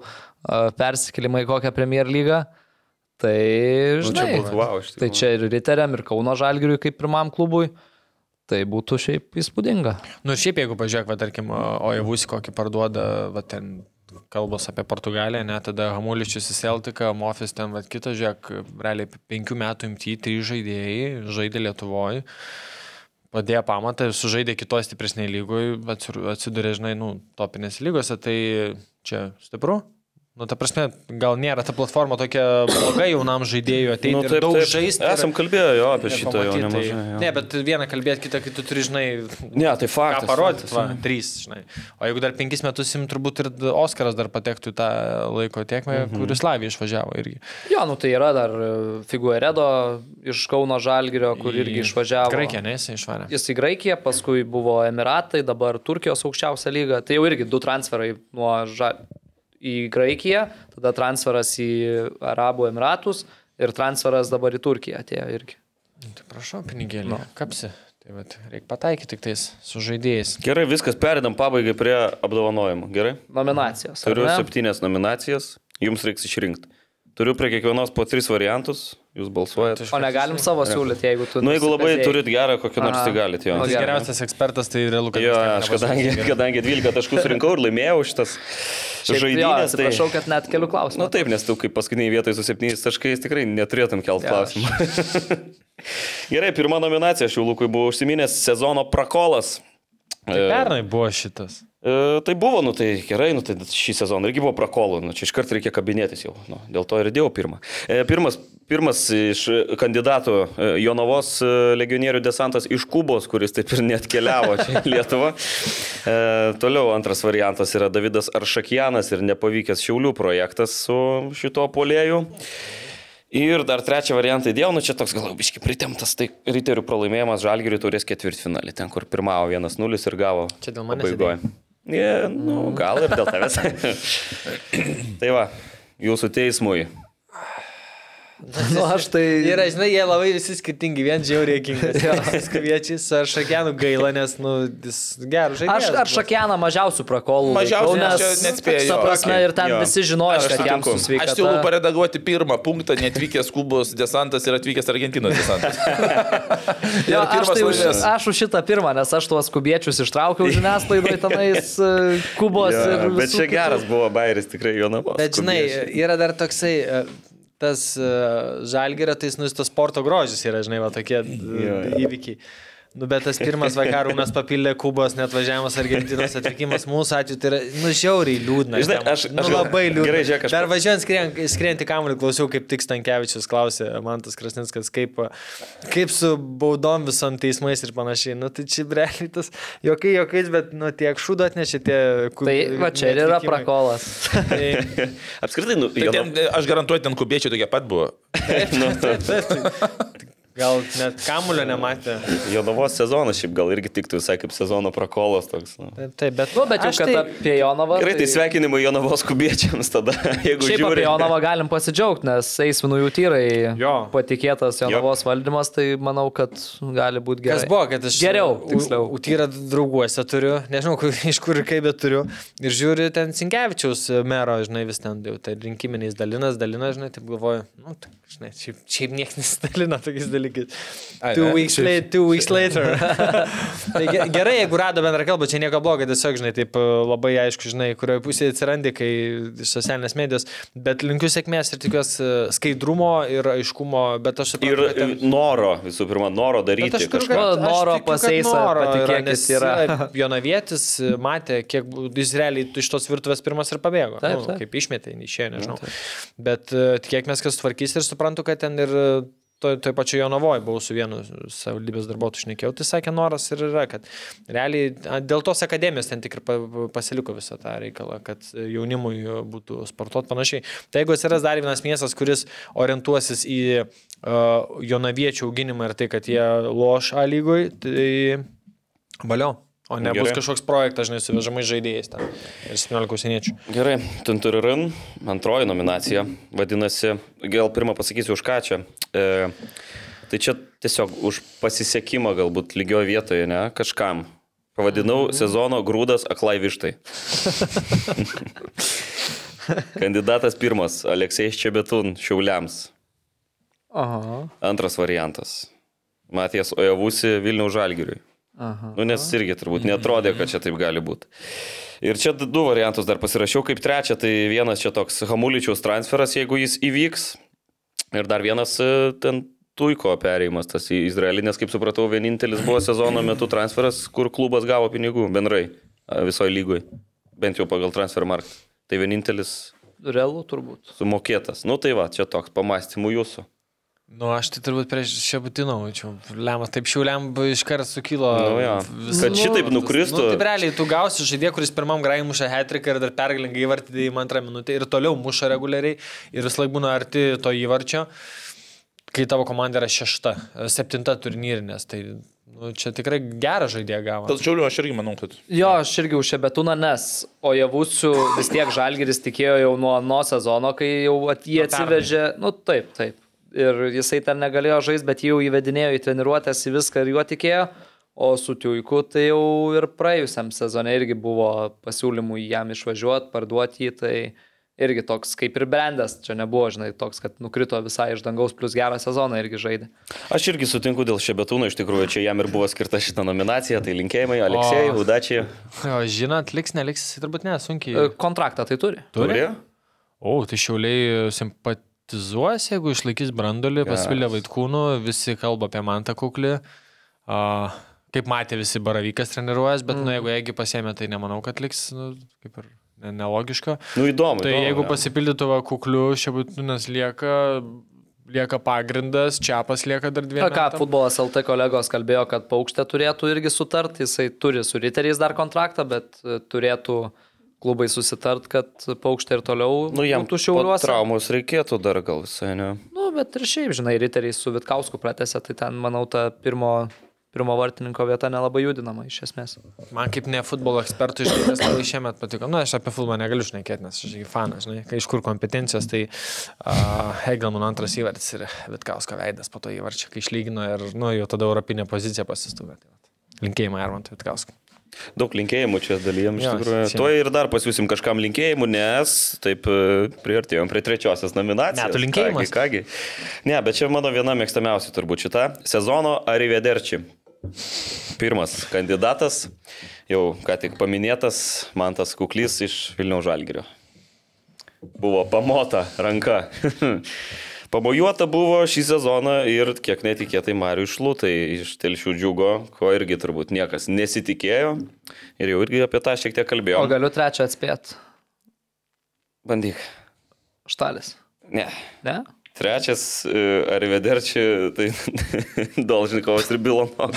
persikėlimą į kokią Premier lygą. Tai, žinai, Nu, būtų vau, iš tai tikrųjų. čia ir Riteriam, ir Kauno Žalgiriui kaip pirmam klubui. Tai būtų šiaip įspūdinga. Nu ir šiaip, jeigu pažiūrėk, va, tarkim, Ojavusi kokį parduoda, va, ten kalbos apie Portugaliją, ne, tada Hamuličius į Celtiką, Mofis ten, va, kitas, žiūrėk, realiai penkių metų imti, trys žaidėjai žaidė Lietuvoje, padėjo pamatą, sužaidė kitos stipresnėje lygoje, atsidūrė, žinai, nu, topinės lygose, tai čia stipru. Nu, ta prasme, gal nėra ta platforma tokia bloga jaunam žaidėjui ateiti nu, ir daug žaisti. ir- Esam kalbėję jo apie šitą jau pamatyt, nemažai. tai- Jo. Ne, bet vieną kalbėti, kitą, kai tu turi, žinai, Ne, tai ką faktas. parodyti, va, trys, žinai. O jeigu dar penkis metus jums turbūt ir Oskaras dar patektų į tą laiko tiekmę, mm Mhm. -hmm. kuris Lavija išvažiavo irgi. Jo, nu tai yra dar Figueredo iš Kauno Žalgirio, kur irgi išvažiavo. Graikija, ne, jis išvarė. Jis į Graikiją, paskui buvo Emiratai, dabar Turkijos aukščiausia lyga. Tai jau irgi du transferai nuo ža... į Graikiją, tada transferas į Arabų Emiratus ir transferas dabar į Turkiją atėjo irgi. Tai prašau, pinigėlį. No. Kapsi. Tai vat, reikia pataikyti tik tais su žaidėjais. Gerai, viskas, perinam pabaigai prie apdovanojimų. Gerai? Nominacijos. ar Turiu ne? septynias nominacijas, jums reiks išrinkti. Turiu prie kiekvienos po tris variantus, jūs balsuojate. O negalim savo siūlyti, jeigu tu... Na, nu, jeigu labai nusipezėjai. turit gerą kokį nors, Aha. tai galite jo. Nu, Jis gerai. geriausias ekspertas tai realu, kad Jo, aš kadangi, kadangi 12 taškų surinkau ir laimėjau šitas Šiaip, jo, žaidimas, tai... Atsiprašau, kad net kelių Na klausimų. taip, nes tu kaip paskutiniai vietoj su septyniais taškais tikrai neturėtum kelt klausimą. Gerai, pirma nominacija, aš jau Lukui buvau užsiminęs, sezono prakolas. Tai pernai buvo šitas. E, tai buvo, nu tai gerai, nu tai šį sezoną irgi buvo prakolų, nu čia iškart reikia kabinėtis jau, nu, dėl to ir dėjau pirmą. E, pirmas, pirmas iš kandidatų e, Jonavos e, legionierių desantas iš Kubos, kuris taip ir net keliavo čia į Lietuvą. E, toliau antras variantas yra Davidas Aršakjanas ir nepavykęs Šiaulių projektas su šito polėju. Ir dar trečią variantą įdėjau, nu čia toks gal biški pritemtas, tai riterių pralaimėjimas Žalgiriui turės ketvirtfinalį, ten kur pirmavo 1-0 ir gavo. Čia dėl manęs pabaigoj. Ne, nu, gal ir dėl tavęs. tai va, jūsų teismui. Nu, aš tai... Yra, žinai, jie labai visi skirtingi, vien žiauriai kingas. Skviečiais ar šakianų gaila, nes, nu, jis geras Aš žaidėjas. ar šakianą mažiausių prakolų. Mažiausiai, laikau, nes čia net spėjo, ta jo, prasme, okei, ir ten jo. visi žinojo, Aš kad jam sutinku. Aš susveikata. siūlau paredaguoti pirmą punktą, netvykęs Kubos desantas ir atvykęs Argentinos desantas. Ir Jo, aš, pirmas tai už, laimės. aš už šitą pirmą, nes aš tuos kubiečius ištraukiau žiniasklaidoje tenais e, Kubos Jo, ir... bet visų čia kitų. geras buvo bairis, tikrai jo namas. Bet žinai, yra dar toksai, e, tas žalgerio, tai jis, nu, jis tas sporto grožis yra, žinai, va tokie e, įvykiai. Nu, bet tas pirmas vakarų mes papildė Kubos, net važiavimas Argentinos atvykimas mūsų atveju, tai yra, nu, žiauriai liūdna. Žinai, Ten, aš- nu, aš gal- labai liūdna. gerai, žiūrėk, aš- Dar važiuojant skrien- skrienti kamuolį, klausiau, kaip tik Stankievičius klausė, man tas Krasnickas, kaip, kaip su baudom visom teismais ir panašiai. Nu, tai čia breliai tas, jokai, jokais, bet, nu, tiek šūdo atnešė tie Tai- kubiečiai. Tai va čia ir yra prakolas. Apskritai, nu, Tai jo, ten, aš garantuoju, ten kubiečiai tokie pat buvo. Gal net kamulio nematė. jo navos sezonas šiaip gal irgi tiktų visai kaip sezono prakolas toks. Nu. Taip, taip bet, Nu, bet jau Aš kad tai- apie Jonavą. Gerai, tai sveikinimai jo navos kubiečiams tada, jeigu Šiaip apie žiūri. Jonavą galim pasidžiaugti, nes eisminų jų tyrai Jo. patikėtas Jonavos valdymas, tai manau, kad gali būti gerai. Kas buvo, kad aš e, Geriau, U- tiksliau. Utyra drauguose turiu, nežinau, kur, iš kur ir kaip, bet turiu. Ir žiūri ten Sinkevičiaus e, mero, žinai, vis ten jau tai rinkiminiais dalinas, dalinas, žinai, taip galvoju, nu, tai, žinai, šiaip, šiaip niekas nesidalina tokiais dalykais. Ai, Two ai, weeks, šiaip- la two weeks later. tai ge- gerai, jeigu rado bendrą kalbą, čia nieko blogo, tiesiog, žinai, taip e, labai aišku, žinai, kurioje pusėje atsirandi, kai iš socialinės medijos, bet linkiu sėkmės ir tikiuosi e, skaidrumo ir aiškumo, bet aš Ir suprantu. kad ten- noro, visų pirma, noro Bet daryti aš turiu kažką. kažką. kad- aš Nu, Noro tikiu, kad paseisa, noro yra, patikėkit, nes yra. Jonavietis e, matė, kiek bu- jis realiai iš tos virtuvės pirmas ir pabėgo. Taip, nu, taip. Kaip išmetė, išėjo, nežinau. Bet e, tikėkimės, kas tvarkys ir suprantu, kad ten ir e, toj to pačioj Jonavoje buvau su vienu savivaldybės darbuotoju šnekėjau, tai sakė noras ir yra, kad realiai a, dėl tos akademijos ten tik ir pa- pasiliko visą tą reikalą, kad e, jaunimui e, būtų sportuot panašiai. Tai jeigu atsiras dar vienas miestas, kuris orientuosis į uh, jonaviečių auginimą ir tai, kad jie loš A lygoj, tai valio. O ne bus Gerai. kažkoks projektas, žinai, su vežamais žaidėjais ten. Ir 17 užsieniečių. Gerai, Tunturirin, antroji nominacija. Vadinasi, gal pirmą pasakysiu už ką čia. E, tai čia tiesiog už pasisekimą galbūt lygioje vietoje, ne, kažkam. Pavadinau sezono grūdas aklai vištai. Kandidatas pirmas - Aleksejs Čebetun Šiauliams. Aha. Antras variantas - Matijas Ojavusi Vilniaus Žalgiriui. Nu, nes irgi turbūt netrodė, kad čia taip gali būti. Ir čia d- du variantus dar pasirašiau, kaip trečią, tai vienas čia toks Hamuličiaus transferas, jeigu jis įvyks. Ir dar vienas e, ten Tuiko perėjimas tas į Izraelį, nes kaip supratau, vienintelis buvo sezono metu transferas, kur klubas gavo pinigų bendrai e, visoje lygoje, bent jau pagal transfer markt. Tai vienintelis Realu turbūt. sumokėtas. Nu tai va, čia toks pamastymų jūsų. Nu, aš tai turbūt prieš Šebutinau, čia lemas, taip šiuliam iš karto sukilo. Nu jo. visas Kad šitaip nuovargis. nukristų. Nu, taip realiai, tu gausi žaidėją, kuris pirmam grajai muša hetriką ir dar pergalingai įvartį į antrą minutę ir toliau muša reguliariai ir vis laik būna arti to įvarčio, kai tavo komanda yra šešta, septinta turnyrinės. Tai nu, čia tikrai gerą žaidėją gavo. Tas žiauliu, aš irgi manau, kad. Jo, aš irgi už Šebetūną, nes o javusių vis tiek Žalgeris tikėjo jau nuo nuo sezono, kai jau at, jį atsivežė. Nu taip, taip. Ir jisai ten negalėjo žaisti, bet jį jau įvedinėjo į treniruotęs į viską ir juo tikėjo. O su Tiuiku tai jau ir praėjusiam sezonai irgi buvo pasiūlymų jam išvažiuoti, parduoti jį. Tai irgi toks kaip ir brandas, čia nebuvo, žinai, toks, kad nukrito visai iš dangaus, plus gerą sezoną irgi žaidė. Aš irgi sutinku dėl Šebetūno, iš tikrųjų čia jam ir buvo skirta šitą nominaciją, tai linkėjimai Aleksėjai, O. Udačiai. Jo, žinot, liks, neliks, jis turbūt nesunkiai. E, Kontraktą tai turi. Turėjo? O, tai šiauliai simpatizuos, jeigu išlaikys brandolį, pasvilė vaikūnų, visi kalba apie mantą kuklį. A, kaip matė, visi baravykas treniruojas, bet mm. Mhm. nu, jeigu jeigu pasėmė, tai nemanau, kad liks, nu, kaip ir ne- nelogiška. Nu įdomu. Tai įdomu, jeigu jo. pasipildytų va kuklių, šia būtinas lieka, lieka pagrindas, čiapas lieka dar dviem. Na ką, metam. futbolas LT kolegos kalbėjo, kad paukštė turėtų irgi sutart, jisai turi su riteriais dar kontraktą, bet e, turėtų klubai susitart, kad paukštė ir toliau Nu, jam būtų po šiauliuose. Traumos reikėtų dar gal visai, ne? Nu, bet ir šiaip, žinai, riteriai su Vitkausku pratęsė, tai ten, manau, ta pirmo, pirmo vartininko vieta nelabai judinama iš esmės. Man kaip ne futbolo ekspertų iš tikrųjų labai šiemet patiko. Na, aš apie futbolą negaliu šnekėti, nes aš žinai, fanas, žinai, kai iš kur kompetencijos, tai uh, Hegel mano antras įvartis ir Vitkausko veidas po to įvarčio, kai išlygino ir, nu, jau tada europinė pozicija pasistūmė. Tai, vat. Linkėjimai Armantui Vitkauskui. Daug linkėjimų čia dalyjam iš Jo, tikrųjų. čia- Tuo ir dar pasiūsim kažkam linkėjimų, nes taip e, priartėjom prie trečiosios nominacijos. Metų linkėjimas. Kągi, kągi. Ne, bet čia mano viena mėgstamiausia turbūt šita. Sezono Arivederčiai. Pirmas kandidatas, jau ką tik paminėtas, Mantas Kuklys iš Vilniaus Žalgirio. Buvo pamota ranka. Pamojuota buvo šį sezoną ir kiek netikėtai Mariu išlūtai iš telšių džiugo, ko irgi turbūt niekas nesitikėjo. Ir jau irgi apie tą šiek tiek O kalbėjome. galiu trečią atspėti. Bandyk. Štalis. Ne. Ne? Trečias Arvederčiai, tai Dolžnikovas ir Bilonovas.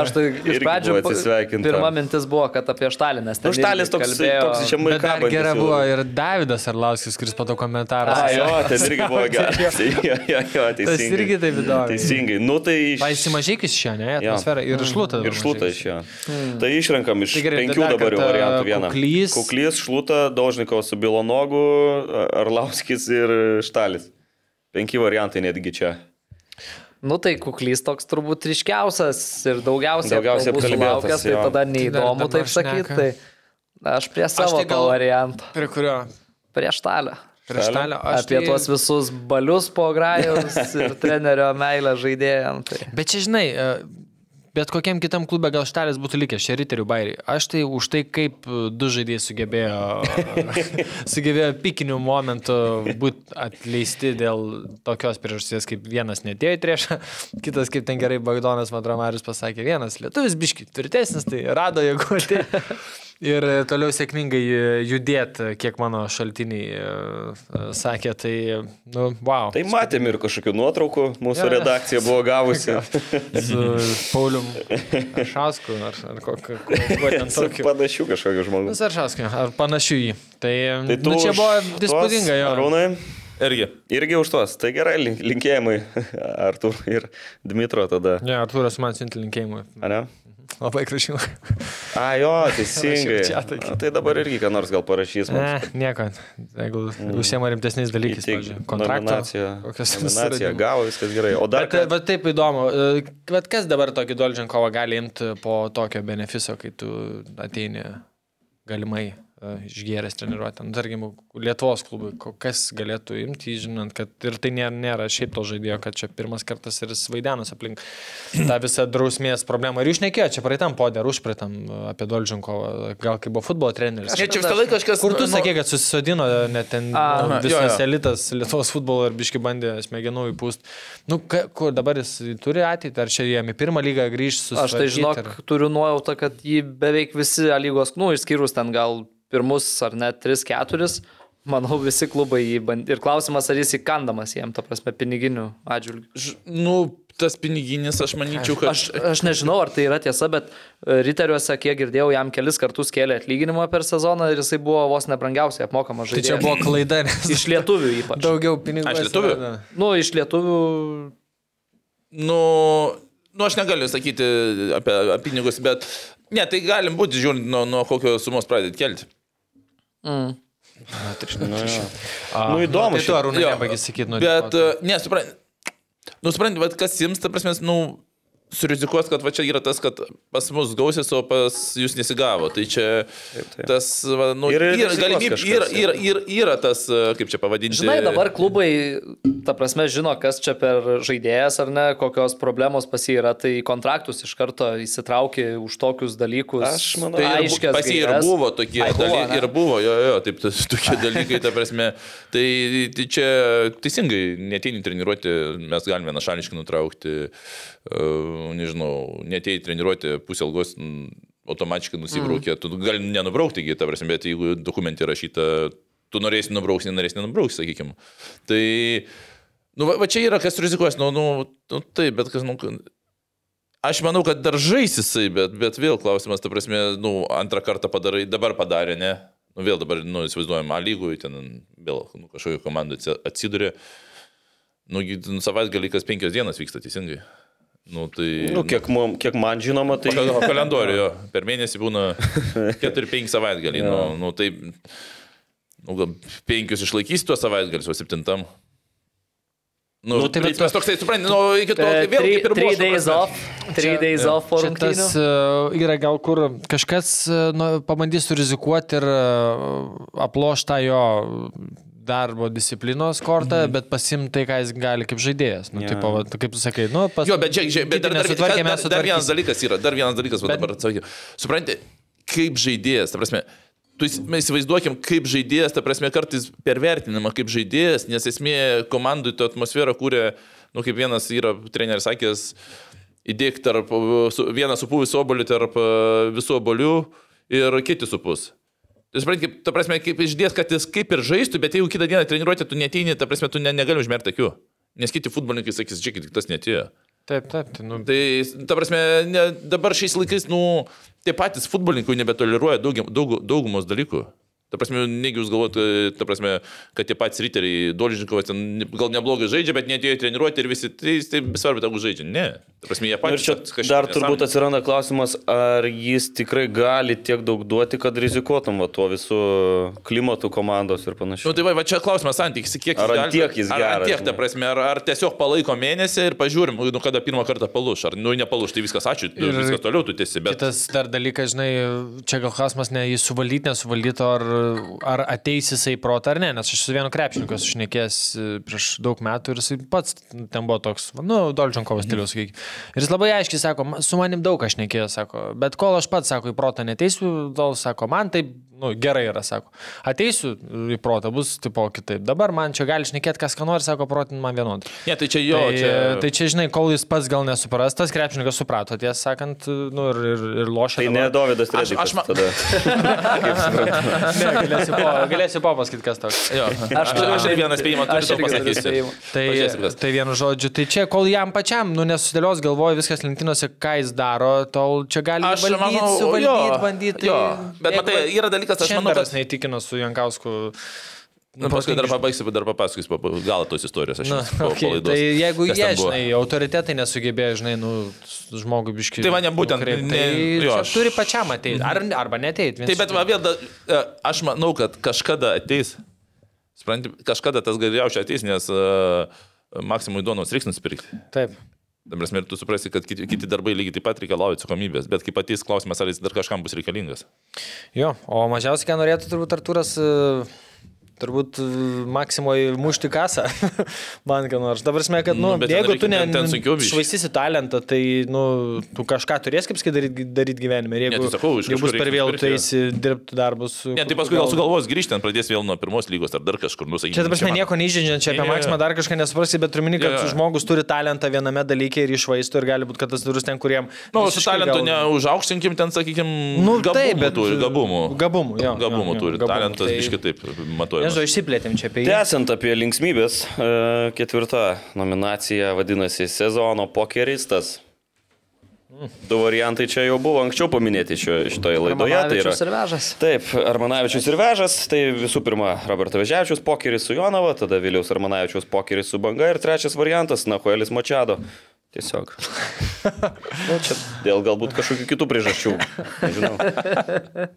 Aš tai iš Irgi pradžių. buvo atsisveikinta. Pirma mintis buvo, kad apie štalį, nes ten... Užtalis irgi toks, kalbėjo- toks žemai Bet dar kabantis. gera jau. buvo ir Davidas Arlauskis, kuris pato komentarą. A, jo, ten irgi buvo geras. jo, jo, jo, Tas teisingai. irgi taip įdomu. Teisingai. Nu tai iš... Paisimažykis čia, ne, Jo. atmosfera. Ir šlūta. Ir šlūta iš jo. Tai išrenkam iš Tai gerai, penkių dar dabar jau kartą variantų vieną. Kuklys. Kuklys, šlūta, Dolžnikovas su Bilonogu, Arlauskis ir Štalis. Penki variantai netgi čia. Nu tai kuklys toks turbūt ryškiausias ir daugiausiai, Daugiausiai apkalbų apkalbėtas, sulaukęs, tai jo. tada Tai neįdomu dar taip dabar sakyti. šneka. Tai aš prie savo tai aš tai gal- gal... varianto, Prie kurio? prieš talę. Prie štalio. Aš Apie tai- tai... tuos visus balius po grajus ir trenerio meilę žaidėjams. Tai. Bet čia žinai, e, bet kokiam kitam klube gal štalis būtų likęs, čia riterių bairiai. Aš tai už tai, kaip e, du žaidėjai sugebėjo, sugebėjo pikinių momentų būti atleisti dėl tokios priežasties, kaip vienas netėjo į triešą, kitas kaip ten gerai Bagdonas Madramarius pasakė, vienas lietuvis biški tvirtesnis, tai rado jėgų. atėjo. Ir e, toliau sėkmingai judėti, kiek mano šaltiniai e, e, sakė, tai, nu, wow. Tai matėm ir kažkokių nuotraukų, mūsų Jo, jo. redakcija buvo gavusi. su Paulium Šausku ar, ar kokiu ten Su tokiu. Panašių kažkokių žmonių. Nu, Ar Šausku, ar panašiu į jį. Tai, Tai nu, čia už buvo tuos, dispūdinga jo. Arūnai, Irgi. irgi už tuos. Tai gerai, link- linkėjimai Artur ir Dmitro tada. Ne, Artūras man siunti linkėjimų. Ane? Labai gražiau. A, jo, teisingai. Rašiau čatą. A, tai dabar irgi ką nors gal parašys Ne, mums. nieko. Jeigu užsiema rimtesniais dalykais, Mm. Įteik- pavyzdžiui, kontraktas. nominaciją- kokios Nominaciją suradimus. gavo, viskas gerai. O dar Bet, ką? bet taip įdomu, e, bet kas dabar tokį e, Dolžinkovą gali imti po tokio benefiso, kai tu ateini galimai e, išgėręs treniruotę. Nu, tarkim, Lietuvos klubui, ko- kas galėtų imti, jį žinant, kad ir tai nėra, nėra šiaip to žaidėjo, kad čia pirmas kartas ir jis vaidenus aplink tą visą drausmės problemą. Ir jūs nekėjo, čia praeitam podė, ar užpraeitam e, apie Dolžinkovą, gal kai buvo futbolo treneris. Ne, čia visą laiką kažkas. Kur tu nu, sakė, kad susisodino net ten Aha, A, jo, visas jo, jo. jo. elitas Lietuvos futbolo ir biški bandė smegenų įpūst. Nu, ka, kur dabar jis turi ateitį, ar čia jam į pirmą lygą grįžti su... Aš tai žinok, ar... turiu nuojautą, kad jį beveik visi A lygos, nu, išskyrus ten gal pirmus ar net 3-4, manau, visi klubai jį bandė. Ir klausimas, ar jis įkandamas jiem, ta prasme, piniginių atžvilgių. Ž- Nu, tas piniginis, aš manyčiau, kad... Aš, aš nežinau, ar tai yra tiesa, bet e, Riteriuose, kiek girdėjau, jam kelis kartus kėlė atlyginimą per sezoną ir jisai buvo vos nebrangiausiai apmokamas Tai čia žaidėjas. buvo klaida, nes Iš lietuvių ypač. Daug... daugiau pinigų. Aš lietuvių? atsirado. Nu, iš lietuvių. Nu, nu, aš negaliu sakyti apie apie pinigus, bet... Ne, tai galim būti, žiūrint, nuo, nuo kokios sumos pradėti kelti. A, Nu, įdomu Tai tu šiaip. arūnai Jo, nebaigi sakyti, nu... Bet, dėkoti. e, ne, suprant, nu, suprant, bet kas jums, ta prasme, nu, surizikuos, kad va čia yra tas, kad pas mus gausis, o pas jūs nesigavo. Tai čia taip. tas, va, nu, Ir yra, yra rizikuos galimybė, kažkas, yra, yra, yra, yra tas, e, kaip čia pavadinti. Žinai, dabar klubai, ta prasme, žino, kas čia per žaidėjas ar ne, kokios problemos pas jį yra, tai į kontraktus iš karto įsitraukia už tokius dalykus. Aš manau, Tai ir bu- aiškias. Pas jį ir gaires. buvo tokie Ai, buvo, dalykai, ne? ir buvo, jo, jo, taip, tas, tokie dalykai, ta prasme. Tai, tai čia teisingai, neteini treniruoti, mes galime našališkai nutraukti, uh, nežinau, neteini treniruoti pusilgos automatiškai nusibraukė, mm. tu gali nenubraukti, gi, ta prasme, bet jeigu dokumentai rašyta, tu norėsi nubraukti, nenorėsi nenubraukti, sakykime. Tai, nu, va, va čia yra kas rizikuos, nu, nu, nu taip, bet kas, nu, Aš manau, kad dar žais jisai, bet, bet vėl klausimas, ta prasme, nu, antrą kartą padarai, dabar padarė, ne? Nu, vėl dabar, nu, įsivaizduojam, A lygui, ten vėl nu, kažkokiu komandu atsidūrė. Nu, gi, nu, savaitgalį kas penkias dienas vyksta, teisingai. Nu, tai... Nu, kiek, mum, kiek man žinoma, tai... Pagal kalendorių, jo. Per mėnesį būna 4-5 savaitgaliai. Nu, nu, tai... Nu, gal 5 išlaikys tuos savaitgalius, o 7. Nu, nu, Nu, tai tai bet- mes toks, tai suprantate, nu, iki to tai vėl kaip ir 3 buvo, E, days supranti. off. 3 days off for Čia tas rungtynių. e, yra gal kur kažkas e, nu, pabandys surizikuoti ir e, aploš tą jo darbo disciplinos kortą, Mhm. mm. bet pasim tai, ką jis gali kaip žaidėjas. Nu, Jo. yeah. taip, va, kaip tu sakai, nu, pas... Jo, bet, žiūrėk, žiūrėk, bet Kiti dar, dar, nesutvarkė, dar, mes dar, dar vienas sutvarkysim. dalykas yra, dar vienas dalykas, bet Bet- dabar atsakysiu. Suprantate, kaip žaidėjas, ta prasme, tu įs- mes įsivaizduokim, kaip žaidėjas, ta prasme, kartais pervertinama kaip žaidėjas, nes esmė komandai tą atmosferą kūrė, nu, kaip vienas yra treneris sakęs, įdėk tarp uh, su- vieną supuvį obolį tarp uh, visų obolių ir kiti supus. Tai supranti, kaip, ta prasme, kaip išdės, kad jis kaip ir žaistų, bet jeigu kitą dieną treniruotė tu neteini, ta prasme, tu ne, negali užmerkti akių. Nes kiti futbolininkai sakys, žiūrėkit, tas netėjo. Taip, taip, tai, nu, Tai, ta prasme, ne, dabar šiais laikais, nu, tie patys futbolininkai nebetoleruoja daug, daug, daugumos dalykų. Ta prasme, negi jūs galvojate, ta prasme, kad tie patys riteriai, Dolžinkovas ten ne- gal neblogai žaidžia, bet netėjo treniruoti ir visi, tai, tai svarbu, tegu žaidžia. Ne. Ta prasme, Nu, jie Ir patys. čia kažkaip dar nesąmonė. turbūt atsiranda klausimas, ar jis tikrai gali tiek daug duoti, kad rizikuotum va, tuo visų klimatų komandos ir Nu, panašiai. tai va, va čia klausimas santykis, kiek jis Ar ant gali- tiek jis ar, ant geras, tiek, ta žinai? prasme, ar, ar tiesiog palaiko mėnesį ir pažiūrim, nu, kada pirmą kartą palūš, ar nu, nepalūš, tai viskas ačiū, ir... Ir- viskas toliau tu tiesi, bet... Kitas dar dalykas, žinai, čia gal klausimas ne jį suvaldyti, nesuvaldyti, ar, ar ateis jisai į protą ar ne, nes aš su vienu krepšininku esu šnekėjęs e, prieš daug metų ir jisai pats ten buvo toks, va, nu, Dolčinkovas stilius, sakykime. Ir jis labai aiškiai sako, "Ma- su manim daug aš šnekėjęs, sako, bet kol aš pats, sako, į protą neteisiu, tol, sako, man taip, nu, gerai yra, sako, ateisiu į protą, bus tipo kitaip. Dabar man čia gali šnekėti, kas ką nori, sako, protin man vienodai. Ne, tai čia jo, Tai, čia... tai čia, žinai, kol jis pats gal nesupras, tas krepšininkas suprato, tiesą sakant, nu, ir, ir, ir lošia. Tai ne Davidas Aš- Trečias. aš ma- tada. galėsiu, po, galėsiu papasakyti, kas toks. Jo. Aš turiu aš ir vieną spėjimą, turiu Aš tau irgi turiu pasakyti. spėjimą. Tai, Pažiūrėsim, kas. tai vienu žodžiu, tai čia, kol jam pačiam, nu, nesudėlios galvoja viskas lentynuose, ką jis daro, tol čia gali Aš valdyt, manau, tai suvaldyti, tai jo, bandyti. jo. Bet matai, yra dalykas, aš manau, Čemberas kad... neįtikino su Jankausku. Nu, paskui dar pabaigsiu, bet dar papasakosiu pab- galą tos istorijos, aš Na, jums po okay, palaidos. tai jeigu kas jie, ten buvo. žinai, autoritetai nesugebėjo, žinai, nu, žmogui biškiai. Tai va, ne, būtent, ne, Tai jo, čia aš- turi pačiam ateiti. Ar, arba neteiti. Tai bet va, vėl, da- e, aš manau, kad kažkada ateis, e, supranti, kažkada tas galiausiai ateis, nes uh, Maksimui Donos reiks nusipirkti. Taip. Dabar ir tu suprasi, kad kiti, kiti darbai lygiai taip pat reikalauja atsakomybės, bet kaip ateis klausimas, ar jis dar kažkam bus reikalingas. Jo, o mažiausiai, ką norėtų turbūt Artūras, e, turbūt e, Maksimoje mušti kasą. Man ką nors. Dabar mes, kad, nu, Nu, bet nu, ten jeigu reikia- tu ne, ten- ten sunkiau biškį. švaistysi talentą, tai, nu, tu kažką turės kaip daryti daryt gyvenime. Ir Ne, jeigu tai sakau, iš jau bus kažkur per reikia vėlų, nusipirkti, tu eisi dirbti darbus. Ne, kur tai tu paskui gal gal- sugalvos grįžti, ten pradės vėl nuo pirmos lygos ar dar kažkur, nu, nusakyti. Čia dabar nieko neįžydžiant, čia apie Jo, jo, jo. Maksimą dar kažką nesuprasi, bet turiu minį, kad Jo, jo. žmogus turi talentą viename dalyke ir išvaisto ir gali būti, kad tas durus ten, kuriem... Na, nu, su visiškai talentu gal- neužaukštinkim ten, sakykim, Nu, gabumų taip, bet- turi, gabumų. Gabumų, jo, jo, Gabumų jo, turi, gabumų, talentas tai- iš kitaip Nežinau, matuojamas. išsiplėtėm čia apie jį. Tęsiant apie linksmybės, e, ketvirta nominacija vadinasi sezono pokeristas. Mm. Du variantai čia jau buvo anksčiau paminėti šio, šitoje laidoje. Tai yra, Armanavičius ir vežas. taip, Armanavičius ir Vežas, tai visų pirma Roberto Vežiavičius pokeris su Jonava, tada Viliaus Armanavičius pokeris su Banga ir trečias variantas Nahuelis Mačiado. Tiesiog. Nu, čia dėl galbūt kažkokių kitų priežasčių. Nežinau.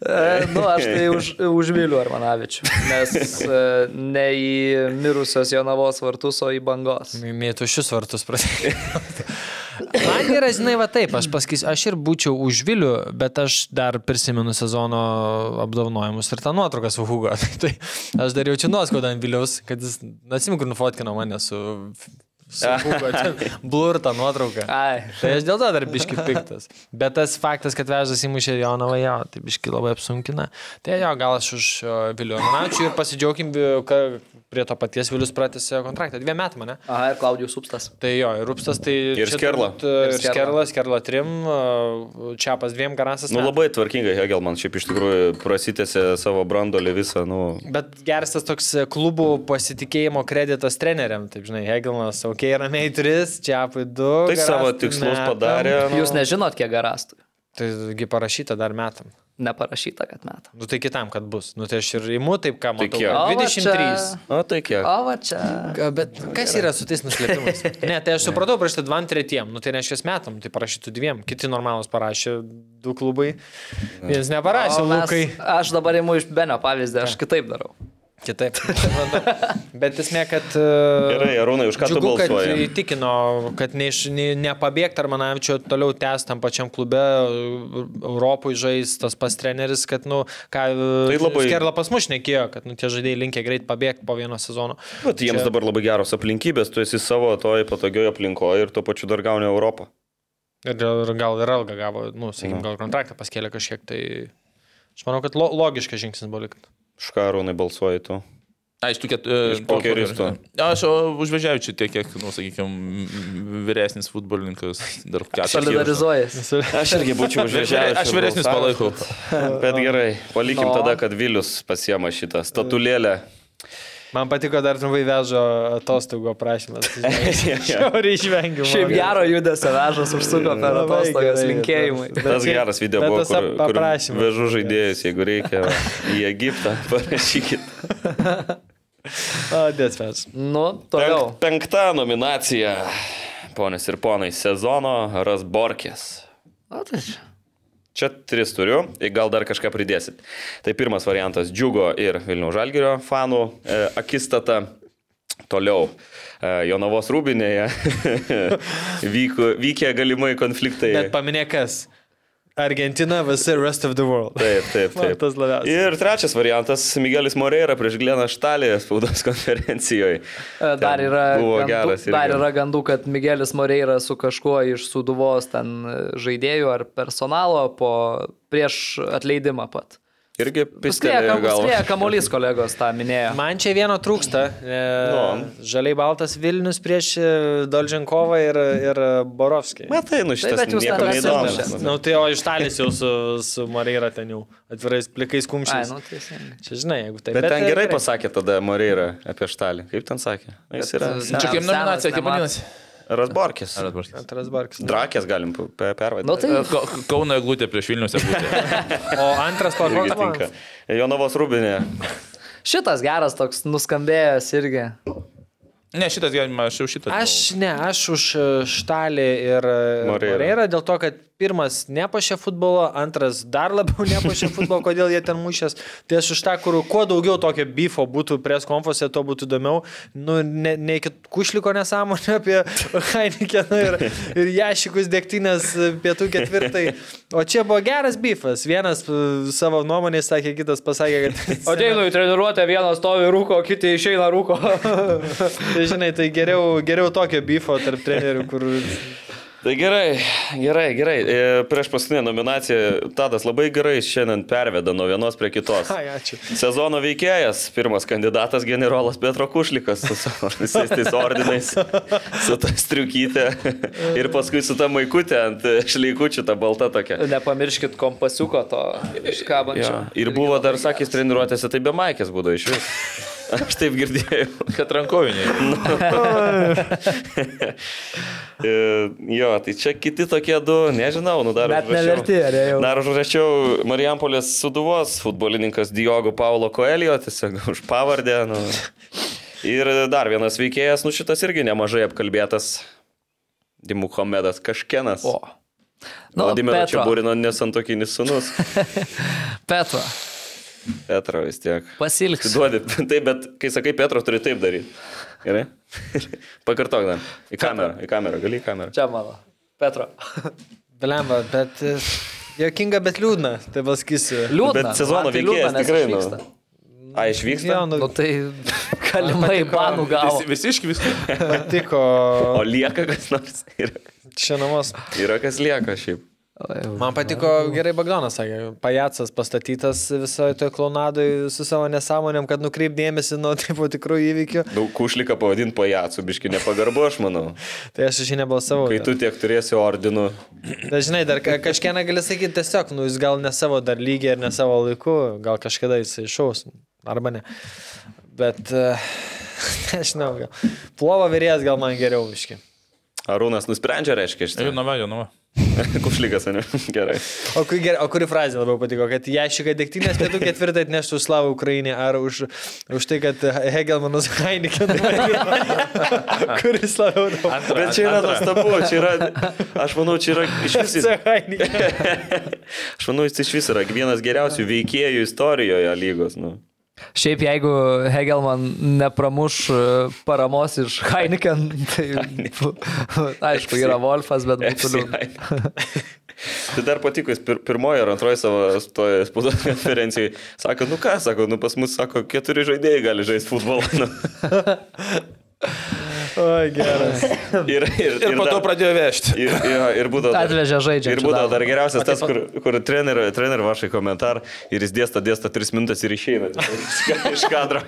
E, nu, aš tai už, užmyliu Armanavičių, nes e, ne į mirusios Jonavos vartus, o į bangos. Mėtušius vartus prasidėjo. Man yra, žinai, va taip, aš pasakysiu, aš ir būčiau už Vilių, bet aš dar prisimenu sezono apdovanojimus ir tą nuotrauką su Hugo. tai aš dar jaučiu nuoskaudą ant Viliaus, kad jis, neatsimenu, kur nufotkino mane su, su Hugo. Blur tą nuotrauką. Ai, Tai aš dėl to dar biški piktas. Bet tas faktas, kad vežas įmušė Jonavą, jo, tai biški labai apsunkina. Tai jo, gal aš už Vilių. Ačiū ir pasidžiaugim, kad prie to paties Vilius pratęsė kontraktą. Dviem metam, ne? aha, ir Klaudijus Upstas. Tai jo, ir Rupstas, tai... Ir čia Skerla. turbūt, e, Ir Ir Skerla, Skerla trim, e, Čiapas dviem, Garasas. Nu metam. labai tvarkingai Hegel man šiaip iš tikrųjų prasitėsi savo brandolį visą, nu, Bet geras tas toks e, klubų pasitikėjimo kreditas treneriam, taip žinai, Hegelmas, ok, ramiai tris, Čiapai du. Tai savo Garastui tikslus metam. padarė. Nu, Jūs nežinot, kiek garastų. Taigi parašyta dar metam. Neparašyta, kad metam. Nu tai kitam, kad bus. Nu tai aš ir imu taip, ką matau. kiek? O, va 23. čia- o tai kiek? O, va čia. Ka- Bet kas yra su tais nuslėpimais? Ne, tai aš supratau, parašyta dviem tretiem, nu tai reiškia metam, tai parašytų dviem, kiti normalus parašė du klubai, vienas neparašė, O mes, Lukai. aš dabar imu iš Benio pavyzdį, aš kitaip darau. Kitaip. Bet esmė, kad... e, Gerai, Arūnai, už ką tu džiugu, kad balsuoji? Įtikino, kad neiš, ne, nepabėgti Armanavičio toliau tęs tam pačiam klube, e, Europoje žais tas pas treneris, kad, nu, ką... Tai labai- Skerla pas mus nekėjo, kad, nu, tie žaidėjai linkia greit pabėgti po vieno sezono. Bet jiems dabar labai geros aplinkybės, tu esi savo toj patogioje aplinkoje ir tuo pačiu dar gauni Europą. Ir, ir gal ir algą gavo, nu, Mhm. sakykim, gal kontraktą paskėlė kažkiek, tai... Aš manau, kad lo, logiškas žingsnis buvo likt. Už ką Arūnai balsuoji tu? A, iš tų e, Iš pokeristo. keturių. Aš užvežiau čia tiek, kiek, nu, sakykime, vyresnis futbolininkas, dar keturis. Solidarizuojas. Aš irgi būčiau užvežęs. Aš vyresnis palaikau. Bet gerai, palikim No. tada, kad Vilius pasiema šitą statulėlę. Man patiko dar trumpai vežo atostogų aprašymas. Tas Žiauriai išvengiu. Šiaip gero judesio vežas užsuko per Labai atostogas, gerai, linkėjimai. tas- Bet šiaip- geras video bet buvo, tas kur, kur aprašymas. vežu žaidėjus, jeigu reikia, va, į Egiptą parašykit. O, dėsvės. Nu, toliau. Penk, penkta nominacija, ponės ir ponai, sezono Rasborkės. O, tai čia. Čia tris turiu, ir gal dar kažką pridėsit. Tai pirmas variantas - Džiugo ir Vilnių Žalgerio fanų e, akistata. Toliau e, Jonavos rūbinėje vyko, vykė galimai konfliktai. Bet paminėk kas. Argentina, visi rest of the world. Taip, taip, Man taip. tas labiausiai. Ir trečias variantas - Miguelis Moreira prieš Gleną Štalį spaudos konferencijoje. E, Dar Ten yra, Buvo gandų, geras. irgi. dar yra gandų, kad Miguelis Moreira su kažkuo iš suduvos ten e, žaidėjų ar personalo po, prieš atleidimą pat. Irgi Spėja, pistelėjo kam- spėja galvą. kamuolys kolegos tą minėjo. Man čia vieno trūksta. E, Nu. Žaliai baltas Vilnius prieš e, Dolžinkovą ir, ir Borovskį. Matai, nu Bet šitas jūs niekam ten neįdomus. Na, atsimušėt. nu, tai o iš talis jau su, su Moreira ten jau atvirais plikais Ai, kumščiais. nu, teisingai. Čia žinai, jeigu taip. Bet ten e, gerai gerai. pasakė tada Moreira apie Štalį. Kaip ten sakė? Jis yra. Senas, Čia kaip nominacija, kaip nemato. vadinasi? Rasborkis. Antras barkas. Drakės galim pe- pe- pervadinti. Nu, tai Ka- Kauno eglutė prieš Vilnius eglutė. O antras Irgi pakoks. tinka. Jonavos rūbinė. šitas geras toks nuskambėjęs irgi. Ne, šitas gyvenimas, aš jau šitą. Aš ne, aš už e, Štalį ir Moreirą. Moreirą dėl to, kad pirmas nepašė futbolo, antras dar labiau nepašė futbolo, kodėl jie ten mušės. Tai aš už tą, kur kuo daugiau tokio bifo būtų prie konfose, tuo būtų įdomiau. Nu, ne, ne iki kušliko nesąmonė apie Heinekeną ir, ir jašikus dėktynės pietų ketvirtai. O čia buvo geras bifas. Vienas e, savo nuomonį sakė, kitas pasakė, kad... O Deinu į treniruotę vienas stovi rūko, kiti išeina rūko. Tai žinai, tai geriau, geriau tokio bifo tarp trenerių, kur Tai gerai, gerai, gerai. E, Prieš paskutinę nominaciją Tadas labai gerai šiandien perveda nuo vienos prie kitos. Ai, ačiū. Sezono veikėjas, pirmas kandidatas generolas Petro Kušlikas su savo visais tais ordinais, su ta striukyte ir paskui su ta maikutė ant e, šleikučių, ta balta tokia. Nepamirškit kompasiuko to iškabančio. Jo. Ir buvo dar, sakys, treniruotėse, tai be maikės būdavo iš vis. Aš taip girdėjau. Nu. Kad rankoviniai. E, Jo, tai čia kiti tokie du, nežinau, nu dar. Net užrašiau. neverti, ar jau? Dar užrašiau Marijampolės suduvos futbolininkas Diogo Paulo Koelio, tiesiog už pavardę. Nu. Ir dar vienas veikėjas, nu šitas irgi nemažai apkalbėtas. Dimuhomedas Kažkenas. O. Nu, Vladimiro Petro, Čiaburino nesantokinis sunus. Petro, Petro vis tiek. Tu pasilgsiu. duodi, taip, bet kai sakai Petro, turi taip daryti. Gerai? Pakartok dar. Į kamerą, į kamerą, gali į kamerą. Čia mano. Petro. Blemba, bet e, jokinga, bet liūdna, tai pasakysiu. Liūdna. Bet sezono man tai liūdna, veikėjas nes tikrai. Nu. išvyksta. A, išvyksta. Jo, nu, Nu tai galimai banų gavo. Visi iškvisti. tai- patiko O lieka kas nors. Yra, čia namus. yra kas lieka šiaip. Man patiko gerai Bagdonas, sakė, pajacas pastatytas visoje toje klonadoje su savo nesąmonėm, kad nukreipdėmėsi nuo taip tikrų įvykių. Daug kušlika pavadinti pajacu, biški nepagarbu, aš manau. Tai aš iš jį nebalsavau. Kai tu tiek turėsi ordinų. Na, žinai, dar ka- kažkieną gali sakyti tiesiog, nu, jis gal ne savo dar lygiai ir ne savo laiku, gal kažkada jis išaus, arba ne. Bet, e, nežinau, gal. Plovo vyrėjas gal man geriau viški. Arūnas. Arūnas nusprendžia, reiškia, šitą. Jonava, Jonava. Kušlikas, ne? Gerai. O, kui, ger- o kuri frazė labiau patiko, kad jašika dėktynės pietų ketvirtą atneštų už slavą Ukrainį ar už, už tai, kad Hegelmanas Heineken, kuris labiau daug. Bet čia yra nuostabu, čia yra, aš manau, čia yra iš vis Heineken. Aš manau, jis iš vis yra vienas geriausių veikėjų istorijoje lygos. Nu. Šiaip jeigu Hegelman nepramuš e, paramos iš Heineken, tai bu- aišku, yra Wolfas, bet būtų FCI. liūdna. Tai dar patiko, jis pir- pirmoji ar antroji savo toje spaudos konferencijoje sako, nu ką, sako, nu pas mus, sako, keturi žaidėjai gali žaisti futbolą. Nu. O, geras. Ir, ir, Ir po to pradėjo vežti. Ir, jo, ir būdavo dar- Atvežė žaidžiančių Ir būdavo dar dar. geriausias tas, kur, kur trenerio, trenerio vašai komentar ir jis dėsta, dėsta 3 minutės ir išeina tiesiog iš kadro.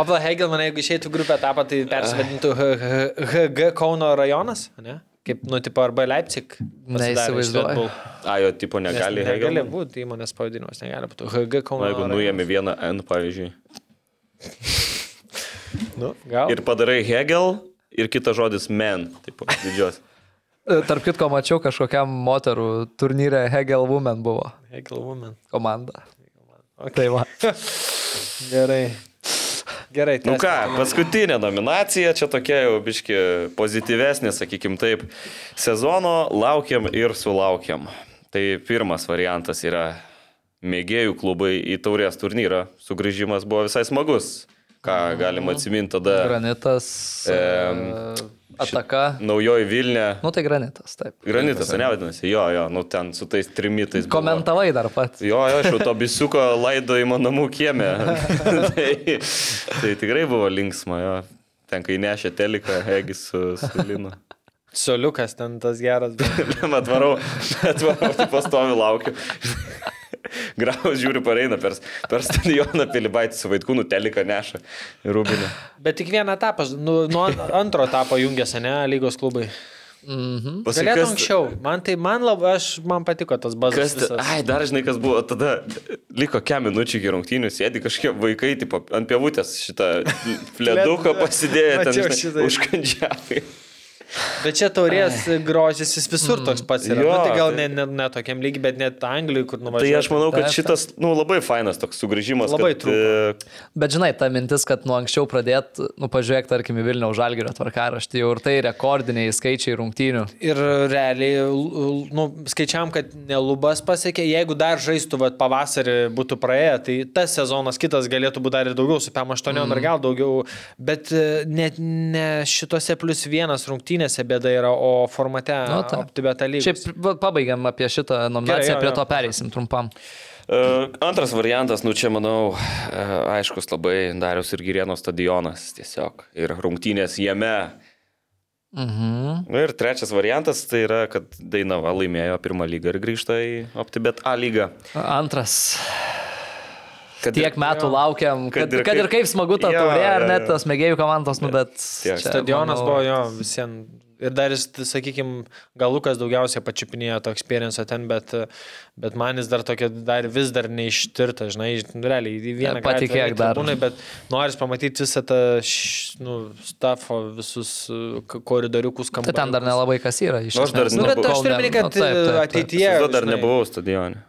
O pala Hegelman, jeigu išeitų grupę etapą, tai persivadintų H- H- HG Kauno rajonas, ne? Kaip, nu, tipo, arba Leipzig. pasidarė iš Red Neįsivaizduoju. Bull. A, jo tipo Nes negali. Negali Hegelman. būti įmonės pavadinimas, negali būti. HG Na, Kauno. jeigu nu rajonas. nuėmė vieną N, pavyzdžiui. Nu, gal. Ir padarai Hegel ir kitas žodis man. Taip, didžios. E, Tarp kitko, mačiau kažkokiam moterų turnyre Hegel Women buvo Hegel Woman. komanda. Tai va. Gerai. Gerai, Nu tęsk. ką, paskutinė nominacija, čia tokia jau biški pozityvesnė, sakykim taip, sezono laukiam ir sulaukiam. Tai pirmas variantas yra mėgėjų klubai į taurės turnyrą. Sugrįžimas buvo visai smagus. Ką galima atsiminti tada Granitas. e, Ataka. naujoji Vilnė. Nu tai granitas, taip. Granitas, ne vadinasi, jo, jo, nu ten su tais trimitais. buvo. Komentavai dar pats. Jo, jo, aš jau to bisiuko laidojimo namų kiemė. tai, tai tikrai buvo linksma, jo. Ten, kai nešė teliką, Egis su, su Linu. Soliukas ten tas geras. atvarau, atvarau, tai pastovi laukiu. Graus žiūriu, pareina per, per stadioną Pilibaitį su vaikūnu teliką neša į Rubinę. Bet tik vieną etapą, nu, nuo an- antro etapo jungiasi, ne, lygos klubai. Paskui Galėtų kas- anksčiau. Man tai, man labai, aš, man patiko tas Kas, bazas. ta- visas. ai, dar žinai, kas buvo, tada liko kem minučių iki rungtynių, sėdi kažkokie vaikai, tipo, ant pievutės šitą leduką pasidėję ten, Mačiau žinai, šitą. užkandžiavai. Bet čia taurės grožis jis visur toks pats yra. Jo, nu, tai gal ne, tai- ne, ne tokiam lygiai, bet net Anglijai, kur nuvažiuoji. Tai aš manau, kad Taip. šitas, nu, labai fainas toks sugrįžimas. Labai kad, trūko. e, Bet žinai, ta mintis, kad nuo anksčiau pradėt, nu pažiūrėk, tarkim, į Vilniaus žalgerio tvarkaraštį, jau ir tai rekordiniai skaičiai rungtynių. Ir realiai, l- l- nu, skaičiam, kad nelubas pasiekė, jeigu dar žaistų vat, pavasarį būtų praėję, tai tas sezonas kitas galėtų būti dar ir daugiau, su PM8 mm. ir gal daugiau, bet e, net ne šitose plus vienas rungtynėse bėda yra, o formate Nu, nu, taip. Tibeto lygos. Šiaip va, pabaigiam apie šitą nominaciją, jo, prie jo. to pereisim trumpam. E, Antras variantas, nu čia manau, e, aiškus labai Darius ir Girieno stadionas tiesiog ir rungtynės jame. Mhm. Nu ir trečias variantas tai yra, kad Dainava laimėjo pirmą lygą ir grįžta į OptiBet A lygą. Antras. Kad Tiek metų laukiam, kad, kad, ir, kad ir kaip smagu ta jo, taurė, ar jo, net jo. tas mėgėjų komandos, nu bet... Tiek. čia, Stadionas manau, buvo jo visiems. Ir dar jis, sakykime, galukas daugiausiai pačiupinėjo to experience ten, bet, bet man jis dar tokia, dar vis dar neištirta, žinai, nu, realiai į vieną Patikėk dar. Būnai, bet noris pamatyti visą tą, š- nu, stafo, visus e, k- koridoriukus, Tai ten dar nelabai kas yra iš Nu, aš dar esmės. Na, bet Kol aš turiu omeny, Nu, kad taip, taip, taip. ateityje... Jie dar žinai, nebuvau stadione.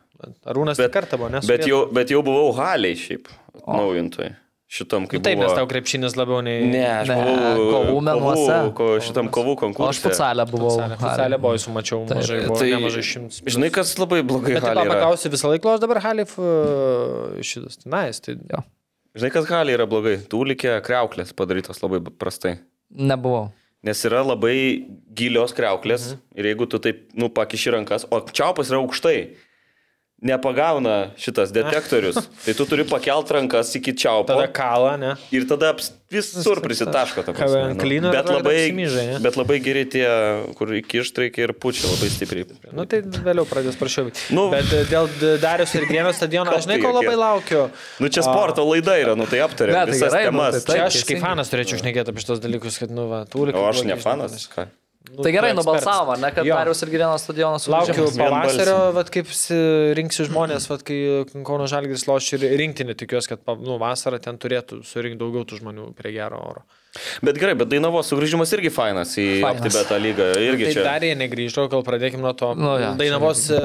Arūnas bet, kartą buvo, nes... bet, jau, bet jau buvau haliai šiaip, naujintui. Šitam kaip. Nu, taip, nes buvo- tau krepšinis labiau nei... Ne, aš Ne, buvau kovų menuose. ko, šitam O kovų aš konkursui. futsalę buvau. Salė buvo, jūs mačiau, mažai buvo, tai, nemažai šimtas. Žinai, kas labai blogai Bet tai taip haliai yra. paklausiu visą laiką, o aš dabar Halif e, šitas. Na, jis tai... Jo. Žinai, kas gali yra blogai. Tūlikė kreuklės padarytos labai prastai. Nebuvau. Nes yra labai gilios kreuklės mhm. ir jeigu tu taip, nu, pakiši rankas, o čiaupas yra aukštai, nepagauna šitas detektorius, tai tu turi pakelt rankas iki čiaupo Ah. Tada kalą, ne? ir tada aps- visur prisitaško tą Kavai ant klyno ir Bet, atrodo labai- apsimyžai, ne? bet labai geri tie, kur įkištreikia ir pučia labai stipriai. Nu, tai vėliau pradės prašiau. Nu. Nu. Bet e, dėl D- Darius ir Gėmio stadiono, aš Kas žinai, tai ko jokie? labai laukiu. Nu, čia sporto laida yra, nu, tai Ne, aptarėme tai visas gerai, nu, tai temas. Čia taip, aš kaip teisingai. fanas turėčiau šnekėti apie šitos dalykus, kad, nu, va, tūlikai. O aš ne fanas. Ką? Tai gerai, nubalsavo, ne, kad Nu, Jo. Darius ir Girėnas stadionas Laukiu užimtas. pavasario, vat, kaip si- rinksi žmonės, vat, kai e, Kauno Žalgris loš ir rinktinį, tikiuosi, kad pa- nu, vasarą ten turėtų surinkti daugiau tų žmonių prie gero oro. Bet gerai, bet Dainavos sugrįžimas irgi fainas į Fainas. Optibetą lygą. Irgi Tai čia. dar jie negryžo, kol pradėkime nuo to. Nu, Nu, jo, ja, Dainavos e,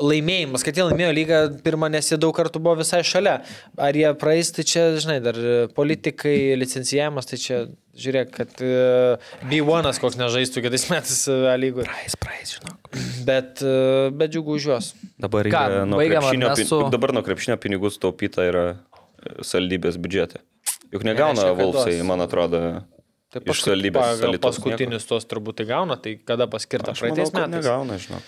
laimėjimas, kad jie laimėjo lygą pirmą, nes jie daug kartų buvo visai šalia. Ar jie praeis, tai čia, žinai, dar e, politikai, licencijavimas, tai čia, žiūrėk, kad e, B1 koks nežaistų kitais metais e, A lygoje. Praeis, praeis, žinok. Bet, e, bet džiugu už juos. Dabar, Ką, yra e, nuo baigiam ar krepšinio mes pin- su- dabar nuo krepšinio pinigų sutaupyta yra e, saldybės biudžete. Juk negauna Nereiškia, kad Vulfsai, duos. man atrodo. Tai Iš saldybės pagal salitos paskutinius tuos turbūt tai gauna, tai kada paskirta Aš manau, praeitais kad metais. negauna, žinok.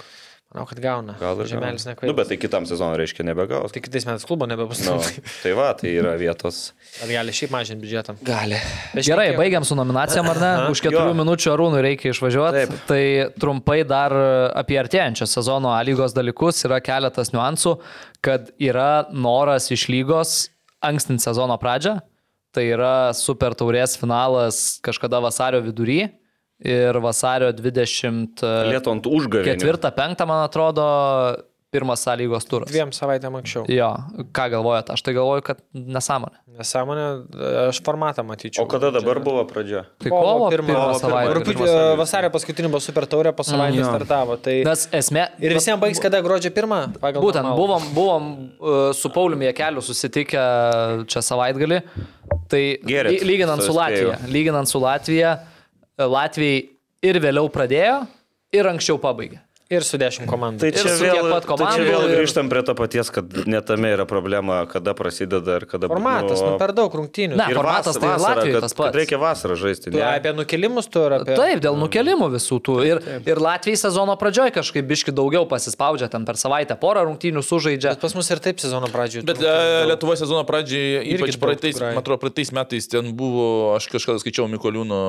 Manau, kad gauna. Gal ir Žemelis gauna. nekvailas. Nu, bet tai kitam sezonui reiškia nebegaus. Tai kitais metais klubo nebebus. Nu, tai va, tai yra vietos. Ar gali šiaip mažinti biudžetą? Gali. Gerai, baigiam su nominacijom, ar ne? Už keturių Jo. minučių Arūnui reikia išvažiuoti. Taip. Tai trumpai dar e, apie artėjančio sezono A lygos dalykus yra keletas niuansų, kad yra noras iš lygos ankstinti sezono pradžią. Tai yra Super Taurės finalas kažkada vasario vidury ir vasario 24-5, Lietu ant užgavėnių. man atrodo, pirmas A lygos turas. Dviem savaitėm anksčiau. Jo, ką galvojate? Aš tai galvoju, kad nesąmonė. Nesąmonė, aš formatą matyčiau. O kada dabar buvo pradžia? Tai kovo pirmą kovo pirmą. savaitę. Rugpjūtį- Rūpiučio savaitgalį. vasario paskutinį buvo super taurė, po savaitės startavo. Tai... Nes esmė. Ir visiems baigs kada gruodžio pirmą? Pagal Būtent, normalų. buvom, buvom e, su Pauliumi Jekeliu susitikę čia savaitgalį. Tai Gėrėt, ly- lyginant su tą Latvija. spėju. Lyginant su Latvija, e, Latvijai ir vėliau pradėjo, ir anksčiau pabaigė. Ir su dešimt komandų. Tai Ir čia su tiek vėl, pat tai čia komandų vėl ir- grįžtam prie to paties, kad netame yra problema, kada prasideda ir kada Formatas, nu per daug rungtynių. Ne. Ir Formatas vas- tai ir vasarą, Latvijoj kad- tas pats. kad Reikia vasarą žaisti. Tu ne? apie nukelimus tu ir apie... Taip, dėl nukelimų visų tų. Ir, ir Latvijai sezono pradžioje kažkaip biški daugiau pasispaudžia, ten per savaitę porą rungtynių sužaidžia. Bet pas mus ir taip sezono pradžioje. Bet e, Lietuvo sezono pradžiai, ypač daug praeitais, grajų. man atrodo, praeitais metais ten buvo, aš kažkada skaičiau Mikoliūno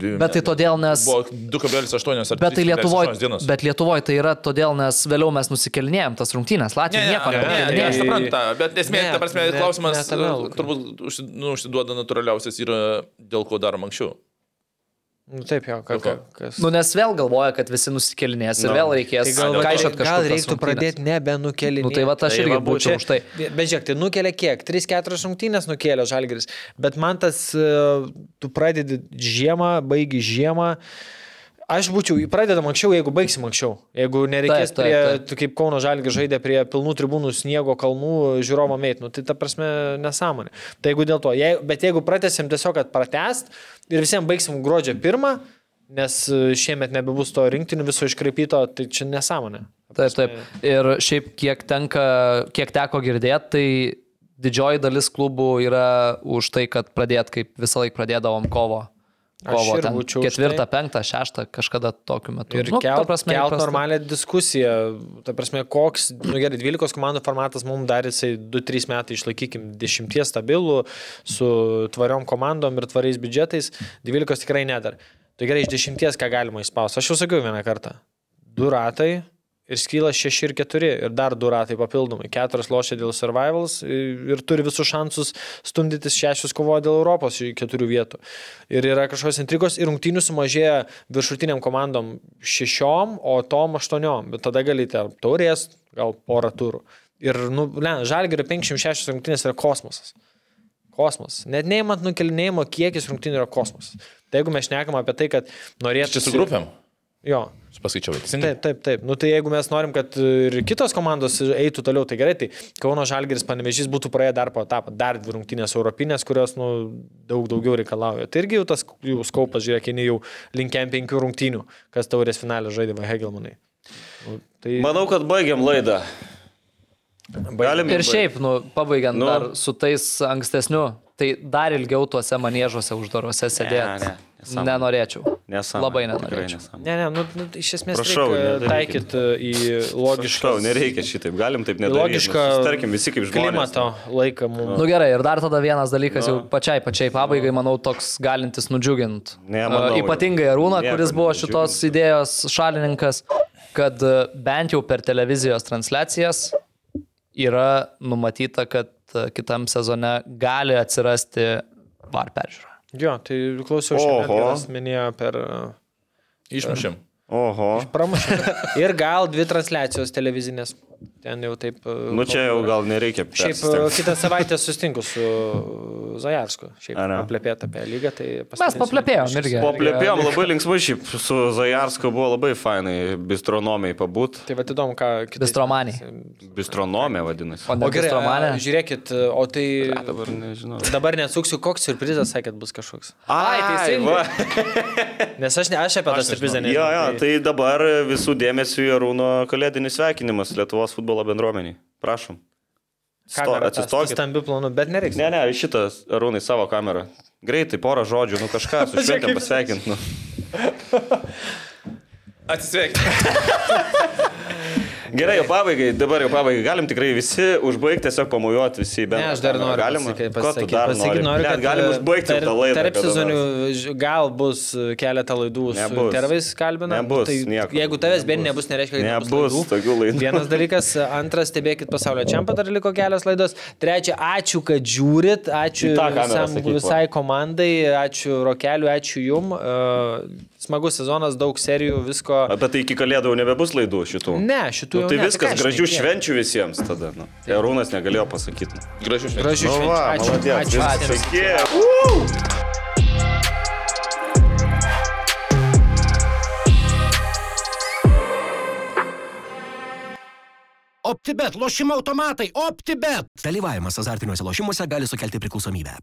dviejų. Bet tai metų. todėl, nes Buvo 2,8 ar Bet tai 3,8 Lietuvoje dienos. Lietuvoj tai yra todėl, nes vėliau mes nusikelnėjom tas rungtynės. Ne, Latvija ne, nieko ne, ne, ne, nepadarė. aš tai- suprantu, tą, bet esmė, Ne, ta prasme, ne, ne klausimas tame, e, Lukai. turbūt užsi- nu, užsiduoda natūraliausias yra dėl ko darom anksčiau. Nu, taip, jo, ką, Dėl ką, ko? kas. Nu, nes vėl galvoja, kad visi nusikėlinės ir Nu. vėl reikės Tai gal, kaišot kažką. gal reiktų pradėti nebenukelinti. Nu, tai va, aš Tai irgi va, būčiau būčiau- už tai. Bet žiūrėk, tai nukelia kiek? 3-4 rungtynės nukelia žalgeris. Bet man tas, e, tu pradedi žiemą, baigi žiemą. Aš būčiau, pradedam anksčiau, jeigu baigsim anksčiau. Jeigu nereikės Taip, taip, prie, taip. tu kaip Kauno Žalgi žaidė prie pilnų tribūnų sniego kalnų žiūrovo meitnų, tai ta prasme nesąmonė. Tai jeigu dėl to, jei, bet jeigu pratesim tiesiog, kad pratest ir visiems baigsim gruodžio pirmą, nes e, šiemet nebebus to rinktinių viso iškreipyto, tai čia nesąmonė. Taip, taip. Ir šiaip kiek, tenka, kiek teko girdėti, tai didžioji dalis klubų yra už tai, kad pradėt, kaip visą laiką pradėdavom kovo. Aš Kovo ir ten būčiau už tai. ketvirtą, penktą, šeštą, kažkada tokiu metu. Ir nu, kelt, prasme, kelt įprasta. normalią diskusiją. Ta prasme, koks, nu gerai, 12 komandų formatas mums dar jisai 2-3 metai išlaikykim 10 stabilų su tvariom komandom ir tvariais biudžetais, 12 tikrai nedar. Tai gerai, iš 10 ką galima įspausti. Aš jau sakiau vieną kartą. Du ratai. Ir skyla 6 ir 4, ir dar 2 ratai papildomai. 4 lošia dėl survivals i- ir turi visus šansus stumdytis 6 kovoje dėl Europos 4 vietų. Ir yra kažkokios intrigos, ir rungtynių sumažėja viršutiniam komandom 6, o tom 8, bet tada galite taurės, gal porą turų. Ir, nu, žalgerio 506 rungtynės yra kosmosas. Kosmos. Net neimant nukelinėjimo, kiekis rungtynių yra kosmosas. Tai jeigu mes šnekam apie tai, kad norėtų... Čia su grupėm. Jo. Aš paskaičiau, teisingai. Taip, taip, taip. Nu, tai jeigu mes norim, kad ir kitos komandos eitų toliau, tai gerai, tai Kauno Žalgeris Panevežys būtų praėję dar po etapą, dar dvi rungtynės europinės, kurios nu, daug daugiau reikalauja. Tai irgi jau tas jų skaupas, žiūrėk, eini jau linkiam penkių rungtynių, kas taurės finalė žaidė Hegelmanai. Nu, tai Manau, kad baigiam laidą. Galim Ir jau baigt. šiaip, nu, pabaigiant Nu. nu. dar su tais ankstesniu, tai dar ilgiau tuose manėžuose uždarose sėdėti. ne, nesąmonė. nenorėčiau. Nesąmonė, Labai tikrai nenorėčiau. nesąmonė. Ne, ne, nu, nu, iš esmės Prašau, reikia nedarykit. taikyti į logišką, Prašau, nereikia šitaip, galim taip į nedaryti. logišką Tarkim, visi kaip žmonės. klimato laiką mums. Nu gerai, ir dar tada vienas dalykas, Nu. jau pačiai, pačiai pabaigai, manau, toks galintis nudžiuginti. Ne, manau, E, Ypatingai Arūną, nieko kuris buvo nenudžiugins. šitos idėjos šalininkas, kad e, bent jau per televizijos transliacijas yra numatyta, kad e, kitam sezone gali atsirasti var peržiūra. Jo, tai klausiau šiandien, Oho. kas minėjo per... uh, Išmušėm. Oho. Pramušė. Ir gal dvi transliacijos televizinės. Ten jau taip. uh, Nu čia jau gal nereikia. Šiaip uh, persistengt. kitą savaitę sustinku su Zajarsku. Šiaip Ar ne? paplepėt apie lygą, tai Mes paskutinis- paplepėjom uh, irgi. Paplepėjom labai linksmai, šiaip su Zajarsku buvo labai fainai bistronomiai pabūt. Tai vad įdomu, ką kitais- Bistromaniai. Bistronomė vadinasi. O O gerai, Bistromanė? uh, žiūrėkit, uh, o tai Ne, Dabar nežinau. dabar nesuksiu, koks surprizas, sakėt, bus kažkoks. Ai, teisingai. va. Nes aš, ne, aš apie tą surprizą Jo, nežinau. jo, tai dabar visų dėmesių Jarūno kalėdinis sveikinimas Lietuvos futbolo bendruomeniai. Prašom. Sto- Kamera tą Atsistokit. Stambiu planu, bet nereiks. Ne, ne, šitas Arūnai savo kamerą. Greitai, porą žodžių, nu kažką, su šventėm pasveikint. Nu. Atsisveikinu. Gerai, jau pabaigai, dabar jau pabaigai. Galim tikrai visi užbaigti, tiesiog pamojuoti visi į bendrą. Ne, aš dar kamerą. noriu. Galima? pasakyt- Ko tu pasakyt- dar pasakyt nori? noriu, Net kad, galim e, užbaigti jau tarp- tą laidą. Tarp kada sezonių nors. ž- gal bus e, keletą laidų Nebus. su tervais kalbina. Nebus Tai nieko. Jeigu tavęs Nebus. bent nebus, nereiškia, kad Nebus tokių laidų. Vienas dalykas, antras, stebėkit pasaulio čempą, dar liko kelios laidos. Trečia, ačiū, kad žiūrit, ačiū Į tą kamerą visam, sakyk, va. visai komandai, ačiū Rokeliu, ačiū Jum. E, Smagus sezonas, daug serijų, visko. Apie tai iki kalėdų jau nebebus laidų šitų. Ne, šitų Nu, jau tai ne, viskas, ką gražių šnekėt. švenčių visiems tada. Nu. Arūnas negalėjo pasakyti. Gražių švenčių. Gražių Nu, švenčių. Ačiū. Ačiū. visiems. Ačiū. OptiBet, lošimo automatai, OptiBet. Dalyvavimas azartiniuose lošimuose gali sukelti priklausomybę.